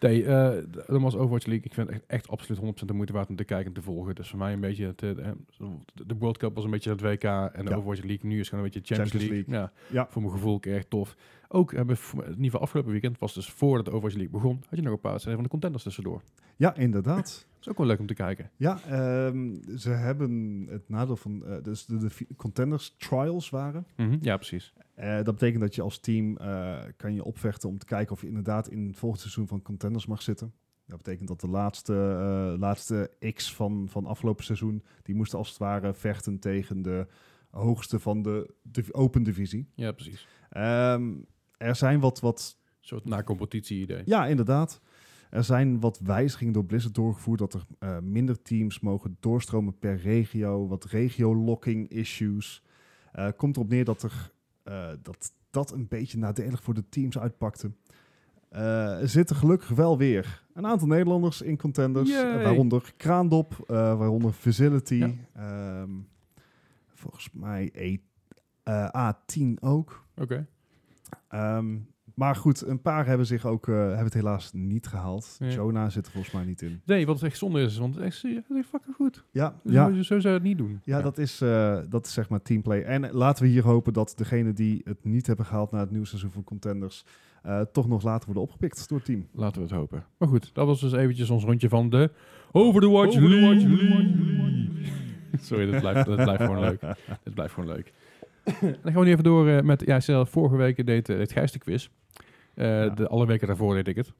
Speaker 3: Nee, eh nogmaals Overwatch League. Ik vind het echt, echt absoluut 100% de moeite waard om te kijken en te volgen. Dus voor mij een beetje, het, eh, de- de World Cup was een beetje het WK en de
Speaker 2: Ja.
Speaker 3: Overwatch League nu is gewoon een beetje Champions,
Speaker 2: Champions
Speaker 3: League. Ja,
Speaker 2: Ja.
Speaker 3: Voor mijn gevoel een keer echt tof. Ook hebben we, voor- in ieder geval afgelopen weekend, was dus voordat de Overwatch League begon, had je nog een paar wedstrijden van de contenders tussendoor.
Speaker 2: Ja, inderdaad.
Speaker 3: Dat is ook wel leuk om te kijken.
Speaker 2: Ja, ehm, ze hebben het nadeel van... eh, dus de, de vi- contenders trials waren.
Speaker 3: Ja, precies.
Speaker 2: Eh, dat betekent dat je als team eh, kan je opvechten om te kijken of je inderdaad in het volgende seizoen van contenders mag zitten. Dat betekent dat de laatste, eh, laatste X van, van afgelopen seizoen, die moesten als het ware vechten tegen de hoogste van de, de open divisie.
Speaker 3: Ja, precies.
Speaker 2: Ehm, er zijn wat, wat
Speaker 3: Een soort na-competitie idee.
Speaker 2: ja, inderdaad. Er zijn wat wijzigingen door Blizzard doorgevoerd dat er eh, minder teams mogen doorstromen per regio, wat regio-locking issues. Eh, komt erop neer dat, er, eh, dat dat een beetje nadelig voor de teams uitpakte. Eh, er zitten gelukkig wel weer een aantal Nederlanders in contenders, eh,
Speaker 3: Yay.
Speaker 2: waaronder Kraandop, eh, waaronder Facility,
Speaker 3: Ja.
Speaker 2: ehm, volgens mij E- eh, A10 ook.
Speaker 3: Oké.
Speaker 2: Ehm, maar goed, een paar hebben zich ook eh, hebben het helaas niet gehaald.
Speaker 3: Ja.
Speaker 2: Jonah zit er volgens mij niet in.
Speaker 3: Nee, wat echt zonde is, want het is echt, het is echt fucking goed.
Speaker 2: Ja,
Speaker 3: Dus
Speaker 2: ja,
Speaker 3: Zo, zo zou je het niet doen.
Speaker 2: ja dat, is, eh, dat is zeg maar teamplay. En laten we hier hopen dat degenen die het niet hebben gehaald na het nieuwe seizoen van Contenders, eh, toch nog later worden opgepikt door het team.
Speaker 3: Laten we het hopen. Maar goed, dat was dus eventjes ons rondje van de Over the Watch Sorry, dat blijft, dat blijft gewoon leuk. Dat blijft gewoon leuk. Dan gaan we nu even door eh, met... Ja, zelf, vorige week deed, eh, deed Gijs de quiz. Eh,
Speaker 2: Ja.
Speaker 3: de, alle weken daarvoor deed ik het.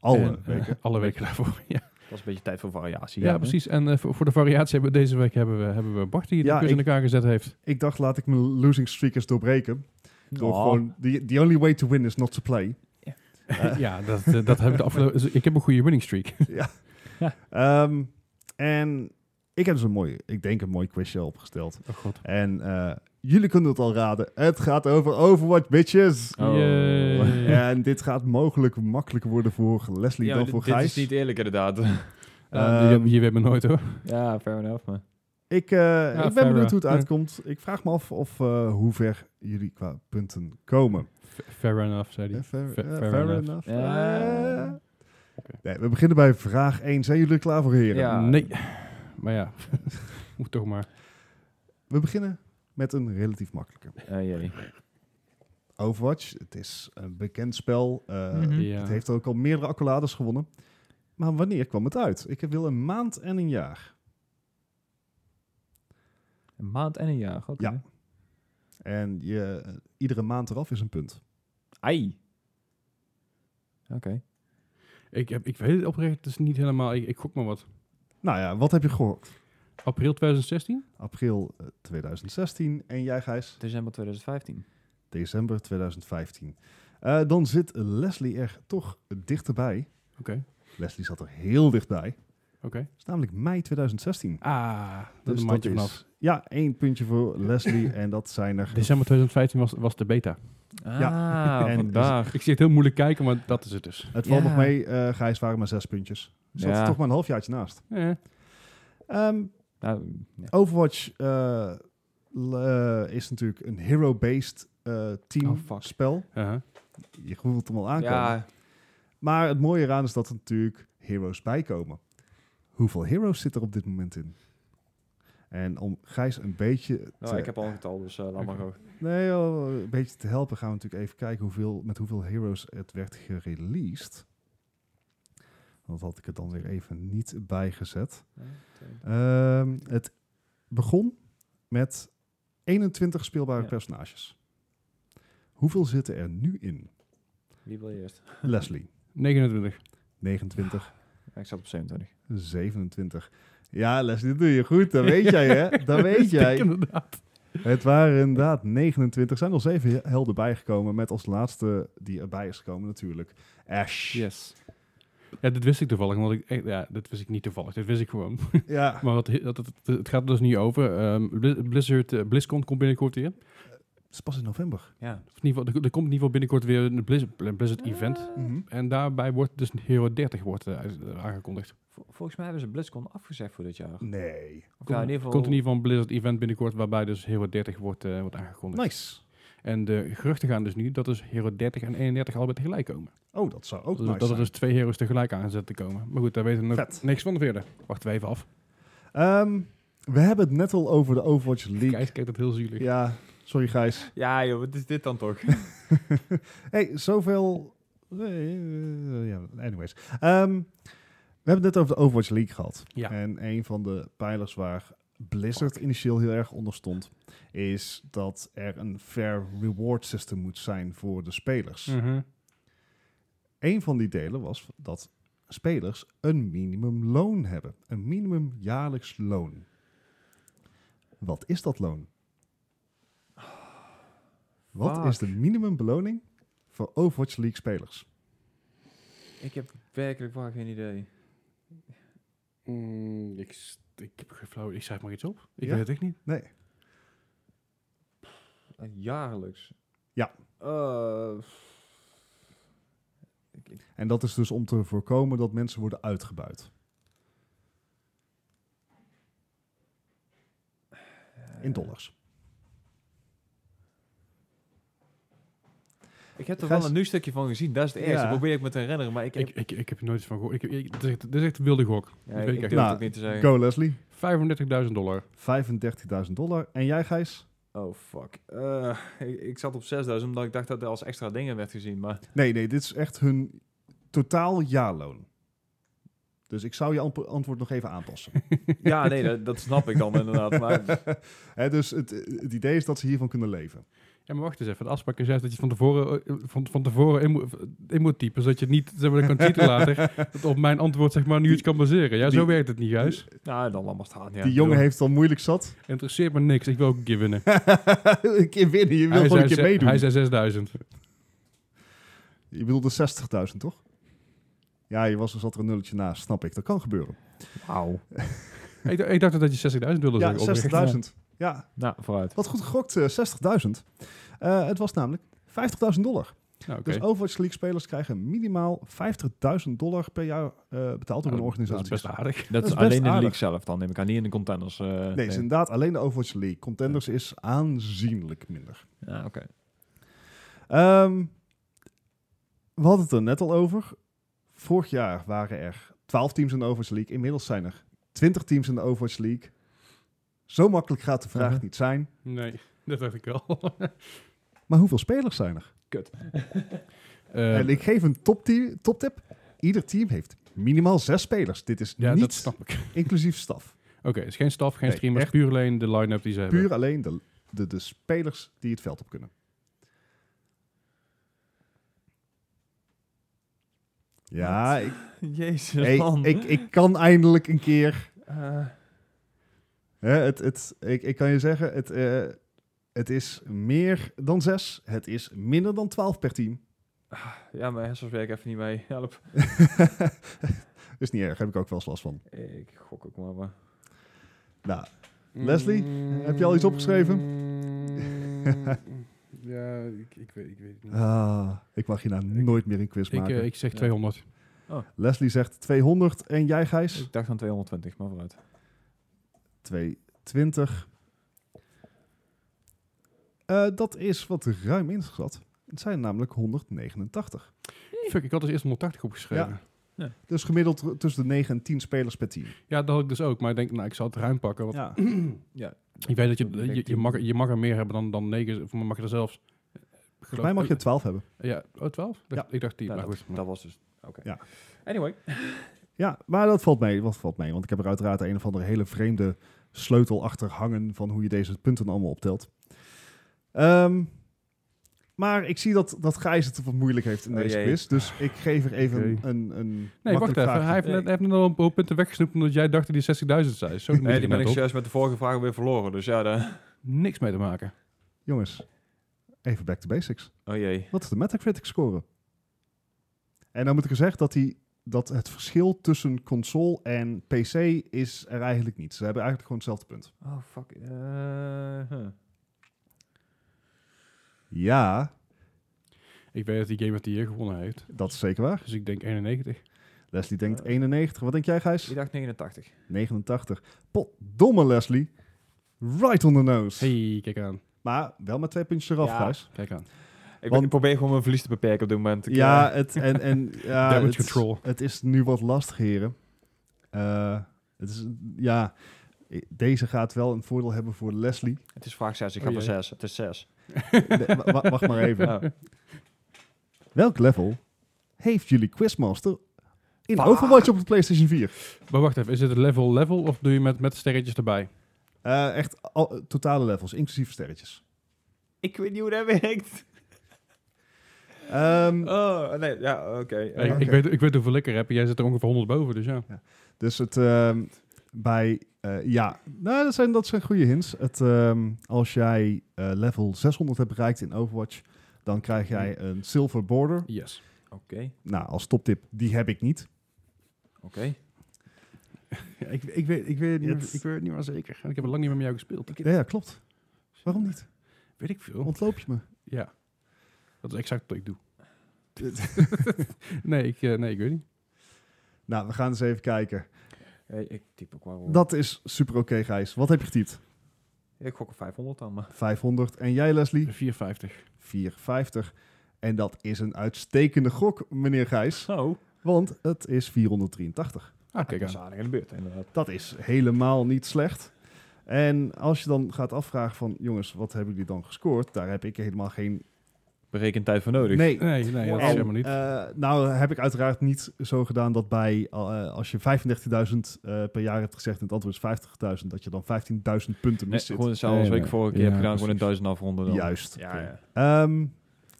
Speaker 2: Alle
Speaker 3: En, eh,
Speaker 2: weken.
Speaker 3: alle weken daarvoor, ja.
Speaker 1: Dat is een beetje tijd voor variatie.
Speaker 3: Ja,
Speaker 1: hè?
Speaker 3: precies. En eh, voor, voor de variatie hebben we deze week hebben we, hebben we Bart die de
Speaker 2: Ja,
Speaker 3: quiz in
Speaker 2: ik-
Speaker 3: elkaar gezet heeft.
Speaker 2: Ik dacht, laat ik mijn losing streak eens doorbreken. Door
Speaker 1: Oh.
Speaker 2: gewoon, the, the only way to win is not to play.
Speaker 3: ja, dat, eh, dat heb ik de afgelopen... Ik heb een goede winning streak.
Speaker 2: Ehm, en ik heb dus een mooi, ik denk een mooi quizje opgesteld.
Speaker 3: Oh god.
Speaker 2: En eh, jullie kunnen het al raden. Het gaat over Overwatch, bitches.
Speaker 1: Oh.
Speaker 2: eh,
Speaker 3: Yay.
Speaker 2: En dit gaat mogelijk makkelijker worden voor Leslie
Speaker 1: Ja, maar
Speaker 2: dan
Speaker 1: dit-
Speaker 2: voor
Speaker 1: dit
Speaker 2: Gijs.
Speaker 1: is niet eerlijk inderdaad.
Speaker 3: Ja,
Speaker 2: Ehm,
Speaker 3: je, je weet me nooit hoor.
Speaker 1: ja, fair enough. Maar.
Speaker 2: ik, eh, ik
Speaker 3: fair,
Speaker 2: ben benieuwd
Speaker 3: eh.
Speaker 2: hoe het
Speaker 3: Ja.
Speaker 2: uitkomt. Ik vraag me af of eh, hoe ver jullie qua punten komen.
Speaker 3: Fair enough, zei hij.
Speaker 2: Eh, fair,
Speaker 3: Fair-
Speaker 2: eh,
Speaker 3: fair enough.
Speaker 1: Ja.
Speaker 2: Eh. Nee, we beginnen bij vraag 1. Zijn jullie er klaar voor, heren?
Speaker 1: Ja.
Speaker 3: Nee. Maar ja, moet toch maar.
Speaker 2: We beginnen met een relatief makkelijke.
Speaker 1: Ah, jee.
Speaker 2: Overwatch, het is een bekend spel. eh,
Speaker 1: Mhm.
Speaker 3: Ja.
Speaker 2: Het heeft ook al meerdere accolades gewonnen. Maar wanneer kwam het uit? Ik wil een maand en een jaar.
Speaker 1: Een maand en een jaar. oké.
Speaker 2: Ja. En je, eh, iedere maand eraf is een punt.
Speaker 1: Ai. Oké.
Speaker 3: Ik, heb, ik weet het oprecht, dus niet helemaal. Ik, ik gok maar wat.
Speaker 2: Nou ja, wat heb je gehoord?
Speaker 3: April 2016?
Speaker 2: April eh, 2016 en jij Gijs?
Speaker 1: December 2015.
Speaker 2: December 2015. Eh, dan zit Leslie er toch dichterbij.
Speaker 3: Oké,
Speaker 2: Leslie zat er heel dichtbij.
Speaker 3: oké.
Speaker 2: Het is namelijk mei 2016.
Speaker 3: Ah, dat
Speaker 2: Dus
Speaker 3: is een
Speaker 2: dat
Speaker 3: maandje
Speaker 2: is
Speaker 3: vanaf.
Speaker 2: Ja, één puntje voor Leslie en dat zijn er
Speaker 1: Dus,
Speaker 3: December 2015 was, was de beta. Dus
Speaker 1: Ah,
Speaker 2: Ja. En-
Speaker 1: vandaag.
Speaker 3: Ik zie het heel moeilijk kijken, maar dat is het dus.
Speaker 2: Het valt
Speaker 1: Ja.
Speaker 2: nog mee, eh Gijs, waren maar zes puntjes. Zat
Speaker 1: Ja.
Speaker 2: er toch maar een halfjaartje naast.
Speaker 3: Eh,
Speaker 2: Ehm,
Speaker 1: Nou, ja.
Speaker 2: Overwatch eh, l- eh, is natuurlijk een hero-based eh, team
Speaker 1: Oh, fuck.
Speaker 2: spel.
Speaker 3: aha.
Speaker 2: Je voelt hem al aankomen.
Speaker 1: ja,
Speaker 2: Maar het mooie eraan is dat er natuurlijk heroes bijkomen. Hoeveel heroes zit er op dit moment in? En om Gijs een beetje te,
Speaker 1: Nou, ik heb al een getal, dus eh, laat maar
Speaker 3: Oké.
Speaker 1: gaan.
Speaker 2: nee, joh, een beetje te helpen, gaan we natuurlijk even kijken hoeveel, met hoeveel heroes het werd gereleased. Dat had ik er dan weer even niet bijgezet. Ehm, het begon met 21 speelbare
Speaker 1: Ja.
Speaker 2: personages. Hoeveel zitten er nu in?
Speaker 1: Wie wil je eerst?
Speaker 2: Leslie,
Speaker 3: 29.
Speaker 2: 29,
Speaker 1: Ja, ik zat op 27.
Speaker 2: 27. Ja, Leslie, dat doe je goed. Dat weet jij, hè? Dat weet jij.
Speaker 3: Inderdaad.
Speaker 2: Het waren inderdaad 29. Er zijn nog zeven helden bijgekomen. Met als laatste die erbij is gekomen natuurlijk Ash.
Speaker 1: Yes.
Speaker 3: Ja, dit wist ik toevallig, want ik, echt- ja, dat wist ik niet toevallig, dit wist ik gewoon.
Speaker 2: Ja,
Speaker 3: Maar wat, dat, dat- het gaat er dus niet over. Ehm, Bli- Blizzard, eh, BlizzCon komt binnenkort weer.
Speaker 2: het is pas in november.
Speaker 1: Ja.
Speaker 3: Of in ieder geval, er, er komt in ieder geval binnenkort weer een Blizzard, een Blizzard
Speaker 1: Eh,
Speaker 3: event.
Speaker 2: Mhm.
Speaker 3: En daarbij wordt dus Hero 30 wordt, eh, uit- eh, aangekondigd.
Speaker 1: Vol- volgens mij hebben ze BlizzCon afgezegd voor dit jaar.
Speaker 2: Nee.
Speaker 1: Of nou, in ieder geval...
Speaker 3: Komt in ieder geval een Blizzard event binnenkort waarbij dus Hero 30 wordt, eh, wordt aangekondigd.
Speaker 2: Nice.
Speaker 3: En de geruchten gaan dus nu dat dus Hero 30 en 31 allebei tegelijk komen.
Speaker 2: Oh, dat zou ook
Speaker 3: Dus
Speaker 2: nice
Speaker 3: dat er
Speaker 2: zijn.
Speaker 3: dus twee heroes tegelijk aan zetten komen. Maar goed, daar weten we nog
Speaker 2: Vet.
Speaker 3: niks van verder. Wachten we even af.
Speaker 2: Ehm, we hebben het net al over de Overwatch League.
Speaker 3: Gijs kijkt dat heel zielig.
Speaker 2: Ja, sorry Gijs.
Speaker 1: Ja joh, wat is dit dan toch?
Speaker 2: hey, zoveel... eh, eh, ja, anyways. Ehm, we hebben het net over de Overwatch League gehad.
Speaker 3: Ja.
Speaker 2: En een van de pijlers waar Blizzard initieel heel erg onder stond... is dat er een fair reward system moet zijn voor de spelers.
Speaker 3: Mhm.
Speaker 2: Een van die delen was dat spelers een minimumloon hebben. Een minimum jaarlijks loon. Wat is dat loon? Wat
Speaker 1: Fuck.
Speaker 2: is de minimumbeloning voor Overwatch League spelers?
Speaker 1: ik heb werkelijk waar geen idee.
Speaker 3: Mm, ik, s- ik heb geen flauw. Ik schrijf maar iets op. Ik
Speaker 2: Ja?
Speaker 3: weet het echt niet.
Speaker 1: Eh, Jaarlijks.
Speaker 2: Ja.
Speaker 1: Eh, ik- ik-
Speaker 2: En dat is dus om te voorkomen dat mensen worden uitgebuit.
Speaker 1: eh,
Speaker 2: In dollars.
Speaker 1: ik heb er
Speaker 2: Gijs-
Speaker 1: wel een nieuw stukje van gezien. Dat is het ergste.
Speaker 2: Ja.
Speaker 1: Probeer ik me te herinneren, maar ik heb...
Speaker 3: Ik, ik, ik heb er nooit iets van gehoord. Ik, ik, dit, is echt, dit is echt een wilde gok.
Speaker 1: ja,
Speaker 3: dat
Speaker 1: ik,
Speaker 3: weet
Speaker 1: ik
Speaker 3: ik
Speaker 1: durf het
Speaker 3: echt
Speaker 2: niet.
Speaker 1: ook niet te zeggen.
Speaker 2: Go Leslie,
Speaker 3: 35.000 dollar.
Speaker 2: 35.000 dollar. En jij Gijs?
Speaker 1: Oh, fuck. Eh, ik, ik zat op 6000 omdat ik dacht dat er als extra dingen werd gezien, maar...
Speaker 2: Nee, nee, dit is echt hun totaal jaarloon. Dus ik zou je amp- antwoord nog even aanpassen.
Speaker 1: Ja, nee, dat, dat snap ik dan inderdaad. Maar
Speaker 2: Hè, dus het, het idee is dat ze hiervan kunnen leven.
Speaker 3: Ja, maar wacht eens even. De afspraak is juist dat je van tevoren, eh, van, van tevoren in, moet- in moet typen. Zodat je niet, zeg maar, dan kan cheaten later. Dat op mijn antwoord, zeg maar, nu iets kan baseren. Ja,
Speaker 2: die-
Speaker 3: zo werkt het niet, Gijs.
Speaker 1: nou, dan laat maar staan, ja.
Speaker 2: Die jongen
Speaker 3: joh.
Speaker 2: heeft het al moeilijk zat.
Speaker 3: Interesseert me niks. Ik wil ook een keer winnen.
Speaker 2: een keer winnen, je wil
Speaker 3: hij,
Speaker 2: gewoon
Speaker 3: zei,
Speaker 2: een keer
Speaker 3: ze-
Speaker 2: meedoen.
Speaker 3: hij zei 6000.
Speaker 2: Je bedoelde 60.000, toch? Ja, je was, er zat er een nulletje naast, snap ik. Dat kan gebeuren.
Speaker 1: Wauw.
Speaker 3: ik, dacht- ik dacht dat je 60.000 wilde
Speaker 2: Ja,
Speaker 3: zeggen. oprecht.
Speaker 2: 60.000. Ja,
Speaker 1: Nou, vooruit.
Speaker 2: wat goed gegokt, eh, 60.000. Eh, het was namelijk 50.000 dollar.
Speaker 3: Nou, oké.
Speaker 2: Dus Overwatch League spelers krijgen minimaal 50.000 dollar per jaar eh, betaald door
Speaker 3: Nou,
Speaker 2: een
Speaker 3: dat
Speaker 2: organisatie.
Speaker 3: is best aardig.
Speaker 1: Dat,
Speaker 2: is
Speaker 1: is
Speaker 2: best
Speaker 1: alleen in de
Speaker 2: aardig.
Speaker 1: league zelf dan, neem ik aan. Niet in de contenders. eh,
Speaker 2: Nee, het is inderdaad alleen de Overwatch League. Contenders is aanzienlijk minder.
Speaker 1: Ja, oké.
Speaker 2: Ehm, we hadden het er net al over. Vorig jaar waren er 12 teams in de Overwatch League. Inmiddels zijn er 20 teams in de Overwatch League. Zo makkelijk gaat de vraag
Speaker 1: Mhm.
Speaker 2: niet zijn.
Speaker 3: Nee, dat dacht ik Eh, al.
Speaker 2: Maar hoeveel spelers zijn er?
Speaker 3: Eh,
Speaker 2: en ik geef een toptie- toptip. Ieder team heeft minimaal zes spelers. Dit is
Speaker 3: ja, dat
Speaker 2: niet
Speaker 3: snap ik.
Speaker 2: inclusief staf.
Speaker 3: Oké, het is geen staf, geen
Speaker 2: Nee,
Speaker 3: streamers.
Speaker 2: echt.
Speaker 3: Puur alleen de line-up die ze hebben.
Speaker 2: Puur alleen de, de, de spelers die het veld op kunnen. Ja, ik,
Speaker 1: Jezus,
Speaker 2: hey,
Speaker 1: man.
Speaker 2: ik, ik kan eindelijk een keer
Speaker 1: Eh,
Speaker 2: Hè, het, het, ik, ik kan je zeggen, het, eh, het is meer dan zes. Het is minder dan twaalf per team.
Speaker 1: ja, mijn hersens werken even niet mee. Help.
Speaker 2: is niet erg, heb ik ook wel eens last van.
Speaker 1: Ik gok ook maar. maar.
Speaker 2: Nou, Leslie, heb je al iets opgeschreven?
Speaker 3: Mm. ja, ik, ik, weet, ik weet het niet.
Speaker 2: ah, ik mag hierna nooit meer een quiz
Speaker 3: ik,
Speaker 2: maken.
Speaker 3: eh, ik zeg
Speaker 1: Ja.
Speaker 3: 200.
Speaker 2: Leslie zegt 200 en jij Gijs?
Speaker 1: Ik dacht aan 220, maar vooruit.
Speaker 2: 220. Eh, dat is wat ruim ingeschat. Het zijn namelijk 189.
Speaker 3: Fuck, ik had dus eerst 180 opgeschreven.
Speaker 1: Ja.
Speaker 2: Dus gemiddeld r- tussen de 9 en 10 spelers per team.
Speaker 3: Ja, dat had ik dus ook. Maar ik denk, nou, ik zal het ruim pakken. Want
Speaker 2: Ja.
Speaker 3: ik weet dat je,
Speaker 1: Ik denk
Speaker 3: je, je,
Speaker 1: tien.
Speaker 3: mag, je mag er meer hebben dan, dan 9. Of mag je er zelfs... eh,
Speaker 2: Volgens mij mag je 12 hebben.
Speaker 3: Ja, oh, 12? Dacht- Ik dacht 10,
Speaker 1: Nou,
Speaker 3: maar goed.
Speaker 1: dat was dus... Oké.
Speaker 2: Ja.
Speaker 1: Anyway. eh,
Speaker 2: Ja, maar dat valt mee. Wat valt mee? Want ik heb er uiteraard een of andere hele vreemde sleutel achter hangen van hoe je deze punten allemaal optelt. Ehm, maar ik zie dat, dat Gijs het wat moeilijk heeft in
Speaker 1: Oh,
Speaker 2: deze
Speaker 1: jee.
Speaker 2: quiz. Dus ik geef er even
Speaker 3: Oké.
Speaker 2: een, een, een
Speaker 3: Nee, wacht
Speaker 2: makkelijk
Speaker 3: even. Hij
Speaker 2: vraagje.
Speaker 3: heeft,
Speaker 1: Nee.
Speaker 3: net, hij heeft net al een paar punten weggesnoept omdat jij dacht dat hij 60.000 zei. Zo
Speaker 1: Nee,
Speaker 3: nee,
Speaker 1: die ben ik juist met de vorige vraag weer verloren. Dus ja, daar...
Speaker 3: niks mee te maken.
Speaker 2: Jongens, even back to basics.
Speaker 1: Oh jee.
Speaker 2: Wat is de Metacritic score? En dan moet ik er zeggen dat, die, dat het verschil tussen console en PC is er eigenlijk niet. Ze hebben eigenlijk gewoon hetzelfde punt.
Speaker 1: Oh, fuck. Eh, huh.
Speaker 2: Ja,
Speaker 3: Ik weet dat die Game of the Year gewonnen heeft.
Speaker 2: dat is zeker waar.
Speaker 3: Dus ik denk 91.
Speaker 2: Leslie denkt
Speaker 1: Eh.
Speaker 2: 91. Wat denk jij, Gijs?
Speaker 1: Ik dacht 89.
Speaker 2: 89. Potdomme, Leslie. Right on the nose.
Speaker 3: Hey, kijk aan.
Speaker 2: Maar wel met twee puntjes eraf,
Speaker 1: Ja.
Speaker 2: Gijs.
Speaker 3: Kijk aan.
Speaker 1: Ik,
Speaker 2: Want-
Speaker 1: ben- ik probeer gewoon mijn verlies te beperken op dit moment. Ik,
Speaker 2: Ja,
Speaker 1: eh,
Speaker 2: het, en, en, ja
Speaker 3: Damage
Speaker 2: het,
Speaker 3: control.
Speaker 2: het is nu wat lastig, heren. Eh, het is, ja, i- deze gaat wel een voordeel hebben voor Leslie.
Speaker 1: het is vraag 6. Ik
Speaker 3: Oh
Speaker 1: ga voor
Speaker 3: jee.
Speaker 1: 6. Het is Nou. 6.
Speaker 2: Nee, wa- wa- wacht maar even.
Speaker 1: Ja.
Speaker 2: Welk level heeft jullie Quizmaster in
Speaker 1: Bah.
Speaker 2: Overwatch op de PlayStation 4?
Speaker 3: Maar wacht even, is dit het level level of doe je met, met sterretjes erbij?
Speaker 2: Eh, echt al, totale levels, inclusief sterretjes.
Speaker 1: Ik weet niet hoe dat werkt.
Speaker 2: Ehm,
Speaker 1: Oh, nee. Ja, oké. Eh,
Speaker 3: Ik- Ik,
Speaker 2: oké.
Speaker 3: weet, ik weet hoeveel ik er heb. Jij zit er ongeveer 100 boven, dus ja.
Speaker 2: Dus het ehm, bij eh, ja, nou, dat zijn, dat zijn goede hints. Het, ehm, als jij eh, level 600 hebt bereikt in Overwatch, dan krijg jij een silver border.
Speaker 3: Yes.
Speaker 1: Oké.
Speaker 2: Nou, als toptip, die heb ik niet.
Speaker 1: Oké.
Speaker 3: ik, ik, weet, ik, weet
Speaker 2: niet meer- ik
Speaker 3: weet het niet meer zeker. Ik heb het lang niet meer met jou gespeeld.
Speaker 2: Ja, ja, klopt. Waarom niet?
Speaker 3: Weet ik veel.
Speaker 2: Ontloop je me?
Speaker 3: Ja. Dat is exact wat ik doe. nee, ik, eh, nee, ik weet niet.
Speaker 2: Nou, we gaan eens even kijken.
Speaker 1: Hey, Eh, ik typ ook wel.
Speaker 2: Dat is super oké, Gijs. Wat heb je getypt?
Speaker 1: Ik gok op 500 dan, maar...
Speaker 2: 500. En jij, Leslie?
Speaker 3: 450.
Speaker 2: 450. En dat is een uitstekende gok, meneer Gijs.
Speaker 1: Zo.
Speaker 2: Want het is 483.
Speaker 3: Ah, kijk
Speaker 1: Dat is
Speaker 3: aan.
Speaker 1: aardig in de buurt, inderdaad.
Speaker 2: Dat is helemaal niet slecht. En als je dan gaat afvragen van... jongens, wat hebben jullie dan gescoord? Daar heb ik helemaal geen...
Speaker 1: Bereken tijd voor nodig.
Speaker 2: Nee.
Speaker 3: Nee, nee, dat is
Speaker 2: En,
Speaker 3: helemaal niet.
Speaker 2: eh, nou heb ik uiteraard niet zo gedaan dat bij... eh, als je 35.000 eh, per jaar hebt gezegd en het antwoord is 50.000... dat je dan 15.000 punten
Speaker 1: Nee,
Speaker 2: mist
Speaker 1: gewoon hetzelfde als
Speaker 3: Nee,
Speaker 1: wat ik
Speaker 3: nee.
Speaker 1: vorige keer
Speaker 3: Ja,
Speaker 1: heb gedaan. Gewoon een
Speaker 3: precies.
Speaker 1: duizend afronden dan.
Speaker 2: Juist.
Speaker 1: Ja, ja.
Speaker 2: Ehm,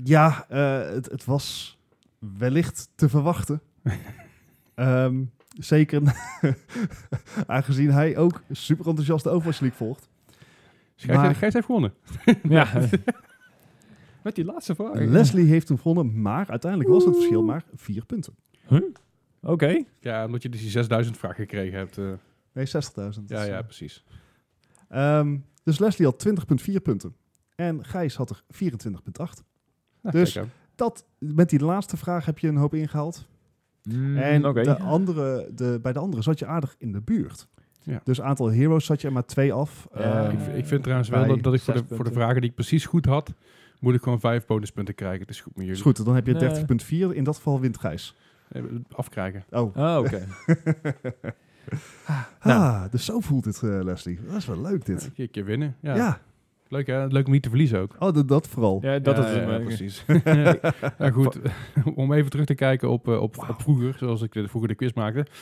Speaker 2: ja, eh, het, het was wellicht te verwachten. Ehm, zeker aangezien hij ook super enthousiast de Overwatch League volgt.
Speaker 3: Dus Gijs,
Speaker 2: maar-
Speaker 3: Gijs heeft gewonnen.
Speaker 1: Ja. Met die laatste vraag.
Speaker 2: Leslie heeft hem gewonnen, maar uiteindelijk was het verschil maar vier punten.
Speaker 1: Oké.
Speaker 3: Ja, omdat je dus die 6000 vraag gekregen hebt. eh.
Speaker 2: Nee, 60.000.
Speaker 3: ja, ja, precies.
Speaker 2: Ehm, dus Leslie had 20,4 punten. En Gijs had er 24,8.
Speaker 3: Nou,
Speaker 2: Dus-
Speaker 3: kijk aan.
Speaker 2: Dat, met die laatste vraag heb je een hoop ingehaald. En
Speaker 1: en Mm, oké.
Speaker 2: Mm, de andere, de, bij de andere zat je aardig in de buurt.
Speaker 3: Ja.
Speaker 2: Dus aantal heroes zat je er maar twee af.
Speaker 1: Ja,
Speaker 2: Ehm,
Speaker 3: Eh, ik, ik vind trouwens wel
Speaker 2: bij
Speaker 3: dat, dat ik voor
Speaker 1: zes
Speaker 3: de, voor de
Speaker 1: punten.
Speaker 3: vragen die ik precies goed had, moet ik gewoon vijf bonuspunten krijgen. Het is goed met
Speaker 2: is
Speaker 3: jullie.
Speaker 2: goed, dan heb je
Speaker 1: Nee.
Speaker 2: 30,4. In dat geval wint Gijs.
Speaker 3: Eh, Afkrijgen.
Speaker 2: Oh.
Speaker 1: Oh, oké. Nou.
Speaker 2: Ah, dus zo voelt dit, eh, Leslie. Dat is wel leuk, dit.
Speaker 3: Een keer- een keer winnen. Ja.
Speaker 2: Ja.
Speaker 3: Leuk hè? Leuk om niet te verliezen ook.
Speaker 2: Oh, dat, dat vooral.
Speaker 1: Ja, dat
Speaker 3: Ja,
Speaker 1: is eh, het.
Speaker 3: ja,
Speaker 1: maar-
Speaker 3: precies. eh, ja, nou goed, om even terug te kijken op, eh, op, op vroeger, zoals ik de, vroeger de quiz maakte.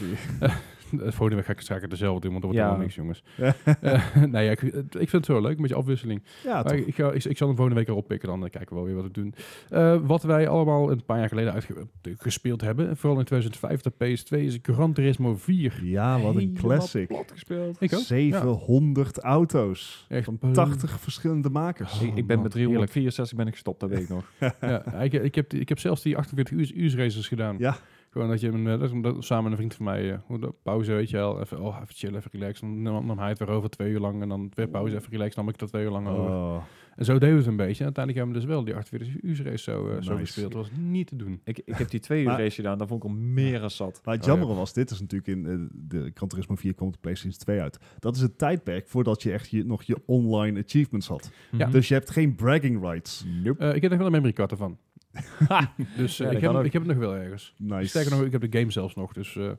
Speaker 3: Eh, Volgende week ga ik zaken dezelfde doen, want er wordt
Speaker 1: Ja.
Speaker 3: helemaal niks, jongens. Eh, nou ja, Ah, ik, ik vind het zo leuk, een beetje afwisseling.
Speaker 2: Ja,
Speaker 3: Maar
Speaker 2: toch.
Speaker 3: ik, ga, ik, ik zal hem volgende week erop pikken, dan eh, kijken we wel weer wat we doen. Eh, wat wij allemaal een paar jaar geleden uitge- eh, gespeeld hebben, en vooral in 2005 de PS2, is Gran Turismo 4.
Speaker 2: Ja, Ah, wat een
Speaker 1: Helemaal
Speaker 2: classic.
Speaker 1: Plat gespeeld.
Speaker 3: Ik ook.
Speaker 2: 700 auto's.
Speaker 3: Echt
Speaker 2: Van 80 verschillende makers.
Speaker 1: Ik, ik ben met 364 ben ik gestopt, dat weet ik nog.
Speaker 3: Ja, ik, ik, heb, die- ik heb zelfs die 48 uur, uur races gedaan.
Speaker 2: Ja.
Speaker 3: Gewoon dat je hem, eh, dat, dat- samen met een vriend van mij, eh, hoe dat- pauze, weet je wel. Even, oh, even chillen, even relaxen. Dan nam, nam hij het weer over twee uur lang. En dan weer pauze, even relaxen. Nam ik dat twee uur lang over.
Speaker 2: Oh.
Speaker 3: En zo deden we het een beetje. En uiteindelijk hebben we dus wel die 48 uur race zo, eh, zo
Speaker 2: Nice.
Speaker 3: gespeeld. Dat was niet te doen.
Speaker 1: Ik, ik heb die twee uur
Speaker 2: Maar-
Speaker 1: race gedaan, daar vond ik al meer dan zat.
Speaker 2: Maar het
Speaker 3: Oh, ja.
Speaker 2: jammer was, dit is natuurlijk in eh, de Gran Turismo 4 komt de PlayStation 2 uit. Dat is het tijdperk voordat je echt je, nog je online achievements had.
Speaker 1: Mhm.
Speaker 3: dus,
Speaker 2: Dus je hebt geen bragging rights.
Speaker 1: Nope.
Speaker 3: Eh, ik heb er wel een memory card ervan. Dus eh,
Speaker 1: Ja, dat
Speaker 3: ik,
Speaker 1: kan
Speaker 3: heb, hem-
Speaker 1: ook.
Speaker 3: ik heb het nog wel ergens.
Speaker 2: Nice.
Speaker 3: Sterker nog, ik heb de game zelfs nog. Dus eh,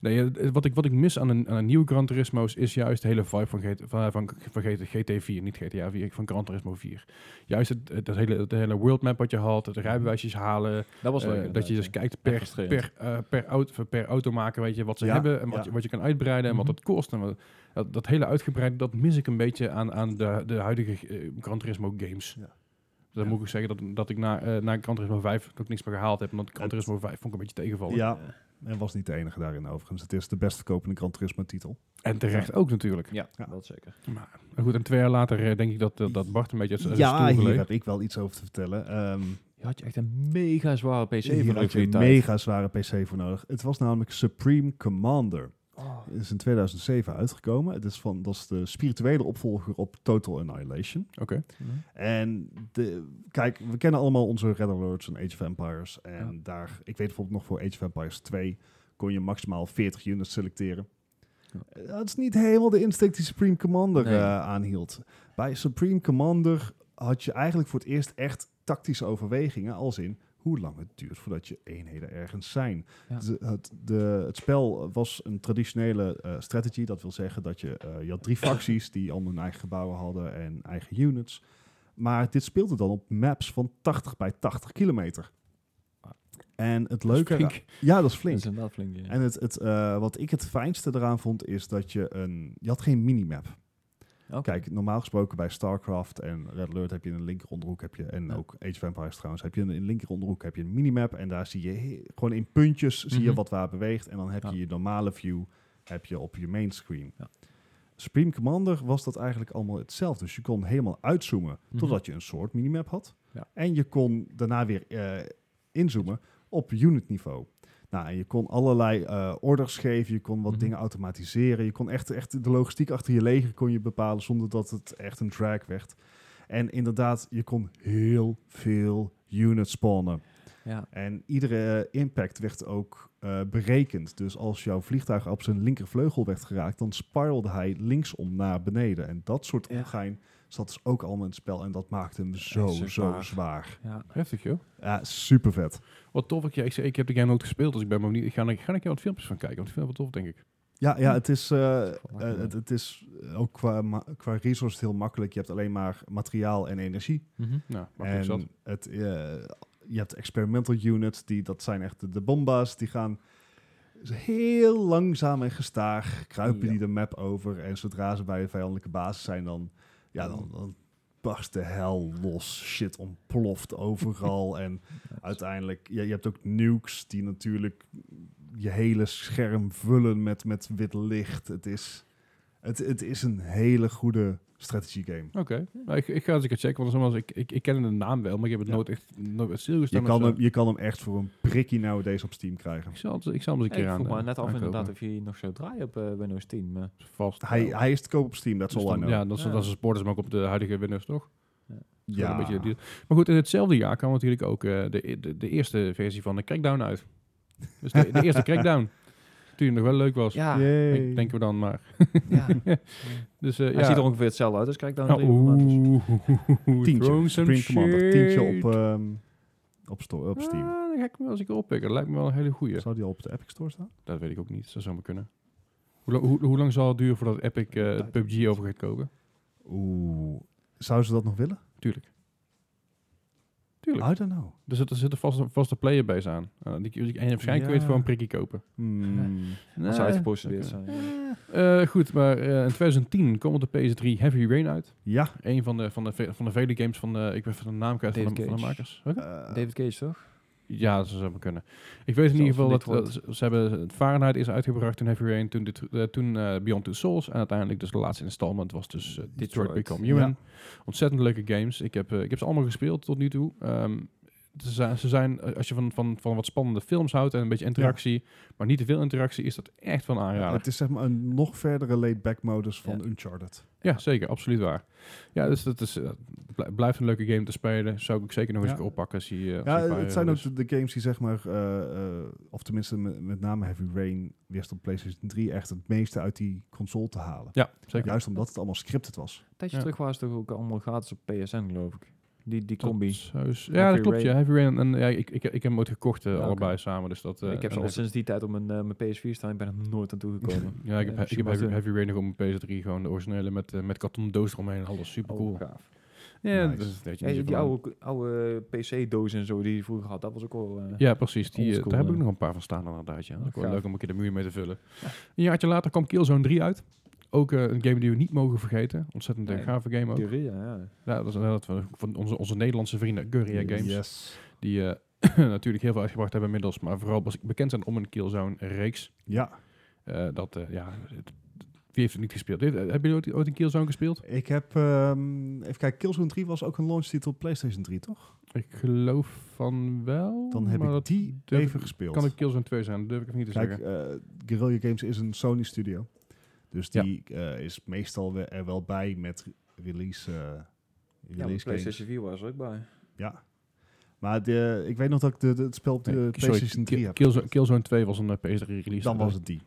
Speaker 3: nee, eh, wat, ik, wat ik mis aan een, aan een nieuw Gran Turismo's is juist de hele vibe van, GT, van, van, van GT, GT4, niet GTA 4, van Gran Turismo 4. Juist het, het, dat hele, het hele worldmap wat je had, het rijbewijsjes halen,
Speaker 1: Dat was
Speaker 3: eh,
Speaker 1: leuk.
Speaker 3: dat
Speaker 1: inderdaad,
Speaker 3: je dus
Speaker 1: ja.
Speaker 3: kijkt
Speaker 1: Echt
Speaker 3: per,
Speaker 1: frustrerend.
Speaker 3: per, eh, per, auto, per automaker, weet je, wat ze
Speaker 2: Ja,
Speaker 3: hebben en wat,
Speaker 2: ja.
Speaker 3: je, wat je kan uitbreiden en wat
Speaker 1: Mhm.
Speaker 3: het kost. En wat- dat, dat hele uitgebreide, dat mis ik een beetje aan, aan de, de huidige eh, Gran Turismo games.
Speaker 2: Ja.
Speaker 3: Dan
Speaker 2: Ja.
Speaker 3: moet ik zeggen dat, dat ik na, eh, na Gran Turismo 5 ook niks meer gehaald heb. Want Gran
Speaker 2: Het-
Speaker 3: Turismo 5 vond ik een beetje tegenvallen.
Speaker 2: Ja, en was niet de enige daarin overigens. Het is de best verkopende Gran Turismo titel.
Speaker 3: En terecht ook natuurlijk.
Speaker 1: Ja,
Speaker 2: Ja.
Speaker 1: dat zeker.
Speaker 3: Maar goed, en twee jaar later eh, denk ik dat, dat, dat Bart een beetje uit zijn uit zijn
Speaker 2: Ja,
Speaker 3: stoel
Speaker 2: hier
Speaker 3: geleefd.
Speaker 2: heb ik wel iets over te vertellen. Ehm
Speaker 1: Je had je echt een mega zware PC
Speaker 2: hier
Speaker 1: voor
Speaker 2: had
Speaker 1: nodig
Speaker 2: je
Speaker 1: voor je
Speaker 2: een
Speaker 1: tijd.
Speaker 2: mega zware PC voor nodig. Het was namelijk Supreme Commander.
Speaker 1: Oh,
Speaker 2: Het is in 2007 uitgekomen. Het is van, dat is de spirituele opvolger op Total Annihilation.
Speaker 3: Oké.
Speaker 2: En de, kijk, we kennen allemaal onze Red Alerts en Age of Empires. En daar, ik weet bijvoorbeeld nog voor Age of Empires 2 kon je maximaal 40 units selecteren.
Speaker 1: Ja.
Speaker 2: Eh, Dat is niet helemaal de insteek die Supreme Commander
Speaker 1: Nee.
Speaker 2: eh, aanhield. Bij Supreme Commander had je eigenlijk voor het eerst echt tactische overwegingen, als in hoe lang het duurt voordat je eenheden ergens zijn.
Speaker 1: Ja.
Speaker 2: De- het, de, het spel was een traditionele eh strategy, dat wil zeggen dat je, eh, je had drie facties die allemaal hun eigen gebouwen hadden en eigen units. Maar dit speelde dan op maps van 80 bij 80 kilometer. En het
Speaker 3: Dus
Speaker 2: leuke...
Speaker 3: flink.
Speaker 2: Ja, dat is
Speaker 1: dat
Speaker 2: flink.
Speaker 1: is inderdaad flink. Ja.
Speaker 2: En het, het, eh, wat ik het fijnste eraan vond, is dat je een... Je had geen minimap.
Speaker 1: Oké.
Speaker 2: Kijk, normaal gesproken bij StarCraft en Red Alert heb je een linker onderhoek. Heb je, en
Speaker 1: Ja.
Speaker 2: ook Age of Empires trouwens, heb je een, in linker onderhoek heb je een minimap. En daar zie je he- gewoon in puntjes zie je
Speaker 1: Mhm.
Speaker 2: wat waar beweegt. En dan heb je
Speaker 1: Ja.
Speaker 2: je normale view heb je op je main screen.
Speaker 1: Ja.
Speaker 2: Supreme Commander was dat eigenlijk allemaal hetzelfde. Dus je kon helemaal uitzoomen
Speaker 1: Mhm.
Speaker 2: totdat je een soort minimap had.
Speaker 1: Ja.
Speaker 2: En je kon daarna weer eh, inzoomen op unit niveau. Nou, en je kon allerlei eh, orders geven, je kon wat
Speaker 1: Mhm.
Speaker 2: dingen automatiseren. Je kon echt, echt de logistiek achter je leger kon je bepalen zonder dat het echt een drag werd. En inderdaad, je kon heel veel units spawnen.
Speaker 1: Ja.
Speaker 2: En iedere eh, impact werd ook eh, berekend. Dus als jouw vliegtuig op zijn linkervleugel werd geraakt, dan spiralde hij linksom naar beneden. En dat soort
Speaker 1: Ja.
Speaker 2: ongein zat dus ook allemaal in het spel. En dat maakte hem zo,
Speaker 1: zo
Speaker 2: zo
Speaker 1: zwaar.
Speaker 2: zwaar.
Speaker 1: ja.
Speaker 3: Heftig joh.
Speaker 2: Ja, super vet.
Speaker 3: Wat tof. Ik, ja, ik, zeg, ik heb de game nooit gespeeld, dus ik ben maar benieuwd. Ik ga, ik ga een keer wat filmpjes van kijken, want ik vind dat wel tof, denk ik.
Speaker 2: Ja, ja het, is, eh, eh,
Speaker 1: makkelijk.
Speaker 2: het, het is ook qua, ma- qua resource heel makkelijk. Je hebt alleen maar materiaal en energie.
Speaker 1: Mhm.
Speaker 3: Nou, makkelijk zat.
Speaker 2: En het, eh, je hebt experimental units, die, dat zijn echt de, de bomba's. Die gaan heel langzaam en gestaag kruipen
Speaker 1: Ja.
Speaker 2: die de map over. En zodra ze bij een vijandelijke basis zijn, dan, ja, dan, dan barst de hel los. Shit ontploft overal. en uiteindelijk, ja, je hebt ook nukes die natuurlijk je hele scherm vullen met, met wit licht. Het is, het, het is een hele goede strategie game.
Speaker 3: Oké. Nou, ik, ik ga eens een keer checken, want nogmaals, ik, ik, ik ken de naam wel, maar ik heb het
Speaker 2: Ja.
Speaker 3: nooit echt nooit bij stilgestaan.
Speaker 2: Je
Speaker 3: of
Speaker 2: kan,
Speaker 3: zo.
Speaker 2: hem, je kan hem echt voor een prikkie nowadays op Steam krijgen.
Speaker 3: Ik zal, het- ik zal hem eens een keer
Speaker 1: Ik
Speaker 3: aan.
Speaker 1: vroeg me
Speaker 3: eh,
Speaker 1: net af
Speaker 3: aankopen.
Speaker 1: inderdaad of je nog zou draaien op eh, Windows 10. Maar
Speaker 3: Vast.
Speaker 2: Hij,
Speaker 3: ja,
Speaker 2: hij is te koop op Steam, that's
Speaker 3: Dus
Speaker 2: all I
Speaker 3: dan-
Speaker 2: know.
Speaker 3: ja, dat is,
Speaker 1: Ja.
Speaker 3: dat is een sport, dus maar ook op de huidige Windows toch? Dat is wel
Speaker 2: Ja.
Speaker 3: Een beetje duur. Maar goed, in hetzelfde jaar kwam natuurlijk ook eh, de, de, de eerste versie van de Crackdown uit. Dus de, de eerste Crackdown. Die nog wel leuk was.
Speaker 1: ja,
Speaker 2: Yay.
Speaker 3: Denk- denken we dan maar.
Speaker 1: ja.
Speaker 3: Dus eh,
Speaker 1: hij
Speaker 3: ja.
Speaker 1: ziet er ongeveer hetzelfde uit. Dus kijk dan.
Speaker 3: Oh, oeh,
Speaker 2: Tientje.
Speaker 3: Thrones and
Speaker 2: Supreme Commander, tientje
Speaker 3: shit.
Speaker 2: op, ehm, op, sto- op Steam.
Speaker 3: Ah, dan ga ik hem wel eens een keer oppikken. Dat lijkt me wel een hele goeie.
Speaker 2: Zou die al op de Epic Store staan?
Speaker 3: Dat weet ik ook niet. Dat zou zomaar kunnen. Hoe, lang- hoe, hoe lang zal het duren voordat Epic eh, het PUBG over gaat kopen?
Speaker 2: Oeh, zouden ze dat nog willen?
Speaker 3: Tuurlijk. Tuurlijk.
Speaker 2: I don't know.
Speaker 3: Dus er zit een vaste, vaste playerbase aan. Eh, die, die- en waarschijnlijk kun je het
Speaker 1: Ja.
Speaker 3: voor een prikkie kopen.
Speaker 2: Hmm.
Speaker 1: Als
Speaker 3: Nee.
Speaker 1: hij uitgepostudeerd zijn.
Speaker 3: Eh, goed, maar eh, in 2010 kwam op de PS3 Heavy Rain uit.
Speaker 2: Ja,
Speaker 3: Een van de, van de, ve- van de vele games van... eh ik ben van de naam kwijt van
Speaker 1: David
Speaker 3: de, van de
Speaker 1: Cage.
Speaker 3: makers. Welke?
Speaker 2: eh,
Speaker 1: David Cage, toch?
Speaker 3: Ja, dat zou maar kunnen. Ik weet in
Speaker 1: Zelfs
Speaker 3: ieder geval dat,
Speaker 1: niet
Speaker 3: dat ze ze hebben eh, Fahrenheit is uitgebracht toen Heavy Rain, toen, dit, eh, toen eh, Beyond Two Souls en uiteindelijk dus de laatste installment was dus eh, Detroit,
Speaker 1: Detroit.
Speaker 3: Become Human. Ontzettend leuke games. Ik heb, eh, ik heb ze allemaal gespeeld tot nu toe. Ehm, ze zijn, ze zijn, eh, als je van, van, van wat spannende films houdt en een beetje interactie, maar niet te veel interactie, is dat echt van aanraden.
Speaker 2: het is zeg maar een nog verdere laid-back modus van
Speaker 1: Ja.
Speaker 2: Uncharted.
Speaker 3: Ja, zeker. Absoluut waar. Ja, dus dat is, eh, bl- blijft een leuke game te spelen. Zou ik zeker nog eens
Speaker 2: Ja.
Speaker 3: een keer oppakken. Als die, eh, als
Speaker 2: Ja,
Speaker 3: die paar
Speaker 2: het zijn
Speaker 3: euro
Speaker 2: ook
Speaker 3: is.
Speaker 2: de- de games die zeg maar, eh, eh, of tenminste me- met name Heavy Rain, wist op PlayStation 3 echt het meeste uit die console te halen.
Speaker 3: Ja, zeker.
Speaker 2: Juist omdat het allemaal scripted was.
Speaker 1: Een tijdje
Speaker 3: Ja.
Speaker 1: terug was het toch ook allemaal gratis op PSN, geloof ik. Die, die combi.
Speaker 3: Saus. Ja,
Speaker 1: Heavy
Speaker 3: dat klopt.
Speaker 1: Rain.
Speaker 3: Ja, Heavy Rain. En ja, ik, ik, ik heb hem ooit gekocht, eh,
Speaker 1: oké.
Speaker 3: allebei samen. Dus dat, eh,
Speaker 1: ik heb ze
Speaker 3: en
Speaker 1: al sinds die tijd op mijn, eh, mijn PS4 staan. Ik ben er nooit aan toegekomen.
Speaker 3: Ja, ik heb,
Speaker 1: Ja,
Speaker 3: ik heb
Speaker 1: Shibazu.
Speaker 3: Heavy, Heavy Rain nog op mijn PS3. Gewoon de originele met, eh, met karton doos eromheen. Alles super cool.
Speaker 1: Oh, gaaf.
Speaker 3: Ja,
Speaker 2: Nice.
Speaker 3: dat is- weet je,
Speaker 1: Hey,
Speaker 3: niet
Speaker 1: die
Speaker 3: zo van-
Speaker 1: oude, oude PC-dozen en zo die je vroeger had, dat was ook al... eh,
Speaker 3: Ja, precies. Die, eh,
Speaker 1: Oldschool,
Speaker 3: daar heb ik
Speaker 1: eh. Oh,
Speaker 3: nog een paar van staan inderdaad. Ja. Dat is ook wel
Speaker 1: gaaf.
Speaker 3: leuk om een keer de muur mee te vullen. Een jaartje later kwam Killzone 3 uit. Ook eh, een game die we niet mogen vergeten. Ontzettend een
Speaker 1: Nee.
Speaker 3: gave game ook.
Speaker 1: die Ria, ja.
Speaker 3: Ja, dat is inderdaad van, van onze, onze Nederlandse vrienden Guerrilla Games.
Speaker 2: Yes.
Speaker 3: Die eh, natuurlijk heel veel uitgebracht hebben inmiddels. Maar vooral bes- bekend zijn om een Killzone-reeks.
Speaker 2: Ja,
Speaker 3: Eh, dat, eh, ja... het- wie heeft het niet gespeeld? Heeft- eh, Hebben jullie ooit, ooit een Killzone gespeeld?
Speaker 2: ik heb... ehm, even kijken, Killzone 3 was ook een launchtitel op PlayStation 3, toch?
Speaker 3: Ik geloof van wel.
Speaker 2: Dan heb
Speaker 3: Mm, maar
Speaker 2: ik
Speaker 3: dat
Speaker 2: die
Speaker 3: durf
Speaker 2: even
Speaker 3: ik-
Speaker 2: gespeeld.
Speaker 3: Kan ook Killzone 2 zijn, dat durf ik even niet te
Speaker 2: Kijk,
Speaker 3: zeggen.
Speaker 2: eh Guerrilla Games is een Sony-studio. Dus
Speaker 3: Ja.
Speaker 2: die eh, is meestal we- er wel bij met release, eh,
Speaker 1: Ja, maar
Speaker 2: release games.
Speaker 1: PlayStation 4 was er ook bij.
Speaker 2: Ja. Maar de, ik weet nog dat ik de, de- het spel op de
Speaker 3: Nee, sorry,
Speaker 2: PlayStation 3
Speaker 3: Kill-
Speaker 2: heb.
Speaker 3: Killzone, Killzone 2 was een eh, PS3 release.
Speaker 2: Dan was het die.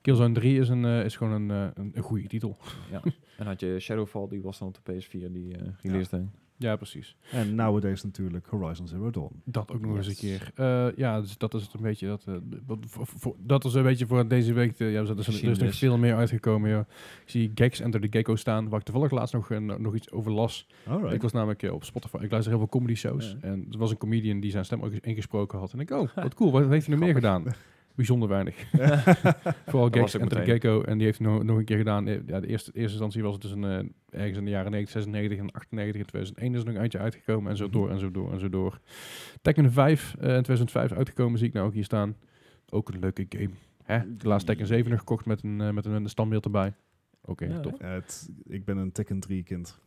Speaker 3: Killzone 3 is, een, eh, is gewoon een, eh, een, een goede titel.
Speaker 1: En had je Shadowfall, die was dan op de PS4 die eh released heen.
Speaker 3: Ja, precies.
Speaker 2: En nowadays natuurlijk Horizon Zero Dawn.
Speaker 3: Dat ook nog eens
Speaker 1: Yes.
Speaker 3: een keer. Eh, ja, dus dat is het een beetje. Dat, eh, de- wat- voor, voor- dat is een beetje voor deze week. de- ja, er is- er is, nog
Speaker 1: Geschiedenis.
Speaker 3: veel meer uitgekomen. joh. Ik zie Gags Enter the Gecko staan, waar ik toevallig laatst nog, eh, nog iets over las.
Speaker 2: Alright.
Speaker 3: Ik was namelijk eh, op Spotify. Ik luister heel veel comedy shows.
Speaker 1: Ja.
Speaker 3: En er was een comedian die zijn stem ook eens ingesproken had. En ik, oh, wat cool. Wat heeft hij nog meer gedaan? Bijzonder weinig. Vooral
Speaker 1: was
Speaker 3: Gags
Speaker 1: ook
Speaker 3: Enter the
Speaker 1: meteen.
Speaker 3: Gecko. En die heeft nog, nog een keer gedaan. Eh, Ja, de eerste, eerste instantie was het dus een, eh, ergens in de jaren 90, 96 en 98. In 2001 is er nog een eindje uitgekomen. En
Speaker 1: Mhm.
Speaker 3: zo door en zo door en zo door. Tekken 5 eh, in 2005 uitgekomen. Zie ik nou ook hier staan. Ook een leuke game. Hè? De laatste Tekken 7 nog gekocht met een, eh, met een, een standbeeld erbij. Oké,
Speaker 1: Ja,
Speaker 3: tof.
Speaker 2: Eh, het- ik ben een Tekken 3 kind.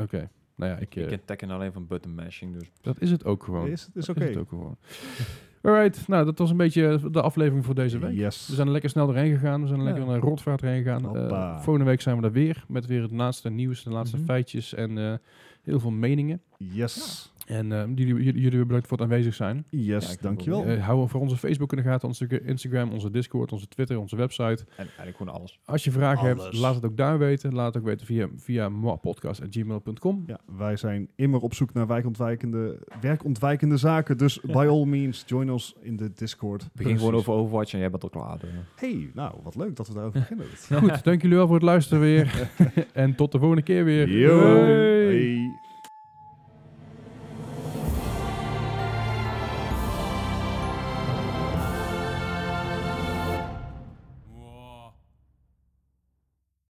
Speaker 3: Oké. Nou ja, ik, eh,
Speaker 1: Ik ken Tekken alleen van button mashing, dus
Speaker 3: dat is het ook gewoon.
Speaker 2: Is, is
Speaker 3: Dat
Speaker 2: oké.
Speaker 3: Is het ook gewoon. Alright, nou dat was een beetje de aflevering voor deze week.
Speaker 2: Yes.
Speaker 3: We zijn er lekker snel doorheen gegaan. We zijn er
Speaker 1: Ja.
Speaker 3: lekker naar rotvaart heen gegaan. Eh,
Speaker 2: Hoppa.
Speaker 3: volgende week zijn we daar weer. Met weer het laatste nieuws, de laatste
Speaker 1: Mhm.
Speaker 3: feitjes en eh, heel veel meningen.
Speaker 2: Yes.
Speaker 3: En eh, jullie, jullie, jullie weer bedankt voor het aanwezig zijn.
Speaker 1: Ja,
Speaker 2: Yes,
Speaker 1: ik
Speaker 2: dankjewel.
Speaker 1: wil-
Speaker 3: Eh hou voor onze Facebook in de gaten, onze Instagram, onze Discord, onze Twitter, onze website.
Speaker 1: en eigenlijk gewoon alles.
Speaker 3: Als je vragen hebt,
Speaker 2: Alles.
Speaker 3: laat het ook daar weten. Laat het ook weten via, via moapodcast.gmail.com.
Speaker 2: Ja, wij zijn immer op zoek naar wijkontwijkende, werkontwijkende zaken. Dus by all means, join ons in de Discord.
Speaker 1: Begin gewoon
Speaker 3: Precies.
Speaker 1: over Overwatch en jij bent al klaar. dus.
Speaker 2: Hey, nou, wat leuk dat we daarover beginnen.
Speaker 3: Goed, dank jullie wel voor het luisteren weer. en tot de volgende keer weer.
Speaker 2: Yo.
Speaker 3: Doei.
Speaker 2: Hey.